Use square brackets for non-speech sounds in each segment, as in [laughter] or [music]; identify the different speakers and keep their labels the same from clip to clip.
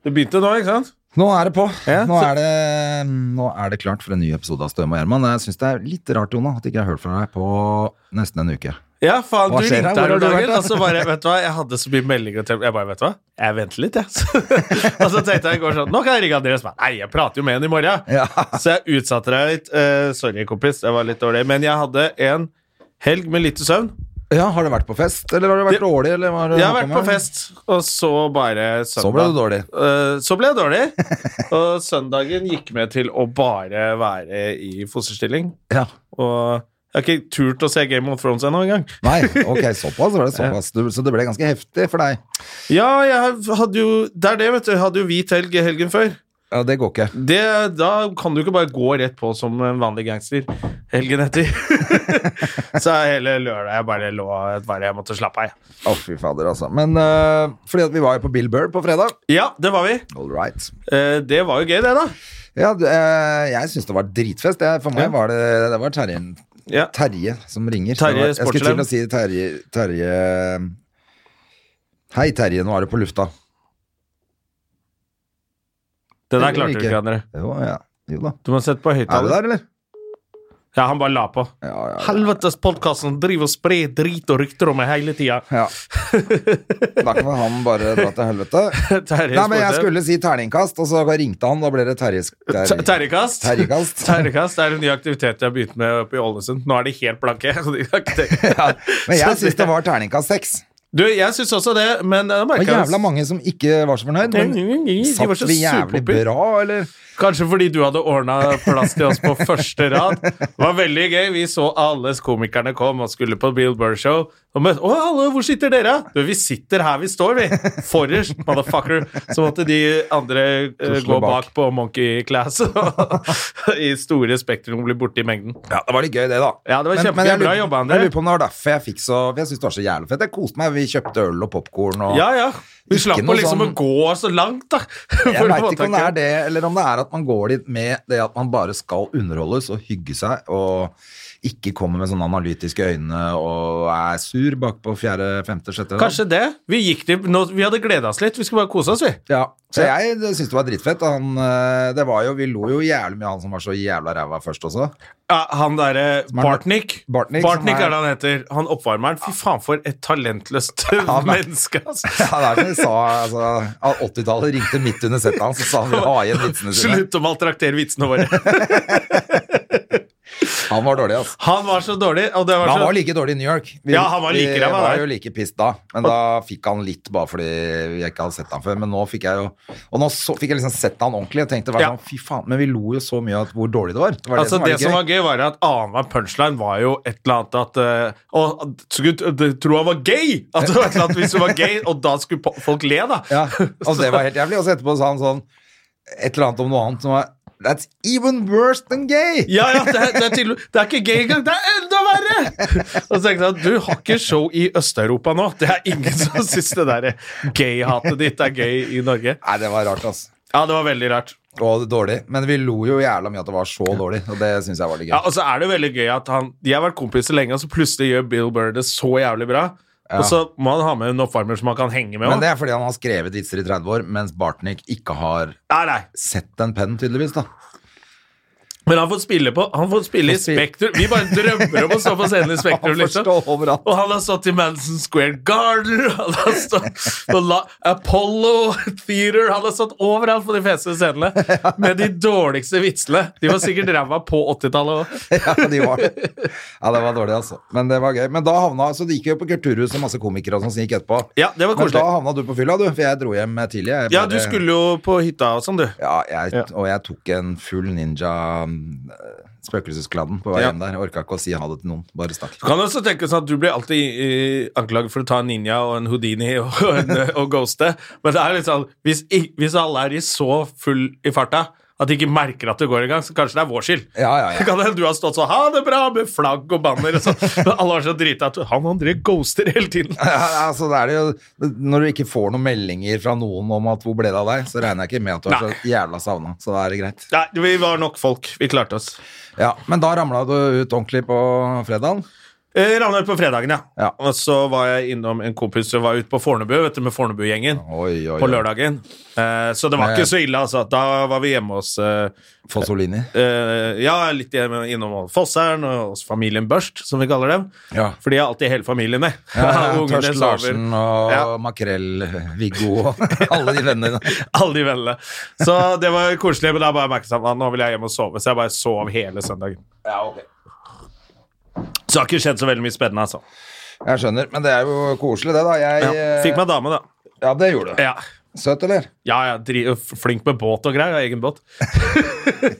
Speaker 1: Det begynte nå, ikke sant?
Speaker 2: Nå er det på.
Speaker 1: Ja,
Speaker 2: nå,
Speaker 1: så-
Speaker 2: er det, mm, nå er det klart for en ny episode av Støme og Gjerman. Jeg syns det er litt rart, Jona, at jeg ikke har hørt fra deg på nesten en uke.
Speaker 1: Ja, faen,
Speaker 2: Hva
Speaker 1: du
Speaker 2: skjer her?
Speaker 1: ringte
Speaker 2: Hvor
Speaker 1: her
Speaker 2: har
Speaker 1: om
Speaker 2: du vært,
Speaker 1: dagen,
Speaker 2: da?
Speaker 1: og så bare, vet du hva, jeg hadde så mye meldinger til Jeg bare, vet du hva, jeg venter litt, jeg. [laughs] Så- og så tenkte jeg i går sånn, nå kan jeg ringe Andreas. Bare, Nei, jeg prater jo med henne i morgen.
Speaker 2: Ja.
Speaker 1: Så jeg utsatte deg litt. Eh, sorry, kompis, det var litt dårlig. Men jeg hadde en helg med lite søvn.
Speaker 2: ja, Har du vært på fest, eller har du
Speaker 1: Det-
Speaker 2: vært dårlig? Eller hva har du
Speaker 1: Jeg har
Speaker 2: holdt
Speaker 1: vært
Speaker 2: på
Speaker 1: på
Speaker 2: med?
Speaker 1: fest, og så bare søndag.
Speaker 2: Så ble du dårlig.
Speaker 1: Eh, så ble jeg
Speaker 2: [laughs]
Speaker 1: dårlig. Og søndagen gikk med til å bare være i fosterstilling.
Speaker 2: Ja.
Speaker 1: Og jeg har ikke turt å se Game of Thrones ennå engang.
Speaker 2: Nei, ok, såpass var det. såpass du, Så det ble ganske heftig for deg.
Speaker 1: Ja, jeg hadde jo Det er det, vet du. Jeg hadde jo hvit helg helgen før.
Speaker 2: Ja, Det går ikke.
Speaker 1: Det, da kan du ikke bare gå rett på som en vanlig gangster helgen etter. [laughs] så hele lørdag jeg bare lå bare jeg måtte slappe av. jeg.
Speaker 2: Å, fy fader, altså. Men øh, fordi at vi var jo på Bill Burr på fredag.
Speaker 1: Ja, det var vi.
Speaker 2: All right.
Speaker 1: Eh, det var jo gøy, det, da.
Speaker 2: Ja, d- øh, jeg syns det var dritfest. Jeg, for meg
Speaker 1: Ja.
Speaker 2: var det, det var Terje,
Speaker 1: Ja.
Speaker 2: Terje som ringer.
Speaker 1: Terje
Speaker 2: Det var- jeg skulle til
Speaker 1: Sportslem.
Speaker 2: å si Terje, Terje Hei, Terje, nå er du på lufta.
Speaker 1: Den
Speaker 2: Eller
Speaker 1: der klarte du
Speaker 2: ikke.
Speaker 1: ikke, André.
Speaker 2: Jo, ja. jo da.
Speaker 1: Du må sette på
Speaker 2: Er du
Speaker 1: høyttaler.
Speaker 2: der, eller?
Speaker 1: Ja, han bare la på.
Speaker 2: Ja, ja.
Speaker 1: Helvetes podkasten driver og sprer drit og rykter om meg hele tida.
Speaker 2: ja. [laughs] Da kan han bare dra til helvete.
Speaker 1: [laughs] Terje
Speaker 2: Nei, men jeg
Speaker 1: Sportslem.
Speaker 2: skulle si terningkast, og så ringte han. Da ble det Terjes
Speaker 1: Ter-
Speaker 2: Terje.
Speaker 1: Terjekast. [laughs]
Speaker 2: Terjekast.
Speaker 1: Terjekast er en ny aktivitet jeg har begynt med oppe i Ålesund. Nå er de helt blanke. [laughs] så de kan ikke tenke.
Speaker 2: Men
Speaker 1: Så
Speaker 2: jeg syns det var terningkast seks.
Speaker 1: Du, jeg syns også det, men det
Speaker 2: Det var jævla mange som ikke var så fornøyd. Men
Speaker 1: De var
Speaker 2: satt
Speaker 1: så
Speaker 2: vi jævlig
Speaker 1: surpopper.
Speaker 2: bra, eller?
Speaker 1: Kanskje fordi du hadde ordna plass til oss på første rad. Det var veldig gøy. Vi så alle komikerne kom og skulle på Bill Burr-show. Og møtte Å, alle, hvor sitter dere? Du, vi sitter her vi står, vi. Forrest, motherfucker. Så måtte de andre eh,
Speaker 2: Tusle
Speaker 1: gå
Speaker 2: bak.
Speaker 1: bak på Monkey Class [laughs] i store spektrum og bli borte i mengden.
Speaker 2: Ja, det var litt gøy, det, da.
Speaker 1: Ja, det var kjempegøy.
Speaker 2: jeg lurer-
Speaker 1: Bra jobba, André.
Speaker 2: Jeg lurer på om det var derfor jeg fikk så for Jeg syns det var så jævlig fett. Jeg koste meg. Vi kjøpte øl og popkorn og
Speaker 1: Ja, ja. Vi
Speaker 2: Ikke
Speaker 1: slapp
Speaker 2: noe
Speaker 1: å liksom å
Speaker 2: sånn-
Speaker 1: gå så langt, da.
Speaker 2: [laughs]
Speaker 1: [laughs]
Speaker 2: Jeg veit ikke om det er det, eller om det er at man går dit med det at man bare skal underholdes og hygge seg, og ikke kommer med sånne analytiske øyne og er sur bakpå fjerde, femte, sjette rad.
Speaker 1: Kanskje det. Vi gikk til nå, Vi hadde gleda oss litt. Vi skulle bare kose oss, vi.
Speaker 2: Ja. Så jeg syns det var dritfett. Han, eh, det var jo, vi lo jo jævlig mye av han som var så jævla ræva først også. [laughs]
Speaker 1: Ja, han derre
Speaker 2: er-
Speaker 1: Bartnick.
Speaker 2: Bartnick,
Speaker 1: Bartnick,
Speaker 2: som er-
Speaker 1: er det han heter. Han oppvarmeren. Fy faen, for et talentløst
Speaker 2: [laughs] han er-
Speaker 1: [laughs] menneske, ass.
Speaker 2: Ja, det er som de sa, altså, at 80-tallet ringte midt under settet hans og sa han ville ha igjen vitsene sine.
Speaker 1: Slutt å maltraktere vitsene
Speaker 2: [laughs]
Speaker 1: våre.
Speaker 2: Han var dårlig, altså.
Speaker 1: Han var så dårlig, og det var
Speaker 2: Men han var
Speaker 1: så
Speaker 2: like dårlig i New York. Vi,
Speaker 1: Ja, han var like
Speaker 2: vi
Speaker 1: ræva
Speaker 2: var
Speaker 1: der.
Speaker 2: jo like pissed da, men da fikk han litt bare fordi jeg ikke hadde sett han før. Men nå fikk jeg jo Og nå så, fikk jeg liksom sett han ordentlig og tenkte bare
Speaker 1: Ja.
Speaker 2: sånn, fy faen. Men vi lo jo så mye av hvor dårlig det var. Det var
Speaker 1: Altså,
Speaker 2: det som var,
Speaker 1: det
Speaker 2: litt
Speaker 1: som
Speaker 2: gøy.
Speaker 1: var gøy, var at annenhver punchline var jo et eller annet at eh, Og skulle du tro eh, han var gay! At det var et eller annet hvis du var gay, og da skulle po- folk le, da.
Speaker 2: Ja, altså, det
Speaker 1: [laughs]
Speaker 2: var helt jævlig. Og så etterpå sa han sånn et eller annet om noe annet som var That's even worse than gay!
Speaker 1: Ja, ja, det er, det er, tydelig, det er ikke gay engang. Det er enda verre! Og så tenkte jeg at du har ikke show i Øst-Europa nå. Det er ingen som syns det der gay-hatet ditt er gøy i Norge.
Speaker 2: Nei, det var rart, altså.
Speaker 1: Ja, det var veldig rart.
Speaker 2: Og dårlig. Men vi lo jo jævla mye at det var så dårlig, og det syns jeg var litt gøy.
Speaker 1: Ja, Og så er det veldig gøy at han De har vært kompiser lenge, og så plutselig gjør Bill Burr det så jævlig bra. Og så må han ha med en oppvarmer som han kan henge med.
Speaker 2: Men
Speaker 1: også.
Speaker 2: det er fordi han har skrevet vitser i 30 år, mens Bartnick ikke har
Speaker 1: Nei, nei.
Speaker 2: sett en penn, tydeligvis. da
Speaker 1: Men han får spille på Han får spille i
Speaker 2: spille.
Speaker 1: Spektrum. Vi bare drømmer om å stå på scenen i Spektrum.
Speaker 2: Han får
Speaker 1: liksom.
Speaker 2: stå overalt. [laughs]
Speaker 1: Og han har stått i Madison Square Garden, han har stått på La Apollo Theater Han har stått overalt på de feste scenene med de dårligste vitsene. De var sikkert ræva på 80-tallet òg.
Speaker 2: ja, de var det. Ja, det var dårlig, altså. Men det var gøy. Men da havna Så det gikk jo på kulturhus og masse komikere og sånn som gikk etterpå.
Speaker 1: Ja, det var
Speaker 2: Men
Speaker 1: koselig.
Speaker 2: da havna du på fylla, du, for jeg dro hjem tidlig. Jeg
Speaker 1: Ja,
Speaker 2: bare-
Speaker 1: du skulle jo på hytta og sånn, du.
Speaker 2: Ja, jeg,
Speaker 1: Ja.
Speaker 2: og jeg tok en full ninja eh, spøkelseskladden på vei
Speaker 1: Ja.
Speaker 2: hjem der. Jeg orka ikke å si ha det til noen, bare stakk.
Speaker 1: Du kan også tenke sånn at du blir alltid eh, anklaget for å ta en ninja og en houdini og, en, og ghoste, men det er litt sånn hvis, i- hvis alle er i så full i farta at de ikke merker at det går engang, så kanskje det er vår skyld.
Speaker 2: Ja, ja, ja.
Speaker 1: Kan hende du har stått sånn 'ha det bra' med flagg og banner og sånn. Men Alle var så drita at han André ghoster hele tiden.
Speaker 2: [laughs] Ja, altså, det er det jo, når du ikke får noen meldinger fra noen om at hvor ble det av deg, så regner jeg ikke med at du
Speaker 1: Nei.
Speaker 2: er så jævla savna. Så da er det greit.
Speaker 1: Nei, vi var nok folk. Vi klarte oss.
Speaker 2: Ja, Men da ramla du ut ordentlig på fredagen.
Speaker 1: Eh, Ravner på fredagen, ja.
Speaker 2: Ja.
Speaker 1: Og så var jeg innom en kompis som var ute på Fornebu vet du, med Fornebu-gjengen.
Speaker 2: Oi, oi,
Speaker 1: På
Speaker 2: oi.
Speaker 1: lørdagen. Eh, så det var
Speaker 2: Nei.
Speaker 1: ikke så ille, altså. Da var vi hjemme hos eh,
Speaker 2: Fossolini.
Speaker 1: Eh, ja, litt hjemme- innom Fosseren og hos familien Børst, som vi kaller dem.
Speaker 2: Ja.
Speaker 1: For de har alltid hele familien med.
Speaker 2: Ja,
Speaker 1: [laughs] Ungene
Speaker 2: Tørst
Speaker 1: sover.
Speaker 2: Larsen og
Speaker 1: Ja.
Speaker 2: Makrell, Viggo og [laughs] alle de vennene dine.
Speaker 1: [laughs] Alle de vennene. Så det var koselig, men da bare merket jeg at nå vil jeg hjem og sove. Så jeg bare sov hele søndagen. Så det har ikke skjedd så veldig mye spennende, altså.
Speaker 2: Jeg skjønner, men det er jo koselig, det, da. Jeg, eh,
Speaker 1: Ja. Fikk meg dame, da.
Speaker 2: ja, det gjorde du.
Speaker 1: Ja, [laughs]
Speaker 2: Søt, eller?
Speaker 1: ja, ja dri flink med båt og greier. Jeg har egen båt. [laughs]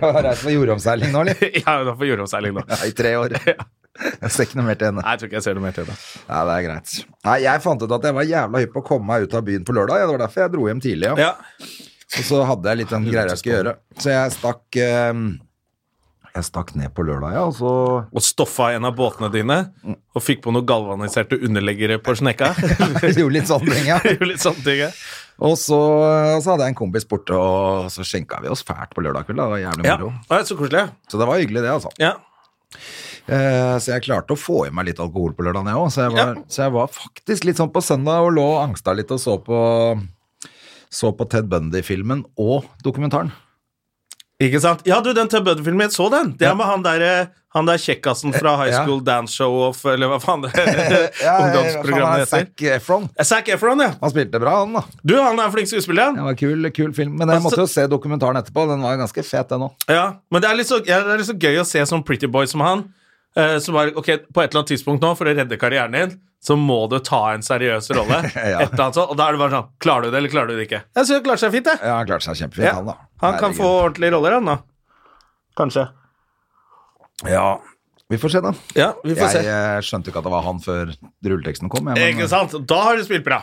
Speaker 2: Har reist på jordomseiling nå, eller?
Speaker 1: ja, da får jordomseiling, da.
Speaker 2: Ja, I tre
Speaker 1: [laughs]
Speaker 2: år. Jeg ser ikke noe mer til henne.
Speaker 1: Nei, jeg tror ikke jeg ser noe mer til det.
Speaker 2: Nei, det er greit. Nei, jeg fant ut at jeg var jævla hypp på å komme meg ut av byen på lørdag. Ja, det var derfor jeg dro hjem tidlig. Ja.
Speaker 1: Ja.
Speaker 2: Og så hadde jeg litt den greia jeg skulle gjøre. Så jeg stakk eh, Jeg stakk ned på lørdag, ja, og så
Speaker 1: [laughs]
Speaker 2: [laughs]
Speaker 1: Og stoffa en av båtene dine, og fikk på noen galvaniserte underleggere på snekka. [laughs]
Speaker 2: Gjorde litt sånn ting, ja.
Speaker 1: Det er jo litt sånne ting, ja.
Speaker 2: Og så, og så hadde jeg en kompis borte, og så skjenka vi oss fælt på lørdag kveld. da. Det var jævlig
Speaker 1: Ja.
Speaker 2: moro.
Speaker 1: Nei, så koselig.
Speaker 2: Så det var hyggelig, det, altså.
Speaker 1: Ja.
Speaker 2: Eh, så jeg klarte å få i meg litt alkohol på lørdagen, jeg òg. Så, jeg var- så jeg var faktisk litt sånn på søndag og lå og angsta litt og så på, så på Ted Bundy-filmen og dokumentaren.
Speaker 1: Ikke sant? Ja, du, den Ted Bundy-filmen, jeg så den. Det er med han der, eh, han der kjekkasen fra High
Speaker 2: Ja.
Speaker 1: School Dance Show Off, eller hva faen det
Speaker 2: [laughs]
Speaker 1: [laughs] Eh, ungdomsprogrammet heter.
Speaker 2: Zac Efron.
Speaker 1: Eh, Zac Efron, ja.
Speaker 2: Han spilte bra, han da.
Speaker 1: Du, han er en flink skuespiller,
Speaker 2: Det
Speaker 1: han.
Speaker 2: var en kul, kul film. Men jeg måtte jo se dokumentaren etterpå. Den var ganske fet, den òg.
Speaker 1: Ja. Men det er, litt så, ja, det er litt så gøy å se sånn pretty boy som han. eh, Som er, ok, På et eller annet tidspunkt nå, for å redde karrieren din, så må du ta en seriøs rolle.
Speaker 2: [laughs] Ja.
Speaker 1: Et eller annet sånt, Og da er det bare sånn Klarer du det, eller klarer du det ikke? Jeg synes han klarer seg fint, jeg.
Speaker 2: Ja, han klarte seg kjempefint,
Speaker 1: Ja.
Speaker 2: han da.
Speaker 1: Han kan
Speaker 2: Herregud.
Speaker 1: få ordentlige roller, han da. Kanskje.
Speaker 2: Ja. Vi får se, da.
Speaker 1: Ja, vi får
Speaker 2: Jeg
Speaker 1: se.
Speaker 2: eh, skjønte ikke at det var han før rulleteksten kom. Jeg,
Speaker 1: Ikke
Speaker 2: men,
Speaker 1: sant? Da har du spilt bra.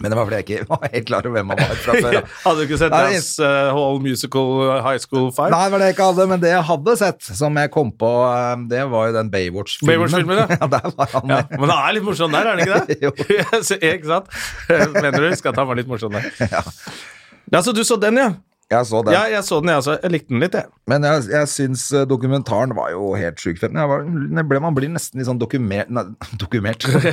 Speaker 2: men det var fordi jeg ikke var helt klar over hvem han var [laughs] fra
Speaker 1: [laughs]
Speaker 2: før. da.
Speaker 1: Hadde du ikke sett
Speaker 2: Nei,
Speaker 1: Dance eh, Hall Musical eh, High School 5?
Speaker 2: Nei, det var det jeg ikke hadde, men det jeg hadde sett, som jeg kom på, eh, det var jo den Baywatch-filmen.
Speaker 1: Baywatch-filmen, ja.
Speaker 2: [laughs] ja. Der var han
Speaker 1: Ja,
Speaker 2: med. [laughs]
Speaker 1: men han er litt morsom der, er han ikke det? [laughs]
Speaker 2: Jo.
Speaker 1: Så, eh, ikke sant? Mener du husker at han var litt morsom
Speaker 2: [laughs]
Speaker 1: der? Ja. så du så den, ja?
Speaker 2: Jeg så den.
Speaker 1: Ja, jeg så den, jeg også. Jeg likte den litt, jeg.
Speaker 2: Men jeg, jeg syns eh, dokumentaren var jo helt sjukt fet. Men Jeg var, jeg ble, man blir nesten litt sånn dokumer, nei, [laughs]
Speaker 1: [laughs]
Speaker 2: dokumert.
Speaker 1: Det er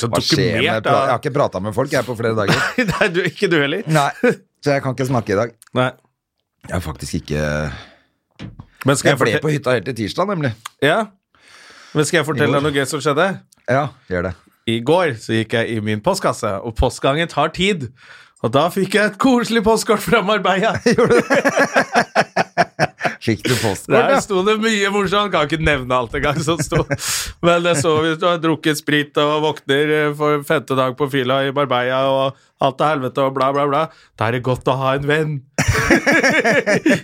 Speaker 1: så
Speaker 2: Hva
Speaker 1: dokumert,
Speaker 2: skjer med pra- Jeg
Speaker 1: da.
Speaker 2: har ikke prata med folk jeg på flere dager.
Speaker 1: [laughs] Nei, du, ikke du heller?
Speaker 2: Nei, [laughs] så jeg kan ikke snakke i dag.
Speaker 1: Nei.
Speaker 2: Jeg har faktisk ikke
Speaker 1: Men skal
Speaker 2: Jeg
Speaker 1: jeg,
Speaker 2: ble
Speaker 1: fortelle...
Speaker 2: på hytta helt til tirsdag, nemlig.
Speaker 1: Ja? Men skal jeg fortelle deg noe gøy som skjedde?
Speaker 2: Ja, gjør det.
Speaker 1: I går så gikk jeg i min postkasse, og postgangen tar tid. Og da fikk jeg et koselig postkort fra Marbella.
Speaker 2: Fikk du postkort,
Speaker 1: Der
Speaker 2: ja?
Speaker 1: sto det mye morsomt. Kan ikke nevne alt engang som
Speaker 2: [laughs]
Speaker 1: sto. Men det så vi du har drukket sprit og våkner eh, for femte dag på fila i Marbella og alt til helvete og bla, bla, bla. Da er det godt å ha en
Speaker 2: [laughs]
Speaker 1: venn.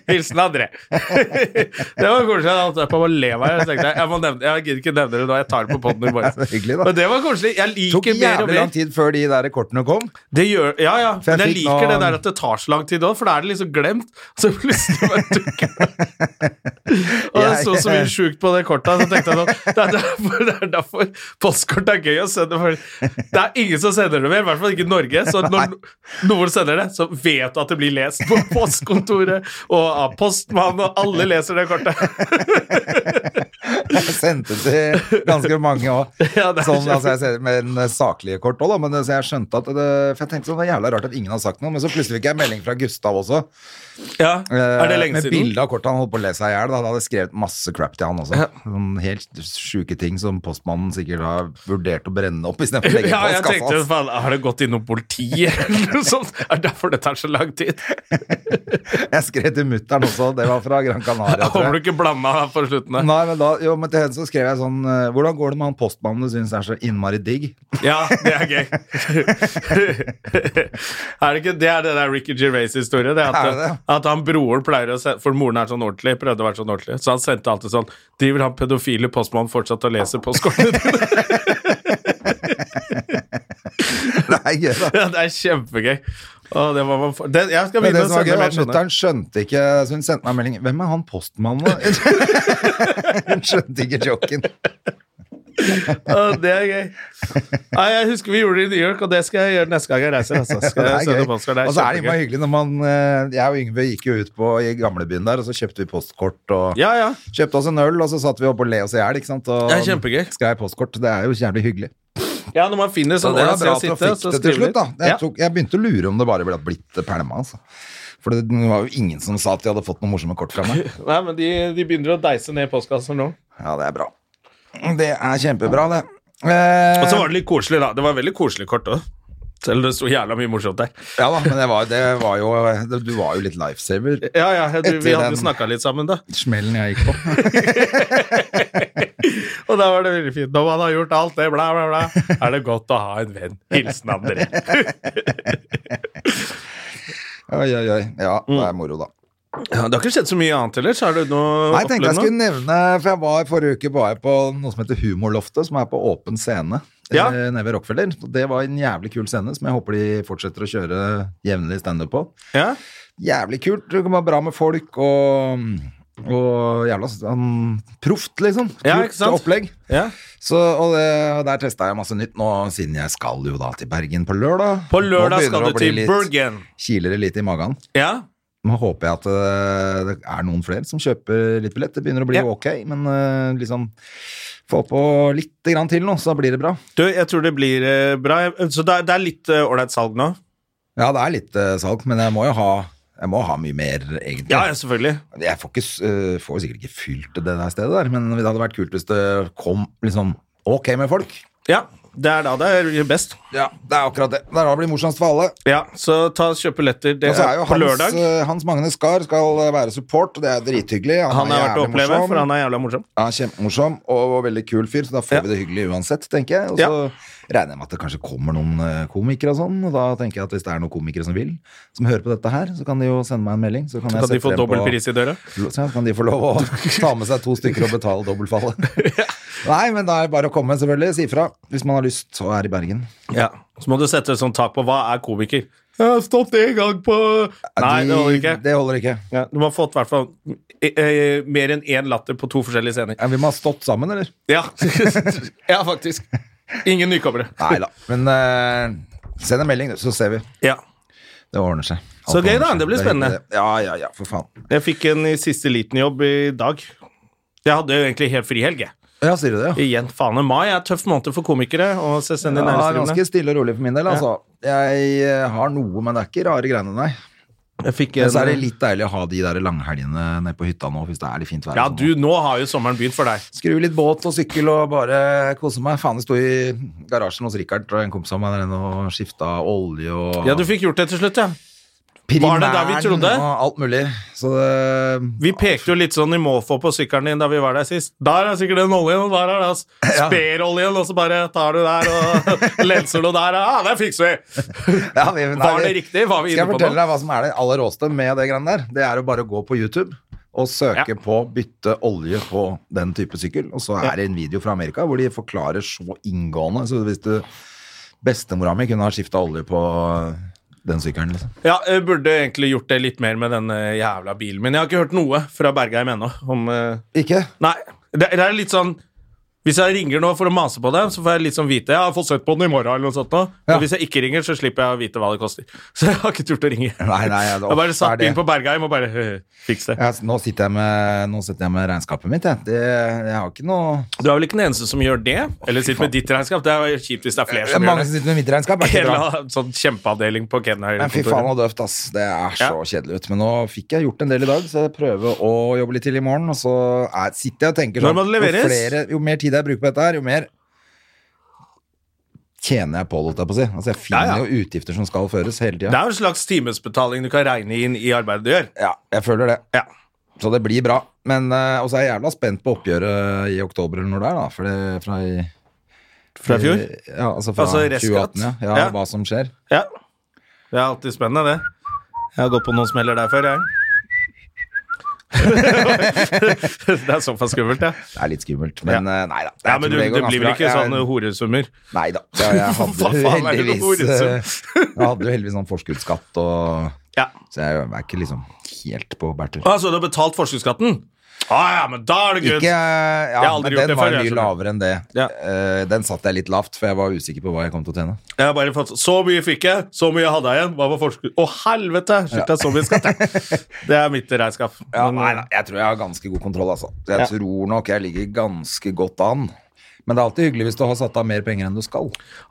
Speaker 1: Hilsen André. [laughs] det var koselig. Jeg holdt på å le av meg. Jeg tenkte jeg må nevne Jeg gidder ikke nevne det nå. Jeg tar det på poden i
Speaker 2: [laughs] Det er
Speaker 1: morgen.
Speaker 2: hyggelig, da.
Speaker 1: Men det var koselig. Jeg
Speaker 2: Tok
Speaker 1: liker mer og
Speaker 2: jævlig lang
Speaker 1: mer.
Speaker 2: tid før de der kortene kom.
Speaker 1: Det gjør, ja, ja.
Speaker 2: For jeg
Speaker 1: Men jeg
Speaker 2: fikk
Speaker 1: liker
Speaker 2: nå-
Speaker 1: det der at det tar så lang tid òg, for da er det liksom glemt. Så plutselig bare dukker
Speaker 2: [laughs]
Speaker 1: det Og det
Speaker 2: Jeg-
Speaker 1: sto så mye sjukt på det kortet, så tenkte jeg sånn Det er derfor, det er derfor postkort er gøy å sende. For det er ingen som sender det mer, i hvert fall ikke i Norge. Så når noen sender det, så vet du at det blir lest på postkontoret og av postmannen, og alle leser det kortet.
Speaker 2: [laughs] Jeg [laughs] sendte til ganske mange òg.
Speaker 1: [laughs] Ja, det er
Speaker 2: Sånn,
Speaker 1: kjempe-
Speaker 2: altså, jeg ser med en saklige kort òg, da. Men det- så jeg skjønte at det, For jeg tenkte sånn, det er jævla rart at ingen har sagt noe. Men så plutselig fikk jeg melding fra Gustav også.
Speaker 1: Ja,
Speaker 2: eh,
Speaker 1: Er det lenge
Speaker 2: med
Speaker 1: siden?
Speaker 2: bilde av kortet han holdt på å le seg i hjel. Da. da hadde jeg skrevet masse crap til han også.
Speaker 1: Ja.
Speaker 2: Sånn helt sjuke ting som postmannen sikkert har vurdert å brenne opp istedenfor å
Speaker 1: [laughs]
Speaker 2: legge
Speaker 1: Ja,
Speaker 2: på
Speaker 1: jeg
Speaker 2: postkassa
Speaker 1: tenkte
Speaker 2: hans.
Speaker 1: faen, har det gått innom politiet eller noe sånt? Er det derfor det tar så lang tid?
Speaker 2: Jeg skrev til mutter'n også, det var fra Gran Canaria.
Speaker 1: Jeg
Speaker 2: tror jeg.
Speaker 1: håper du ikke blanda på slutten der.
Speaker 2: Nei, men da, jo, kom jeg til henne, så skrev jeg sånn eh, Hvordan går det med han postmannen du syns er så innmari digg? [laughs]
Speaker 1: Ja, det er gøy. [laughs] er det ikke det er det der Ricky Gervais-historien? Det er at,
Speaker 2: Er det det?
Speaker 1: at han broren pleier å se, For moren er sånn ordentlig, prøvde å være sånn ordentlig, så han sendte alltid sånn Driver han pedofile postmannen fortsatt og leser postkortene dine?
Speaker 2: Det er gøy, da.
Speaker 1: [laughs] Ja, det er kjempegøy. Å, det var man for... det, jeg skal
Speaker 2: Men det
Speaker 1: begynne å
Speaker 2: som var
Speaker 1: sende
Speaker 2: gøy, var
Speaker 1: mer
Speaker 2: at
Speaker 1: sånne.
Speaker 2: mutter'n skjønte ikke Så hun sendte meg en melding Hvem er han postmannen, da? [laughs] hun skjønte ikke joken.
Speaker 1: Å, det er gøy. Nei, jeg husker vi gjorde det i New York, og det skal jeg gjøre neste gang jeg reiser. Altså.
Speaker 2: Det
Speaker 1: Skal
Speaker 2: er
Speaker 1: jeg
Speaker 2: gøy.
Speaker 1: sende
Speaker 2: Og så
Speaker 1: postkort. Det er
Speaker 2: er det
Speaker 1: kjempegøy.
Speaker 2: innmari hyggelig når man eh, Jeg og Yngve gikk jo ut på i gamlebyen der, og så kjøpte vi postkort og
Speaker 1: Ja, ja.
Speaker 2: Kjøpte oss en øl, og så satt vi oppe og le oss i hjel, ikke sant? Og
Speaker 1: Det er kjempegøy.
Speaker 2: skrev postkort. Det er jo jævlig hyggelig.
Speaker 1: ja, når man finner
Speaker 2: Så
Speaker 1: sånn
Speaker 2: det var
Speaker 1: å
Speaker 2: bra
Speaker 1: se
Speaker 2: at du
Speaker 1: og sitte,
Speaker 2: fikk
Speaker 1: så
Speaker 2: det til
Speaker 1: skriver
Speaker 2: slutt, da.
Speaker 1: litt.
Speaker 2: Jeg,
Speaker 1: Ja.
Speaker 2: tok, jeg begynte å lure om det bare ble blitt pælma, altså. For det var jo ingen som sa at de hadde fått noen morsomme kort fra meg.
Speaker 1: [laughs] Nei, men de, de begynner å deise ned postkassen nå.
Speaker 2: Ja, det er bra. Det er kjempebra, det. Eh,
Speaker 1: Og så var det litt koselig, da. Det var veldig koselig kort òg. Selv om det sto jævla mye morsomt der.
Speaker 2: Ja da, men det var, det var jo det, Du var jo litt lifesaver.
Speaker 1: Ja, ja, jeg, tror vi
Speaker 2: Etter
Speaker 1: hadde
Speaker 2: den-
Speaker 1: snakka litt sammen, da.
Speaker 2: Smellen jeg gikk på.
Speaker 1: [laughs] Og da var det veldig fint. Når man har gjort alt det, bla, bla, bla, er det godt å ha en venn. Hilsen André.
Speaker 2: Oi, oi, oi. Ja, det er moro, da.
Speaker 1: [laughs] Ja, det Mm. har ikke skjedd så mye annet ellers? Har du noe
Speaker 2: Nei, jeg tenkte jeg
Speaker 1: opplevd
Speaker 2: skulle
Speaker 1: noe?
Speaker 2: nevne For jeg var forrige uke var jeg på noe som heter Humorloftet, som er på åpen scene
Speaker 1: Ja.
Speaker 2: eh, nede ved Rockefeller. Og Det var en jævlig kul scene som jeg håper de fortsetter å kjøre jevnlig standup på.
Speaker 1: Ja?
Speaker 2: Jævlig kult. Det kan være bra med folk og, og jævla um, proft, liksom. Kult
Speaker 1: Ja, ikke sant?
Speaker 2: opplegg.
Speaker 1: ja.
Speaker 2: Så, og det, og der testa jeg masse nytt nå, siden jeg skal jo da til Bergen på lørdag.
Speaker 1: På
Speaker 2: Nå
Speaker 1: lørdag
Speaker 2: begynner
Speaker 1: skal
Speaker 2: det å
Speaker 1: du
Speaker 2: bli
Speaker 1: til
Speaker 2: litt-
Speaker 1: Bergen.
Speaker 2: Kiler det litt i magen.
Speaker 1: Ja?
Speaker 2: Nå håper jeg at eh, det er noen flere som kjøper litt billett. Det begynner å bli
Speaker 1: Ja.
Speaker 2: ok, men eh, liksom få på litt grann til nå, så blir det bra.
Speaker 1: Du, jeg tror det blir eh, bra. Jeg- Så det er, det er litt eh, ålreit salg nå?
Speaker 2: Ja, det er litt eh, salg, men jeg må jo ha jeg må ha mye mer, egentlig.
Speaker 1: Ja, ja, selvfølgelig.
Speaker 2: Jeg får, ikke, s- eh, får sikkert ikke fylt det der stedet der, men det hadde vært kult hvis det kom liksom ok med folk.
Speaker 1: Ja, det er da det er best.
Speaker 2: Ja, det er akkurat det. Det er da det blir morsomst for alle.
Speaker 1: Ja, så ta kjøp billetter. Det
Speaker 2: Og så
Speaker 1: er
Speaker 2: er jo
Speaker 1: på
Speaker 2: Hans,
Speaker 1: lørdag.
Speaker 2: eh, Hans Magne Skar skal eh, være support, og det er drithyggelig.
Speaker 1: eh, Han har vært å
Speaker 2: jævlig
Speaker 1: oppleve,
Speaker 2: morsom.
Speaker 1: for han er jævla morsom.
Speaker 2: Ja, kjempemorsom og, og veldig kul fyr, så da får
Speaker 1: Ja.
Speaker 2: vi det hyggelig uansett, tenker jeg. Og så regner jeg med at det kanskje kommer noen eh, komikere og sånn, og da tenker jeg at hvis det er noen komikere som vil, som hører på dette her, så kan de jo sende meg en melding. Så kan, jeg
Speaker 1: Kan de
Speaker 2: sette
Speaker 1: få
Speaker 2: dem
Speaker 1: dobbel
Speaker 2: på-
Speaker 1: pris i døra?
Speaker 2: Så ja, kan de få lov å ta med seg to stykker og betale dobbeltfallet.
Speaker 1: [laughs]
Speaker 2: Nei, men da er det bare å komme, selvfølgelig. Si ifra hvis man har lyst og er i Bergen.
Speaker 1: Ja. Så må du sette et sånt tak på hva er komiker. Jeg har stått en gang på Nei,
Speaker 2: De-
Speaker 1: det holder ikke.
Speaker 2: Det holder ikke.
Speaker 1: Ja, du må ha fått i hvert fall eh, eh, mer enn én latter på to forskjellige scener.
Speaker 2: Ja, vi må ha stått sammen, eller?
Speaker 1: Ja, [laughs] ja faktisk. Ingen nykommere.
Speaker 2: Nei da. Men eh, send en melding, du, så ser vi.
Speaker 1: Ja.
Speaker 2: Det ordner seg. Alt
Speaker 1: Så gøy,
Speaker 2: ordner
Speaker 1: da.
Speaker 2: seg.
Speaker 1: Det blir
Speaker 2: er hyggelig,
Speaker 1: spennende.
Speaker 2: det. Ja, ja, ja, for faen.
Speaker 1: Jeg fikk en i siste liten-jobb i dag. Jeg hadde jo egentlig helt fri helg. jeg.
Speaker 2: Ja, sier du det, ja.
Speaker 1: Igjen, faen. Mai er en tøff måned for komikere og selvstendig
Speaker 2: Ja,
Speaker 1: næringsdrivende.
Speaker 2: ganske stille og rolig for min del, altså. Jeg eh, har noe, men det er ikke rare greiene, nei.
Speaker 1: Jeg fikk
Speaker 2: Men så er det
Speaker 1: en eh,
Speaker 2: litt deilig å ha de der langhelgene nede på hytta nå, hvis det er litt fint vær.
Speaker 1: Ja,
Speaker 2: og sånn.
Speaker 1: du, nå har jo sommeren begynt for deg.
Speaker 2: Skru litt båt og sykkel og bare kose meg. Faen, jeg sto i garasjen hos Richard og en kompis av meg der inne og skifta olje og
Speaker 1: Ja, du fikk gjort det til slutt, ja. Var det der vi
Speaker 2: primæren
Speaker 1: trodde?
Speaker 2: Og alt mulig. Så det
Speaker 1: Vi pekte jo litt sånn i måfå på sykkelen din da vi var der sist. Der er sikkert den oljen, og der er
Speaker 2: [laughs]
Speaker 1: det altså. speroljen, og så bare tar du der og [laughs] lenser du der. Ja, det fikser vi! [laughs]
Speaker 2: Ja, vi- nei,
Speaker 1: Var det
Speaker 2: vi-
Speaker 1: riktig? Var vi
Speaker 2: Skal
Speaker 1: inne
Speaker 2: jeg
Speaker 1: på
Speaker 2: fortelle
Speaker 1: noe?
Speaker 2: deg hva som er det aller råeste med det greiene der? Det er å bare gå på YouTube og søke
Speaker 1: Ja.
Speaker 2: på 'bytte olje på den type sykkel', og så er det en video fra Amerika hvor de forklarer så inngående. Så hvis du Bestemora mi kunne ha skifta olje på øh, den sykkelen, liksom.
Speaker 1: Ja, jeg burde egentlig gjort det litt mer med den eh, jævla bilen min. Jeg har ikke hørt noe fra Bergheim ennå om eh,
Speaker 2: Ikke?
Speaker 1: Nei, det, det er litt sånn Hvis jeg ringer nå for å mase på dem, så får jeg litt sånn vite Jeg har fått sett på den i morgen eller noe sånt nå.
Speaker 2: Ja.
Speaker 1: Og hvis jeg ikke ringer, så slipper jeg å vite hva det koster. [laughs] Så jeg har ikke turt å ringe.
Speaker 2: Nei, nei, det-
Speaker 1: jeg bare
Speaker 2: er
Speaker 1: satt
Speaker 2: det-
Speaker 1: inn på Bergheim og bare «Hø, Fiks det.
Speaker 2: Ja, så nå, sitter jeg med, nå sitter jeg med regnskapet mitt, jeg. Det, jeg har ikke noe
Speaker 1: Du er vel ikke den eneste som gjør det? Eller sitter med ditt regnskap? Det er jo kjipt hvis det er flere
Speaker 2: Det er
Speaker 1: som gjør
Speaker 2: mange
Speaker 1: det.
Speaker 2: som sitter med mitt
Speaker 1: [laughs]
Speaker 2: regnskap. Er ikke bra.
Speaker 1: Hele sånn kjempeavdeling på Kenner.
Speaker 2: Men fy faen så døvt, ass. Det er så
Speaker 1: Ja.
Speaker 2: kjedelig ut. Men nå fikk jeg gjort en del i dag, så jeg prøver å jobbe litt til i morgen. Og så er, sitter jeg og tenker
Speaker 1: Når
Speaker 2: sånn
Speaker 1: må det
Speaker 2: jo,
Speaker 1: leveres?
Speaker 2: flere, jo mer tid jeg bruker på dette her, jo mer tjener jeg på det, holdt jeg på å si. Altså, jeg finner
Speaker 1: Ja, ja.
Speaker 2: jo utgifter som skal føres hele
Speaker 1: Det
Speaker 2: tida.
Speaker 1: er jo en slags timesbetaling du kan regne inn i arbeidet du gjør.
Speaker 2: Ja, jeg føler det.
Speaker 1: Ja.
Speaker 2: Så det blir bra. Men eh, også er jeg jævla spent på oppgjøret i oktober eller når det er, da. For det fra i
Speaker 1: Fra i fjor?
Speaker 2: Ja, altså fra
Speaker 1: Altså i Rescat?
Speaker 2: 2018, ja. ja.
Speaker 1: Ja.
Speaker 2: Hva som skjer.
Speaker 1: Ja. Det er alltid spennende, det. Jeg har gått på noen smeller der før, jeg. [laughs] det er såpass skummelt, ja.
Speaker 2: Det er litt skummelt, men eh, nei da.
Speaker 1: ja men du, det blir vel ikke sånn horesummer?
Speaker 2: Nei da. Ja, jeg
Speaker 1: Hva
Speaker 2: [laughs] hadde jo
Speaker 1: faen er det noe
Speaker 2: heldigvis eh,
Speaker 1: horesum?
Speaker 2: Jeg hadde jo heldigvis sånn forskuddsskatt og
Speaker 1: Ja.
Speaker 2: Så jeg er ikke liksom helt på bærtur.
Speaker 1: Å, så du har betalt forskuddsskatten? Å ja, men da er det good!
Speaker 2: Ikke, eh, ja,
Speaker 1: Jeg har aldri
Speaker 2: men
Speaker 1: gjort
Speaker 2: den
Speaker 1: det
Speaker 2: var
Speaker 1: før, jeg
Speaker 2: mye
Speaker 1: skjønner.
Speaker 2: lavere enn det.
Speaker 1: Ja.
Speaker 2: Eh, den satt jeg litt lavt, for jeg var usikker på hva jeg kom til å tjene.
Speaker 1: Jeg har bare fått Så mye fikk jeg, så mye hadde jeg igjen. Hva var forskudd... Å, helvete! Skyldte jeg så mye skatt, jeg. Det er mitt regnskap.
Speaker 2: [laughs] Ja,
Speaker 1: Men, eh,
Speaker 2: nei, nei, jeg tror jeg har ganske god kontroll, altså. Jeg
Speaker 1: Ja.
Speaker 2: tror nok jeg ligger ganske godt an. Men det er alltid hyggelig hvis du har satt av mer penger enn du skal.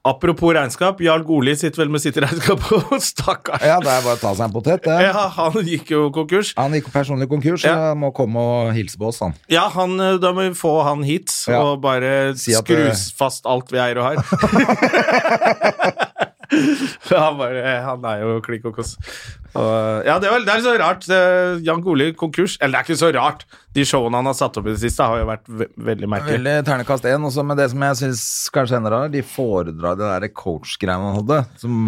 Speaker 1: Apropos regnskap, Jarl Goli sitter vel med sitt regnskap, og [laughs] stakkars
Speaker 2: Ja, det er bare å ta seg en potet. Det.
Speaker 1: Ja, han gikk jo konkurs.
Speaker 2: Han gikk personlig konkurs, så
Speaker 1: Ja.
Speaker 2: han må komme og hilse på oss, han.
Speaker 1: Ja, han, eh, da må vi få han hit
Speaker 2: Ja.
Speaker 1: og bare
Speaker 2: Si at eh,
Speaker 1: skru
Speaker 2: det-
Speaker 1: fast alt vi eier og
Speaker 2: [laughs]
Speaker 1: har. [laughs] For han, bare, han er jo klikk og koss. Og, ja, det er, vel- det er så rart. Det- Jan Goli konkurs. Eller det er ikke så rart. De showene han har satt opp i det siste, har jo vært ve veldig merkelige.
Speaker 2: Veldig ternekast én, også, men det som jeg syns kanskje ender av, de foredrar det der coach-greiene han hadde, som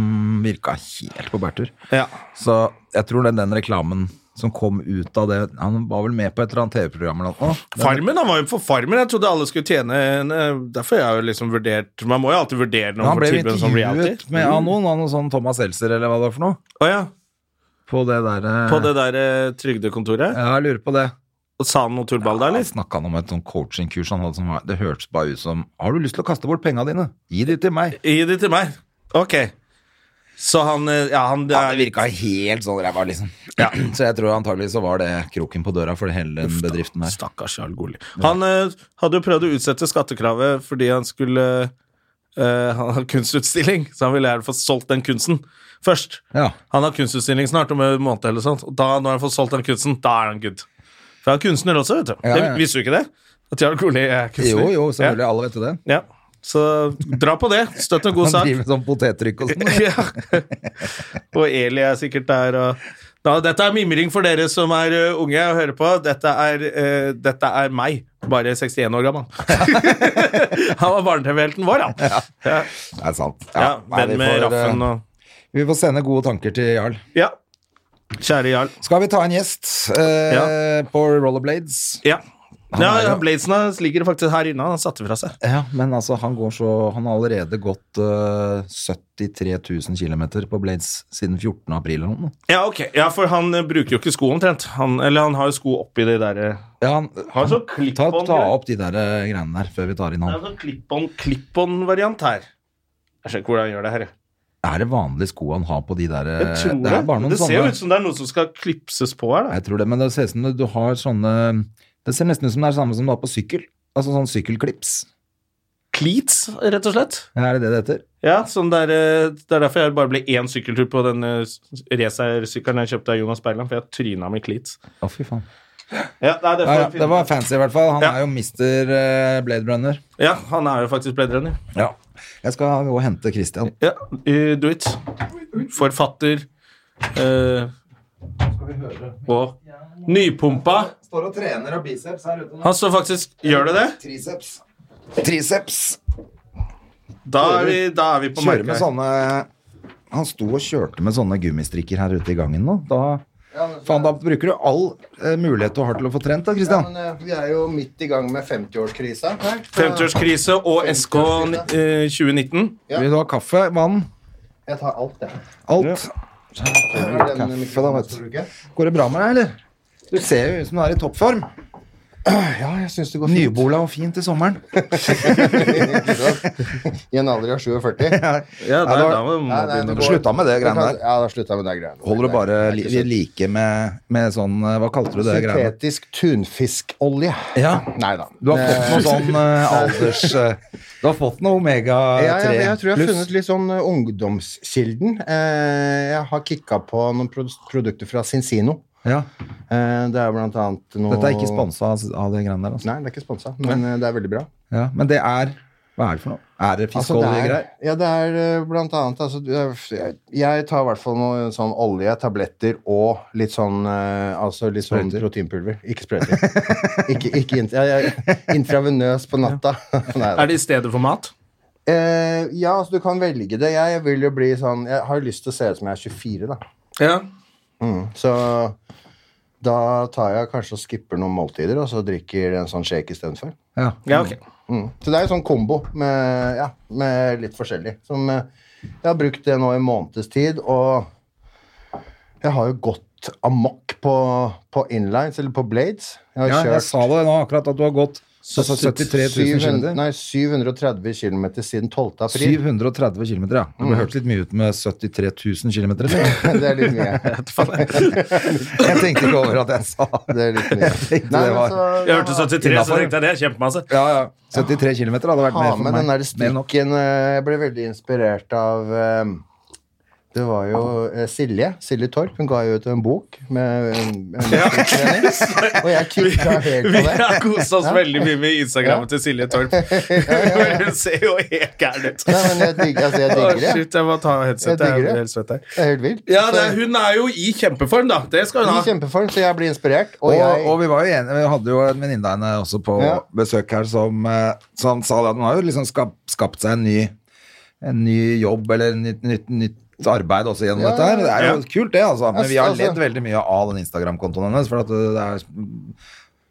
Speaker 2: virka helt på bærtur.
Speaker 1: Ja.
Speaker 2: Så jeg tror den, den reklamen som kom ut av det Han var vel med på et eller annet TV-program eller noe? Den-
Speaker 1: Farmen, Han var jo for Farmen. Jeg trodde alle skulle tjene en, eh, Derfor har jeg jo liksom vurdert Man må jo alltid vurdere
Speaker 2: Men
Speaker 1: noen
Speaker 2: han
Speaker 1: for
Speaker 2: ble jo
Speaker 1: tilbud som reality. Mm.
Speaker 2: intervjuet med av noen, av noen sånn Thomas Seltzer eller hva det var for noe.
Speaker 1: Å ja.
Speaker 2: På det derre
Speaker 1: På det der eh, trygdekontoret.
Speaker 2: Ja, jeg lurer på det.
Speaker 1: Og Sa han noe tullball der, liksom.
Speaker 2: Han
Speaker 1: eller?
Speaker 2: snakka om et sånn coaching-kurs han hadde som var Det hørtes bare ut som Har du lyst til å kaste bort penga dine? Gi de til meg.
Speaker 1: Gi de til meg. Ok. Så han eh, Ja, han
Speaker 2: Ja, det virka helt sånn ræva, liksom. Ja. [clears throat] Så jeg tror antagelig så var det kroken på døra for hele den bedriften der.
Speaker 1: Stakkars Jarl Goli. Han eh, hadde jo prøvd å utsette skattekravet fordi han skulle eh, [laughs] Han har kunstutstilling, så han ville gjerne få solgt den kunsten først.
Speaker 2: Ja.
Speaker 1: Han har kunstutstilling snart, om en måned eller sånt. Og da, når han får solgt den kunsten, da er han good. For han er kunstner også, vet du.
Speaker 2: Ja, ja.
Speaker 1: Det, visste du ikke det? At Jarl Goli er kunstner.
Speaker 2: Jo, jo, selvfølgelig. Alle vet jo det.
Speaker 1: Ja. ja. Så dra på det. Støtt en god
Speaker 2: Han
Speaker 1: sak. [laughs]
Speaker 2: driver med sånn potettrykk og sånn.
Speaker 1: ja. Og Eli er sikkert der. Og... Da, dette er mimring for dere som er ø, unge og hører på. Dette er, ø, dette er meg, bare 61 år gammel. [laughs] han var barne-TV-helten vår, han. Ja. Ja.
Speaker 2: Det er sant. nei,
Speaker 1: Venn
Speaker 2: vi
Speaker 1: med
Speaker 2: får, eh,
Speaker 1: Raffen og
Speaker 2: Vi får sende gode tanker til Jarl.
Speaker 1: Ja. Kjære Jarl.
Speaker 2: Skal vi ta en gjest eh, på rollerblades?
Speaker 1: Ja.
Speaker 2: Han
Speaker 1: Ja,
Speaker 2: er jo-
Speaker 1: ja, Bladesen hans ligger faktisk her inne. Han satte fra seg.
Speaker 2: Ja, men altså, han, går så, han har allerede gått eh, 73 000 km på Blades siden 14. april eller noe.
Speaker 1: Ja, ok. Ja, for han ø, bruker jo ikke sko, omtrent. Han, eller han har jo sko oppi de der ø,
Speaker 2: Ja, han,
Speaker 1: Har sånn
Speaker 2: han-
Speaker 1: så klipp
Speaker 2: ta,
Speaker 1: på den,
Speaker 2: ta
Speaker 1: tror jeg.
Speaker 2: opp de der eh, greiene der før vi tar inn
Speaker 1: Det er
Speaker 2: han.
Speaker 1: en sånn klipp-on- klipp-on-variant her. Jeg skjønner ikke hvordan han gjør det her. jeg.
Speaker 2: Er det vanlige sko han har på de der eh,
Speaker 1: Jeg tror det.
Speaker 2: Det er bare noen
Speaker 1: det ser jo
Speaker 2: sånne. Eh,
Speaker 1: ut som det er noe som skal klipses på her. Da.
Speaker 2: Jeg tror det, men det ser ut som det- du har sånne Det ser nesten ut som det er det samme som du har på sykkel. Altså sånn sykkelklips.
Speaker 1: Cleats, rett og slett.
Speaker 2: Er det det det heter?
Speaker 1: Ja, sånn der, eh, Det er derfor jeg bare ble én sykkeltur på den eh, racersykkelen jeg kjøpte av Jonas Berland, for jeg tryna med cleats.
Speaker 2: Å, fy faen.
Speaker 1: Ja, nei, det, får
Speaker 2: Ja, ja,
Speaker 1: jeg finne
Speaker 2: det var
Speaker 1: ut.
Speaker 2: fancy, i hvert fall. Han
Speaker 1: Ja.
Speaker 2: er jo mister eh, Blade Runner.
Speaker 1: ja, han er jo faktisk bledrende.
Speaker 2: Ja. Jeg skal gå og hente Christian.
Speaker 1: Ja, eh, do it. Forfatter. eh, og nypumpa.
Speaker 2: Står og trener og biceps her ute.
Speaker 1: Han står faktisk Gjør det det?
Speaker 2: Triceps. Triceps.
Speaker 1: Da er vi, da er vi på
Speaker 2: Kjører med
Speaker 1: merket. her.
Speaker 2: sånne Han sto og kjørte med sånne gummistrikker her ute i gangen nå. Da, faen, da bruker du all eh, mulighet du har til å få trent, da,
Speaker 3: Ja,
Speaker 2: Christian.
Speaker 3: men eh, vi er jo midt i gang med 50-årskrisa. her, så
Speaker 1: 50-årskrise og SK eh, 2019.
Speaker 3: ja.
Speaker 2: Vil du ha kaffe, vann,
Speaker 3: Jeg tar alt, jeg.
Speaker 2: alt?
Speaker 3: Her er den
Speaker 2: Kaffe, da,
Speaker 3: mikrofonen
Speaker 2: vet
Speaker 3: du skal
Speaker 2: du.
Speaker 3: bruke.
Speaker 2: Går det bra med deg, eller? Du ser jo ut som du er i toppform.
Speaker 3: Ja, jeg syns det går fint.
Speaker 2: Nybola og fint i sommeren. [laughs]
Speaker 3: I en alder av 47.
Speaker 1: Ja,
Speaker 2: Nei,
Speaker 1: der,
Speaker 2: da-
Speaker 1: da må
Speaker 3: Nei, nei, det
Speaker 2: Du
Speaker 3: går-
Speaker 2: slutta med det greiene der.
Speaker 3: Ja, da slutta jeg med det greiene.
Speaker 2: Holder du bare
Speaker 3: Det
Speaker 2: li
Speaker 3: er ikke
Speaker 2: vi
Speaker 3: så-
Speaker 2: like med, med sånn eh, Hva kalte du det greiene?
Speaker 3: Syntetisk tunfiskolje.
Speaker 2: Ja.
Speaker 3: Nei da.
Speaker 2: Du har fått noe sånn eh, alders... eh, du har fått noe omega-3
Speaker 3: Ja, jeg, jeg tror jeg har
Speaker 2: pluss.
Speaker 3: funnet litt sånn eh, ungdomskilden. Eh, jeg har kikka på noen produ- produkter fra Sinsino.
Speaker 2: Ja.
Speaker 3: Eh, det er blant annet noe
Speaker 2: Dette er ikke sponsa av, av de greiene der, altså.
Speaker 3: Nei, det er ikke sponsa, men eh, det er veldig bra.
Speaker 2: Ja, men det er Hva er det for noe? Er det
Speaker 3: Altså, det
Speaker 2: fiskolje
Speaker 3: er,
Speaker 2: greier?
Speaker 3: ja, det er eh, blant annet altså, du- jeg, jeg tar i hvert fall noe sånn olje, tabletter og litt sånn, eh, altså, litt sånn
Speaker 2: Sprøyter.
Speaker 3: proteinpulver. Ikke sprøyter. [laughs] ikke ikke int- jeg- jeg- intravenøs på
Speaker 1: [laughs]
Speaker 3: natta. [laughs] Nei, da.
Speaker 1: Er det i stedet for mat?
Speaker 3: Eh, ja, altså, du kan velge det. Jeg vil jo bli sånn Jeg har jo lyst til å se ut som jeg er 24, da.
Speaker 1: Ja.
Speaker 3: Så da tar jeg kanskje og skipper noen måltider, og så drikker en sånn shake istedenfor.
Speaker 2: Ja.
Speaker 1: Ja, ok.
Speaker 3: Mm. Så det er en sånn kombo med, ja, med litt forskjellig. Som eh, jeg har brukt det nå i en måneds tid, og jeg har jo gått amok på, på inlines, eller på blades. Jeg har
Speaker 2: ja, jeg
Speaker 3: kjørt
Speaker 2: sa det nå akkurat, at du har gått altså, så, så 73 000
Speaker 3: 700
Speaker 2: km.
Speaker 3: nei, 730 km siden 12. april.
Speaker 2: 730 km, ja. Det
Speaker 3: Mm.
Speaker 2: ble hørt litt mye ut med 73 000 km.
Speaker 3: [laughs] Det er litt
Speaker 2: [laughs]
Speaker 3: mye.
Speaker 1: [laughs]
Speaker 2: Jeg tenkte ikke over at jeg sa det.
Speaker 3: Det er litt mye.
Speaker 2: tenkte
Speaker 3: Nei,
Speaker 2: det
Speaker 3: men
Speaker 2: var-
Speaker 3: så-
Speaker 1: Jeg hørte 73, så tenkte jeg det er kjempemasse.
Speaker 2: Ja, ja. 73 km hadde vært mer
Speaker 3: Ha
Speaker 2: for
Speaker 3: med
Speaker 2: meg.
Speaker 3: den der
Speaker 2: Mer nok.
Speaker 3: strikken. eh, Jeg ble veldig inspirert av eh, Det var jo eh, Silje. Silje Torp. Hun ga jo ut en bok med eh, en,
Speaker 2: [laughs]
Speaker 3: en strikketrening. Og jeg klikka helt
Speaker 1: Vi
Speaker 3: på det.
Speaker 1: har kost oss
Speaker 3: Ja.
Speaker 1: veldig mye med Instagrammet til Silje
Speaker 3: [laughs]
Speaker 1: Torp. [laughs] Men Hun ser jo helt gæren ut.
Speaker 3: Nei, men jeg digger, altså, jeg
Speaker 1: Å,
Speaker 3: digger det.
Speaker 1: shit, jeg må ta
Speaker 3: Jeg
Speaker 1: headsetet.
Speaker 3: digger
Speaker 1: Jeg
Speaker 3: det.
Speaker 1: blir helt svett her.
Speaker 3: Det er helt vilt.
Speaker 1: Ja, det, er- hun er jo i kjempeform, da. Det skal hun
Speaker 3: I
Speaker 1: ha. [laughs]
Speaker 3: kjempeform, så jeg blir inspirert. Og,
Speaker 2: Og,
Speaker 3: jeg,
Speaker 2: og vi var jo enige, vi hadde jo en venninne av henne også på
Speaker 3: Ja.
Speaker 2: besøk her som, eh, som sa det at hun har jo liksom skapt, skapt seg en ny, en ny jobb eller en nytt, nytt, nytt arbeid også gjennom
Speaker 3: Ja,
Speaker 2: dette her. Det er jo
Speaker 1: ja.
Speaker 2: kult det, altså. Men
Speaker 3: Ass,
Speaker 2: vi har
Speaker 3: altså.
Speaker 2: ledd veldig mye av den Instagram-kontoen hennes, for at det er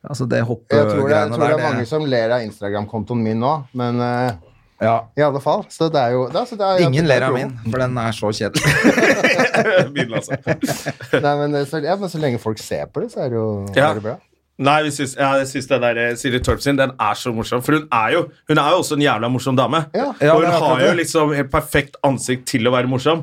Speaker 2: Altså,
Speaker 3: jeg tror
Speaker 2: det
Speaker 3: det, jeg
Speaker 2: hoppegreiene
Speaker 3: tror det
Speaker 2: der,
Speaker 3: er mange
Speaker 2: det
Speaker 3: som ler av Instagram-kontoen min nå, men eh,
Speaker 2: ja.
Speaker 3: i alle fall. Så det er jo det, er- så det er,
Speaker 2: Ingen
Speaker 3: det er
Speaker 2: ler av
Speaker 3: troen.
Speaker 2: min, for den er så
Speaker 3: [laughs]
Speaker 2: kjedelig.
Speaker 1: Min, altså.
Speaker 3: Nei, men, eh, så, ja, men så lenge folk ser på det, så er det jo
Speaker 1: Ja.
Speaker 3: er det bra.
Speaker 1: Nei, vi syns, ja, jeg syns den der eh, Silje Torp sin, den er så morsom. For hun er jo, hun er jo også en jævla morsom dame.
Speaker 3: Ja.
Speaker 2: Ja,
Speaker 1: og hun
Speaker 2: det er akkurat
Speaker 1: har jo
Speaker 2: det.
Speaker 1: liksom helt perfekt ansikt til å være morsom.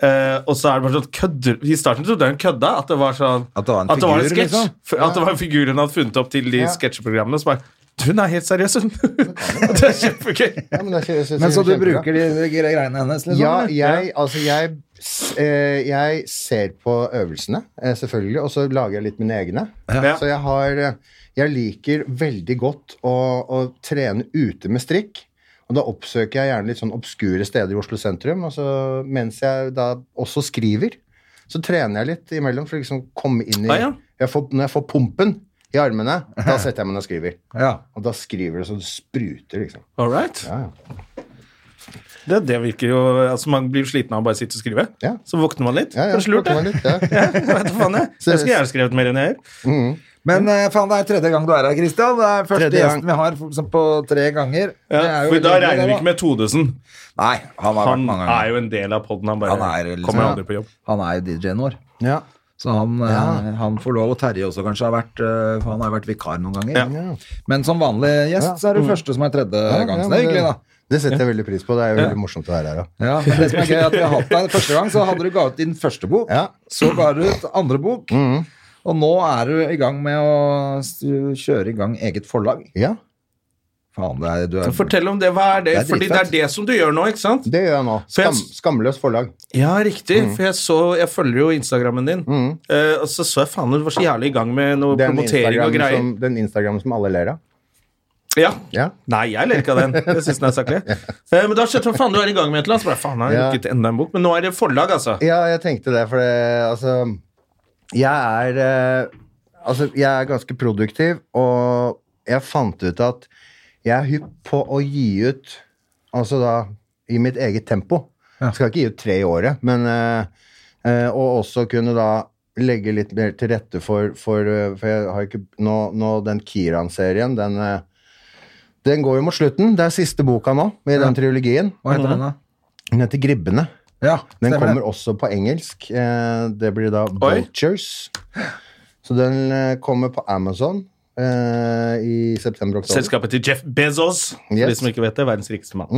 Speaker 1: Eh, og så er det bare sånn kødder I starten trodde jeg hun kødda. At det var sånn
Speaker 2: At det var en
Speaker 1: var
Speaker 2: figur,
Speaker 1: sketsj.
Speaker 2: liksom.
Speaker 1: F- At det var en figur hun hadde funnet opp til de
Speaker 3: Ja.
Speaker 1: sketsjeprogrammene. Så bare, hun er helt seriøs, hun! [laughs] det er kjempegøy.
Speaker 3: Ja, men, det er, jeg synes
Speaker 2: Men
Speaker 3: det er
Speaker 2: så du
Speaker 3: kjempebra.
Speaker 2: bruker de, de greiene hennes,
Speaker 1: sånn,
Speaker 2: liksom?
Speaker 3: Ja,
Speaker 2: eller?
Speaker 3: jeg, altså jeg, s- eh, jeg ser på øvelsene, eh, selvfølgelig, og så lager jeg litt mine egne.
Speaker 1: Ja.
Speaker 3: Så jeg har eh, Jeg liker veldig godt å, å trene ute med strikk. Og da oppsøker jeg gjerne litt sånn obskure steder i Oslo sentrum. Og så, mens jeg da også skriver, så trener jeg litt imellom for å liksom komme inn i
Speaker 1: Ah, ja.
Speaker 3: jeg får, Når jeg får pumpen i armene, da setter jeg meg ned og skriver.
Speaker 2: ja.
Speaker 3: Og da skriver det så det spruter, liksom.
Speaker 1: All right.
Speaker 3: Ja, ja.
Speaker 1: Det, det virker jo altså Man blir sliten av å bare sitte og skrive.
Speaker 3: Ja.
Speaker 1: Så våkner man litt.
Speaker 3: Ja, ja,
Speaker 1: Kanskje lurt,
Speaker 3: plukker meg
Speaker 1: det.
Speaker 3: litt, ja.
Speaker 1: [laughs] Jeg vet da faen, jeg. Jeg skulle gjerne skrevet mer enn jeg gjør.
Speaker 2: Men eh, faen, det er tredje gang du er her, Christian. Det er første
Speaker 3: Tredje gang.
Speaker 2: gjesten vi har for- som på tre ganger.
Speaker 1: Ja,
Speaker 2: Det er jo
Speaker 1: for da
Speaker 2: veldig bra,
Speaker 1: regner
Speaker 2: det,
Speaker 1: vi
Speaker 2: da.
Speaker 1: ikke med Todesen.
Speaker 2: Nei, han har
Speaker 1: Han
Speaker 2: vært mange
Speaker 1: er
Speaker 2: ganger.
Speaker 1: jo en del av poden. Han bare
Speaker 2: Han er liksom-
Speaker 1: kommer aldri på jobb.
Speaker 2: Han er jo DJ-en vår.
Speaker 3: Ja.
Speaker 2: Så han, eh,
Speaker 3: Ja.
Speaker 2: han får lov, og Terje også kanskje har vært, eh, for han har jo vært vikar noen ganger.
Speaker 1: Ja.
Speaker 2: Men som vanlig gjest så er du første som er tredje gang. Så det er hyggelig, da.
Speaker 3: Det setter jeg veldig pris på. Det er jo veldig morsomt å være her òg.
Speaker 2: Ja, men det som er gøy er at vi har hatt deg Første gang så hadde du ga ut din første bok,
Speaker 3: Ja. Mm.
Speaker 2: så ga du ut andre bok, og nå er du i gang med å s- kjøre i gang eget forlag.
Speaker 3: Ja,
Speaker 2: Faen, det er, du er
Speaker 1: Fortell om det. Hva er det?
Speaker 2: Det er
Speaker 1: Fordi det er
Speaker 2: dritfett.
Speaker 1: det som du gjør nå, ikke sant?
Speaker 3: det gjør jeg nå.
Speaker 1: For jeg-
Speaker 3: Skam, skamløst forlag.
Speaker 1: Ja, riktig. For jeg så Jeg følger jo Instagrammen din. Eh, og så så jeg faen du var så jævlig i gang med noe
Speaker 3: Den
Speaker 1: promotering og
Speaker 3: Instagram
Speaker 1: greier.
Speaker 3: som, den Instagram som alle ler av.
Speaker 1: Ja.
Speaker 3: Ja.
Speaker 1: Nei, jeg ler ikke av den. Jeg synes den
Speaker 3: [laughs]
Speaker 1: er saklig. Eh, men da skjønte jeg hva faen du er i gang med et eller annet. Så bare, faen, jeg
Speaker 3: Ja.
Speaker 1: har rukket enda en bok. Men nå er det forlag, altså.
Speaker 3: ja, jeg tenkte det, for det, altså Jeg er eh, Altså, jeg er ganske produktiv, og jeg fant ut at jeg er hypp på å gi ut Altså da i mitt eget tempo. Jeg skal ikke gi ut tre i året, men eh, eh, Og også kunne da legge litt mer til rette for For, eh, for jeg har ikke Nå, nå den Kiran-serien, den eh, den går jo mot slutten. Det er siste boka nå i den trilogien.
Speaker 2: Hva
Speaker 1: Mhm.
Speaker 2: heter den, da?
Speaker 3: Den heter 'Gribbene'.
Speaker 2: Ja,
Speaker 3: Den
Speaker 2: stemmer det.
Speaker 3: kommer også på engelsk. Eh, Det blir da Vultures. Så den eh, kommer på Amazon eh, i september-oktober.
Speaker 1: Selskapet til Jeff Bezos, for
Speaker 3: Yes. Mm.
Speaker 1: de som ikke vet det. Verdens rikeste mann.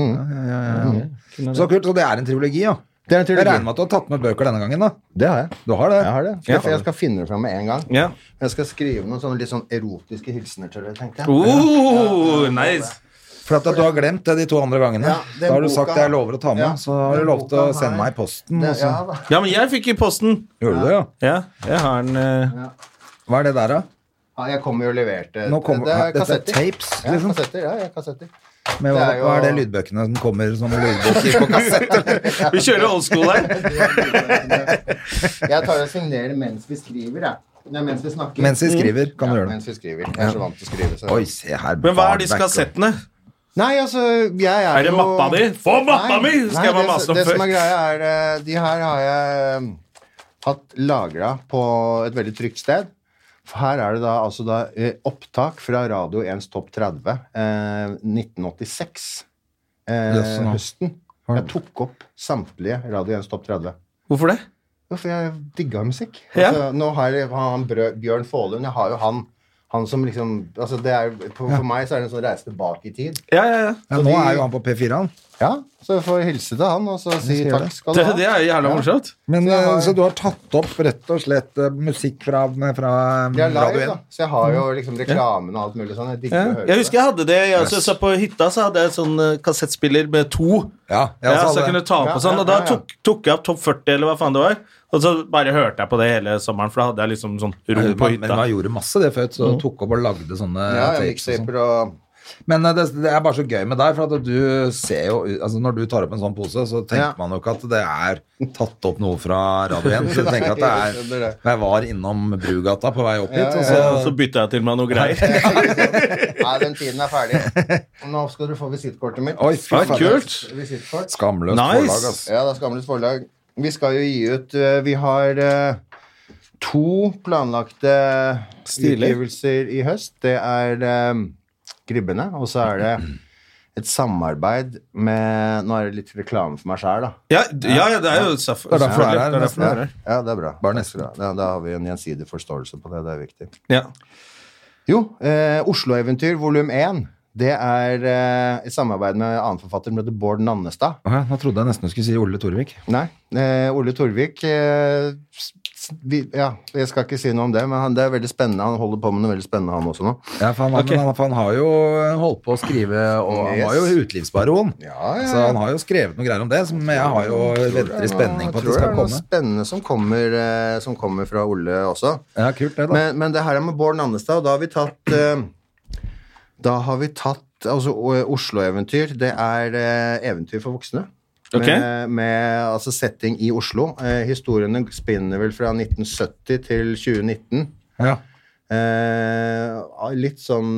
Speaker 2: Så kult, så det er en trilogi, ja.
Speaker 3: Det er en
Speaker 2: Jeg regner
Speaker 3: trilogi.
Speaker 2: med at du har tatt med bøker denne gangen, da.
Speaker 3: Det har jeg.
Speaker 2: Du har det?
Speaker 3: Jeg har det.
Speaker 2: Ja.
Speaker 3: For jeg skal finne det fram med en gang.
Speaker 1: Ja.
Speaker 3: Jeg skal skrive noen sånne litt sånn erotiske hilsener til dere, tenkte jeg.
Speaker 1: Oh, nice.
Speaker 2: For at du har glemt det de to andre gangene.
Speaker 3: Ja, den
Speaker 2: da har du
Speaker 3: boka-
Speaker 2: sagt det jeg lover å ta med,
Speaker 3: Ja,
Speaker 2: så har du
Speaker 3: den
Speaker 2: lov til å
Speaker 3: boka
Speaker 2: sende
Speaker 3: her.
Speaker 2: meg i posten.
Speaker 3: Det,
Speaker 2: og
Speaker 3: ja,
Speaker 2: så-
Speaker 3: da.
Speaker 1: Ja, men jeg fikk i posten.
Speaker 2: Gjorde du det, ja?
Speaker 1: Ja, jeg har en eh,
Speaker 2: Hva er det der, da?
Speaker 3: ja, jeg kommer jo og leverte
Speaker 2: Nå kommer,
Speaker 3: Eh, Det er
Speaker 2: dette er
Speaker 3: kassetter.
Speaker 2: tapes,
Speaker 3: Ja,
Speaker 2: liksom.
Speaker 3: kassetter. Ja, ja, kassetter.
Speaker 2: Med hva,
Speaker 3: Det er jo-
Speaker 2: hva er det lydbøkene som kommer
Speaker 3: [laughs]
Speaker 2: som lydbok i på kassett?
Speaker 1: Vi kjører old school her.
Speaker 3: Jeg tar og signerer mens vi skriver, jeg. Nei, mens vi snakker.
Speaker 2: Mens vi skriver, kan
Speaker 3: ja,
Speaker 2: du gjøre det.
Speaker 3: mens vi skriver. Jeg er så vant til å skrive. Så.
Speaker 2: Oi, se her.
Speaker 1: Men hva er disse
Speaker 2: Back-
Speaker 1: kassettene?
Speaker 3: Nei, altså, jeg er
Speaker 1: Er det
Speaker 3: jo
Speaker 1: mappa di? Få mappa
Speaker 3: Nei,
Speaker 1: mi! Skal
Speaker 3: nei,
Speaker 1: jeg bare
Speaker 3: det-
Speaker 1: mase om
Speaker 3: Det som er
Speaker 1: før?
Speaker 3: greia, er eh, De her har jeg eh, hatt lagra på et veldig trygt sted. For her er det da, altså da eh, opptak fra Radio 1s Topp 30 eh, 1986. Eh,
Speaker 2: Jøss, nå.
Speaker 3: høsten. Jeg tok opp samtlige Radio 1s Topp 30.
Speaker 1: Hvorfor det?
Speaker 3: Jo, for jeg digga musikk.
Speaker 1: Ja.
Speaker 3: Altså, nå har jeg har han Brø- Bjørn Faalund. Jeg har jo han. Han som liksom altså det er, for, for meg så er det en sånn reise tilbake i tid.
Speaker 1: Ja, ja, ja.
Speaker 2: Ja, nå er jo han på P4, han.
Speaker 3: Ja, Så jeg får hilse til han og så si
Speaker 2: skal gjøre
Speaker 3: takk
Speaker 2: det.
Speaker 3: skal du
Speaker 1: Det,
Speaker 3: ha.
Speaker 1: det er jo jævla morsomt.
Speaker 2: Men,
Speaker 3: Så
Speaker 2: så,
Speaker 3: jeg har-
Speaker 2: så du har tatt opp rett og slett eh, musikk fra, fra eh,
Speaker 3: Jeg er live,
Speaker 2: Radio 1?
Speaker 3: da. Så jeg har
Speaker 2: Mm.
Speaker 3: jo liksom reklamen og alt mulig sånn. Jeg digger å høre
Speaker 1: Jeg husker jeg hadde det. Jeg også, så på hytta så hadde jeg sånn eh, kassettspiller med to.
Speaker 2: Ja,
Speaker 1: Ja,
Speaker 2: jeg også
Speaker 1: så jeg
Speaker 2: hadde-
Speaker 1: kunne ta på
Speaker 3: Ja,
Speaker 1: sånn,
Speaker 3: ja,
Speaker 1: og da
Speaker 3: ja, ja.
Speaker 1: tok, tok jeg opp Topp 40, eller hva faen det var. Og så bare hørte jeg på det hele sommeren, for da hadde jeg liksom sånn ro
Speaker 2: Men
Speaker 1: på
Speaker 2: man, men
Speaker 1: hytta.
Speaker 2: man gjorde masse det før, så tok opp og lagde sånne
Speaker 3: Mm. Ja, ja,
Speaker 2: tapes og sånn.
Speaker 3: mixtaper og [laughs]
Speaker 2: Men eh, det, det er bare så gøy med deg, for at du ser jo altså Når du tar opp en sånn pose, så tenker
Speaker 3: Ja.
Speaker 2: man jo ikke at det er tatt opp noe fra Radio
Speaker 3: [laughs]
Speaker 2: 1. Så du tenker at det
Speaker 3: Nei, jeg skjønner
Speaker 2: er
Speaker 3: det.
Speaker 2: Jeg var innom Brugata på vei opp hit, og
Speaker 1: Og
Speaker 2: så
Speaker 1: så bytta jeg til meg noe greier.
Speaker 3: Nei, den tiden er ferdig. Nå skal du få visittkortet mitt.
Speaker 2: Oi, fy
Speaker 1: Ja,
Speaker 2: faen.
Speaker 1: kult!
Speaker 3: Visittkort.
Speaker 2: Skamløst
Speaker 1: Nice.
Speaker 2: forlag, ass.
Speaker 3: Ja, da Skamløst forlag. Vi skal jo gi ut eh, Vi har eh, to planlagte
Speaker 1: Stilig.
Speaker 3: utgivelser i høst. Det er eh, Gribbene, og så er det et samarbeid med Nå er det litt reklame for meg sjæl, da.
Speaker 1: Ja, d- ja, ja, det er jo selvfølgelig.
Speaker 2: Det er derfor det er her,
Speaker 1: Det er derfor det er
Speaker 2: nesten.
Speaker 1: her.
Speaker 3: Ja, det er bra.
Speaker 2: Bare neste
Speaker 3: Ja, Da, da har vi en gjensidig forståelse på det. Det er viktig.
Speaker 1: Ja.
Speaker 3: Jo, eh, Oslo-eventyr volum 1. Det er eh, i samarbeid med en annen forfatter som heter Bård Nannestad.
Speaker 2: Åh, ja, nå trodde jeg nesten du skulle si Ole Torvik.
Speaker 3: Nei. Eh, Ole Torvik eh, s- s- vi, Ja, jeg skal ikke si noe om det, men han, det er veldig spennende. Han holder på med noe veldig spennende, han også nå.
Speaker 2: Ja, for han,
Speaker 1: Ok.
Speaker 2: men han, for han har jo eh, holdt på å skrive, og han
Speaker 3: Yes.
Speaker 2: var jo utelivsbaron.
Speaker 3: Ja, ja,
Speaker 2: Så han har jo skrevet noe greier om det, som jeg har jo venter i spenning
Speaker 3: Jeg altså. tror
Speaker 2: på at det
Speaker 3: det
Speaker 2: skal
Speaker 3: er noe
Speaker 2: komme.
Speaker 3: spennende som kommer, eh, som kommer fra Ole også.
Speaker 2: Ja, kult det, da.
Speaker 3: Men, men det her er med Bård Nannestad, og da har vi tatt eh, Da har vi tatt Altså, O- Oslo-eventyr, det er eh, eventyr for voksne.
Speaker 1: Ok.
Speaker 3: Med, med altså setting i Oslo. Eh, historiene spinner vel fra 1970 til 2019.
Speaker 2: Ja.
Speaker 3: Eh, litt sånn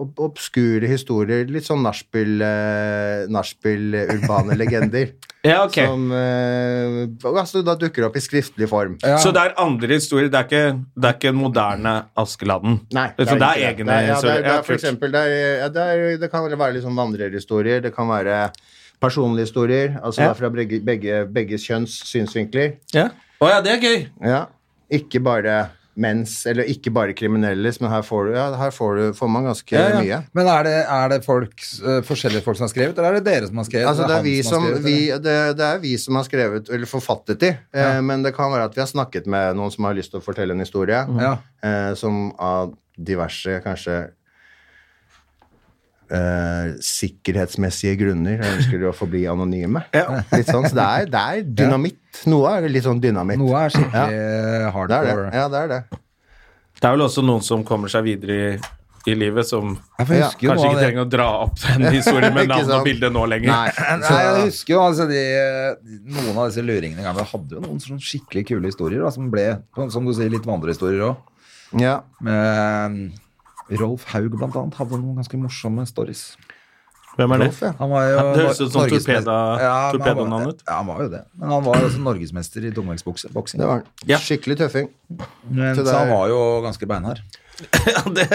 Speaker 3: ob obskure historier. Litt sånn nachspiel, eh, nachspiel-urbane legender.
Speaker 1: Ja, [laughs] ok.
Speaker 3: Som eh, altså, da dukker det opp i skriftlig form.
Speaker 2: Ja.
Speaker 1: Så det er andre historier. Det er ikke, det er ikke en moderne Askeladden.
Speaker 3: Nei,
Speaker 1: det, er, sånn, det er
Speaker 3: ikke
Speaker 1: egne
Speaker 3: Nei, ja, det,
Speaker 1: historier.
Speaker 3: er, det,
Speaker 1: Ja,
Speaker 3: er for
Speaker 1: kult.
Speaker 3: eksempel, det, er, ja, det, er, det kan vel være liksom vandrerhistorier, det kan være personlige historier, altså
Speaker 1: Ja.
Speaker 3: det er fra begge, begge, begge kjønns synsvinkler.
Speaker 1: ja. Å ja, det er gøy.
Speaker 3: Ja. Ikke bare mens, eller ikke bare kriminelles, men her får du, ja, her får, du får man ganske
Speaker 1: Ja, ja.
Speaker 3: mye.
Speaker 2: Men er det, er det folk, eh, forskjellige folk som har skrevet, eller er det dere som har skrevet?
Speaker 3: Altså, det,
Speaker 2: eller
Speaker 3: er vi
Speaker 2: han
Speaker 3: som,
Speaker 2: har skrevet,
Speaker 3: vi,
Speaker 2: eller?
Speaker 3: det, det er vi som har skrevet, eller forfattet de, eh, men det kan være at vi har snakket med noen som har lyst til å fortelle en historie,
Speaker 2: Ja.
Speaker 3: eh, som av diverse, kanskje, eh, sikkerhetsmessige grunner ønsker de å forbli anonyme. Litt sånn, så det er, det er dynamitt. Noe er litt sånn dynamitt.
Speaker 2: Noe er
Speaker 3: Ja.
Speaker 2: skikkelig eh,
Speaker 3: Det er
Speaker 2: hardcore.
Speaker 3: det. Ja, det er det.
Speaker 1: Det er vel også noen som kommer seg videre i, i livet, som
Speaker 2: Ja, for Jeg husker jo
Speaker 1: kanskje ikke
Speaker 2: noe av det.
Speaker 1: trenger å dra opp den historien med
Speaker 3: [laughs] Ikke
Speaker 1: navn og
Speaker 3: sant?
Speaker 1: bilde nå lenger.
Speaker 3: Nei,
Speaker 2: Nei, jeg husker jo altså, de, noen av disse luringene i gang. Vi hadde jo noen sånn skikkelig kule historier da, som ble, som du sier, litt vandrehistorier òg.
Speaker 3: ja.
Speaker 2: Rolf Haug blant annet hadde noen ganske morsomme stories.
Speaker 1: Hvem er det?
Speaker 3: Rolf, ja.
Speaker 2: Han var jo
Speaker 1: Ja, det høres ut som torpeda-
Speaker 2: Norgesmester- men han var-
Speaker 1: torpedonavn ut.
Speaker 2: Ja, han var jo det. Men han var jo også norgesmester i tungvektsboksing.
Speaker 3: Det var den.
Speaker 1: Ja.
Speaker 3: Skikkelig tøffing.
Speaker 2: Men,
Speaker 3: Så det
Speaker 2: så han
Speaker 3: er-
Speaker 2: var jo ganske beinhard.
Speaker 1: [laughs] Ja, det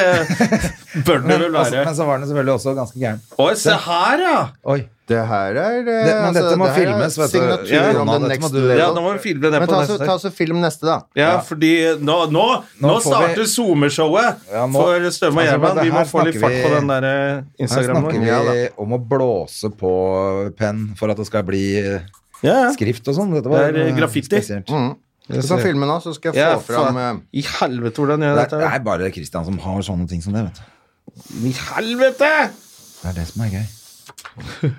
Speaker 1: bør det
Speaker 2: Men,
Speaker 1: vel
Speaker 2: altså,
Speaker 1: være.
Speaker 2: men så var han selvfølgelig også ganske gæren.
Speaker 1: Oi, se her, ja!
Speaker 2: Oi.
Speaker 3: Det her er eh,
Speaker 2: Det, men dette må
Speaker 3: det her er
Speaker 2: filmes, vet du.
Speaker 3: Signatur
Speaker 2: Ja,
Speaker 3: on
Speaker 2: Jonas,
Speaker 3: the
Speaker 2: dette må
Speaker 3: next
Speaker 2: du-
Speaker 1: Ja,
Speaker 3: level.
Speaker 1: Nå må vi filme det
Speaker 3: Men
Speaker 1: på
Speaker 3: ta så,
Speaker 1: neste.
Speaker 3: ta så film neste, da.
Speaker 1: Ja, fordi nå, nå, nå,
Speaker 2: Nå får
Speaker 1: starter
Speaker 2: vi-
Speaker 1: zoomeshowet
Speaker 2: Ja, nå-
Speaker 1: for Støme og
Speaker 2: Altså, men
Speaker 1: Gjerman.
Speaker 2: det
Speaker 1: Vi må
Speaker 2: her
Speaker 1: få litt
Speaker 2: snakker
Speaker 1: fart
Speaker 2: vi-
Speaker 1: på den der eh,
Speaker 2: Her
Speaker 1: Instagramen
Speaker 2: snakker
Speaker 1: vår.
Speaker 2: vi
Speaker 3: Ja, da.
Speaker 2: om å blåse på penn for at det skal bli eh,
Speaker 1: Ja, ja.
Speaker 2: skrift og sånn. Dette var
Speaker 1: Det er, eh,
Speaker 2: eh,
Speaker 1: graffiti.
Speaker 2: spesielt.
Speaker 3: Mm. Du kan filme nå, så skal jeg
Speaker 1: Ja,
Speaker 3: få fram eh,
Speaker 1: faen. I helvete, hvordan gjør
Speaker 2: Det
Speaker 1: jeg
Speaker 2: er,
Speaker 1: dette?
Speaker 2: det
Speaker 1: her?
Speaker 2: er bare Christian som har sånne ting som det, vet du.
Speaker 1: I helvete!
Speaker 2: Det er det som er gøy.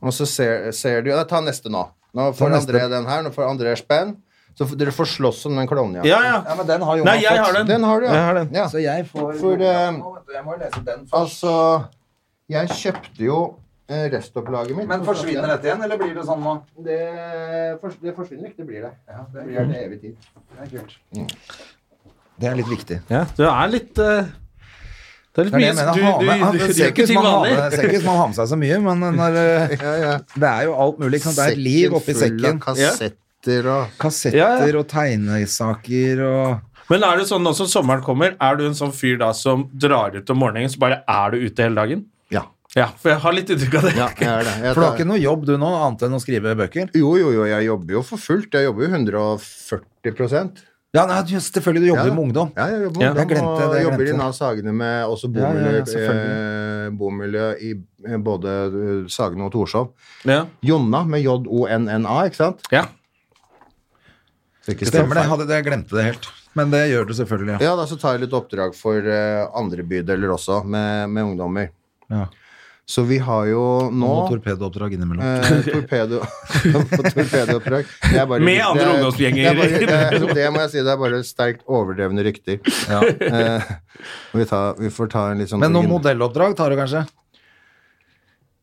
Speaker 3: Og så ser, ser du ja, Ta neste nå. Nå får
Speaker 2: neste.
Speaker 3: André den her. Nå får André spenn. Så f- dere får slåss om den klovnen.
Speaker 1: Ja, ja.
Speaker 2: Ja, men den har
Speaker 1: Nei, jeg har den.
Speaker 3: Den har du, ja.
Speaker 1: Jeg har den.
Speaker 3: ja.
Speaker 2: Så jeg får
Speaker 3: For, eh,
Speaker 2: Jeg må jo lese den
Speaker 3: Altså Jeg kjøpte jo eh, restopplaget mitt.
Speaker 2: Men forsvinner dette igjen, eller blir det sånn nå?
Speaker 3: Det, fors- det forsvinner ikke. Det blir det. det, blir det evig tid.
Speaker 2: Det er kult.
Speaker 3: Det er litt viktig.
Speaker 1: Ja, du er litt eh, Det er litt
Speaker 2: Det er det jeg
Speaker 1: mye
Speaker 2: mener.
Speaker 1: Du,
Speaker 2: Ha med-
Speaker 1: du,
Speaker 2: han-
Speaker 1: du,
Speaker 2: det
Speaker 1: du
Speaker 2: ser
Speaker 1: gjør
Speaker 2: ikke
Speaker 1: ikke
Speaker 2: ut som
Speaker 1: ting
Speaker 2: han har med- det
Speaker 1: vanlig.
Speaker 2: ser ikke ut som han har med seg så mye, men når,
Speaker 1: [laughs]
Speaker 2: eh, det er jo alt mulig. Ikke sant? Sånn, Det er et liv oppi sekken.
Speaker 3: Full av kassetter og
Speaker 1: Ja,
Speaker 2: Kassetter
Speaker 1: ja.
Speaker 2: og tegnesaker og
Speaker 1: Men er du sånn nå som sommeren kommer, er du en sånn fyr da som drar ut om morgenen, så bare er du ute hele dagen?
Speaker 3: Ja.
Speaker 1: Ja, for jeg har litt inntrykk av det.
Speaker 3: ja jeg er det. Jeg
Speaker 2: For du har
Speaker 3: tar-
Speaker 2: ikke noe jobb du nå, annet enn å skrive bøker?
Speaker 3: Jo, jo, jo. Jeg jobber jo for fullt. Jeg jobber jo 140
Speaker 2: Ja, nei, du- selvfølgelig. Du jobber
Speaker 3: Ja.
Speaker 2: jo med ungdom.
Speaker 3: Ja, jeg jobber
Speaker 1: Ja.
Speaker 3: ungdom,
Speaker 2: Jeg glemte det,
Speaker 3: og
Speaker 2: jeg
Speaker 3: jobber
Speaker 2: glemte
Speaker 3: i
Speaker 2: det.
Speaker 3: Nav Sagene med også
Speaker 2: Ja, ja, ja,
Speaker 3: bomiljø,
Speaker 2: selvfølgelig.
Speaker 3: eh, bomiljø i eh, både eh, Sagene og Torshov.
Speaker 1: Ja.
Speaker 3: Jonna med J-O-N-N-A, ikke sant?
Speaker 1: ja.
Speaker 2: Det stemmer, det. Jeg Hadde, det- jeg glemte det helt. Men det gjør du selvfølgelig, ja.
Speaker 3: Ja, da så tar jeg litt oppdrag for eh, andre bydeler også, med, med ungdommer.
Speaker 2: ja.
Speaker 3: Så vi har jo nå
Speaker 2: Og torpedooppdrag innimellom.
Speaker 3: eh,
Speaker 2: [laughs]
Speaker 3: torpedo [laughs] på torpedooppdrag. Det er bare-
Speaker 1: Med andre
Speaker 3: det er-
Speaker 1: ungdomsgjenger.
Speaker 3: Det, er bare- det, er- det må jeg si, det er bare sterkt overdrevne rykter.
Speaker 2: Ja.
Speaker 3: Eh, [laughs] vi, tar, vi får ta en litt sånn
Speaker 2: Men noen modelloppdrag tar du kanskje?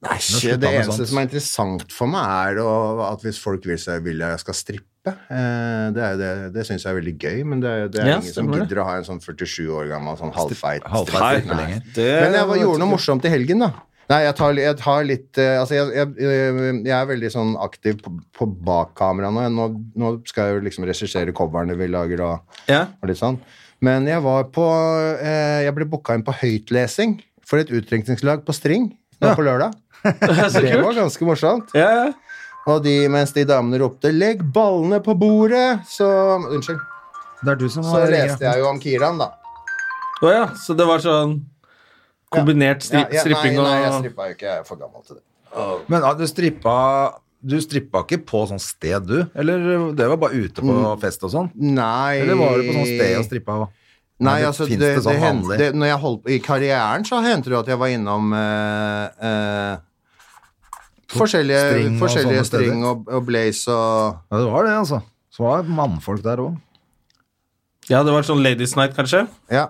Speaker 3: Nei,
Speaker 2: slutt
Speaker 3: det
Speaker 2: da med
Speaker 3: eneste
Speaker 2: sånt.
Speaker 3: som er interessant for meg, er å, at hvis folk vil, så vil jeg jeg skal strippe. Eh, Det, er jo det, det syns jeg er veldig gøy, men det, er- det er
Speaker 1: Ja,
Speaker 3: ingen som
Speaker 1: stemmer det.
Speaker 3: gidder å ha en sånn 47 år gammel sånn halvfeit
Speaker 2: halvfeit Eh,
Speaker 3: stripper.
Speaker 2: stripper
Speaker 3: Nei.
Speaker 2: lenger.
Speaker 3: Men jeg var, gjorde noe morsomt i helgen, da. Nei, jeg tar, jeg tar litt eh, Altså, jeg, jeg, eh, jeg er veldig sånn aktiv på, på bak kamera nå. nå. Nå skal jeg jo liksom regissere coverne vi lager og,
Speaker 1: Ja. [laughs]
Speaker 3: og litt sånn. Men jeg var på eh, Jeg ble booka inn på høytlesing for et utdrikningslag på String nå på lørdag.
Speaker 2: [laughs]
Speaker 1: Så
Speaker 3: Det var
Speaker 1: kult.
Speaker 3: ganske morsomt.
Speaker 1: Ja, ja.
Speaker 3: Og de, mens de damene ropte 'legg ballene på bordet', så Unnskyld.
Speaker 2: Det er du som
Speaker 3: Så leste jeg jo om Kiran, da.
Speaker 1: Å ja, så det var sånn kombinert stri
Speaker 3: Ja, ja,
Speaker 1: stripping
Speaker 3: nei, nei, jeg
Speaker 1: og
Speaker 3: strippa jo ikke. Jeg er for gammel til det.
Speaker 2: Men ja, du strippa du strippa ikke på sånn sted, du? Eller det var bare ute
Speaker 3: Mm.
Speaker 2: på fest og sånn?
Speaker 3: Nei
Speaker 2: Eller var du på sånn sted og strippa? også?
Speaker 3: Nei,
Speaker 2: det
Speaker 3: altså, det,
Speaker 2: finnes
Speaker 3: det,
Speaker 2: det sånn
Speaker 3: hend-
Speaker 2: vanlig.
Speaker 3: det, når jeg holdt, I karrieren så hendte det at jeg var innom eh, eh, forskjellige
Speaker 2: String
Speaker 3: string,
Speaker 2: og
Speaker 3: forskjellige
Speaker 2: sånne
Speaker 3: og,
Speaker 2: steder.
Speaker 3: string og, og blaze og
Speaker 2: Ja, det var det, altså. Så var det mannfolk der òg.
Speaker 1: Ja, det var sånn Ladies Night, kanskje?
Speaker 3: Ja.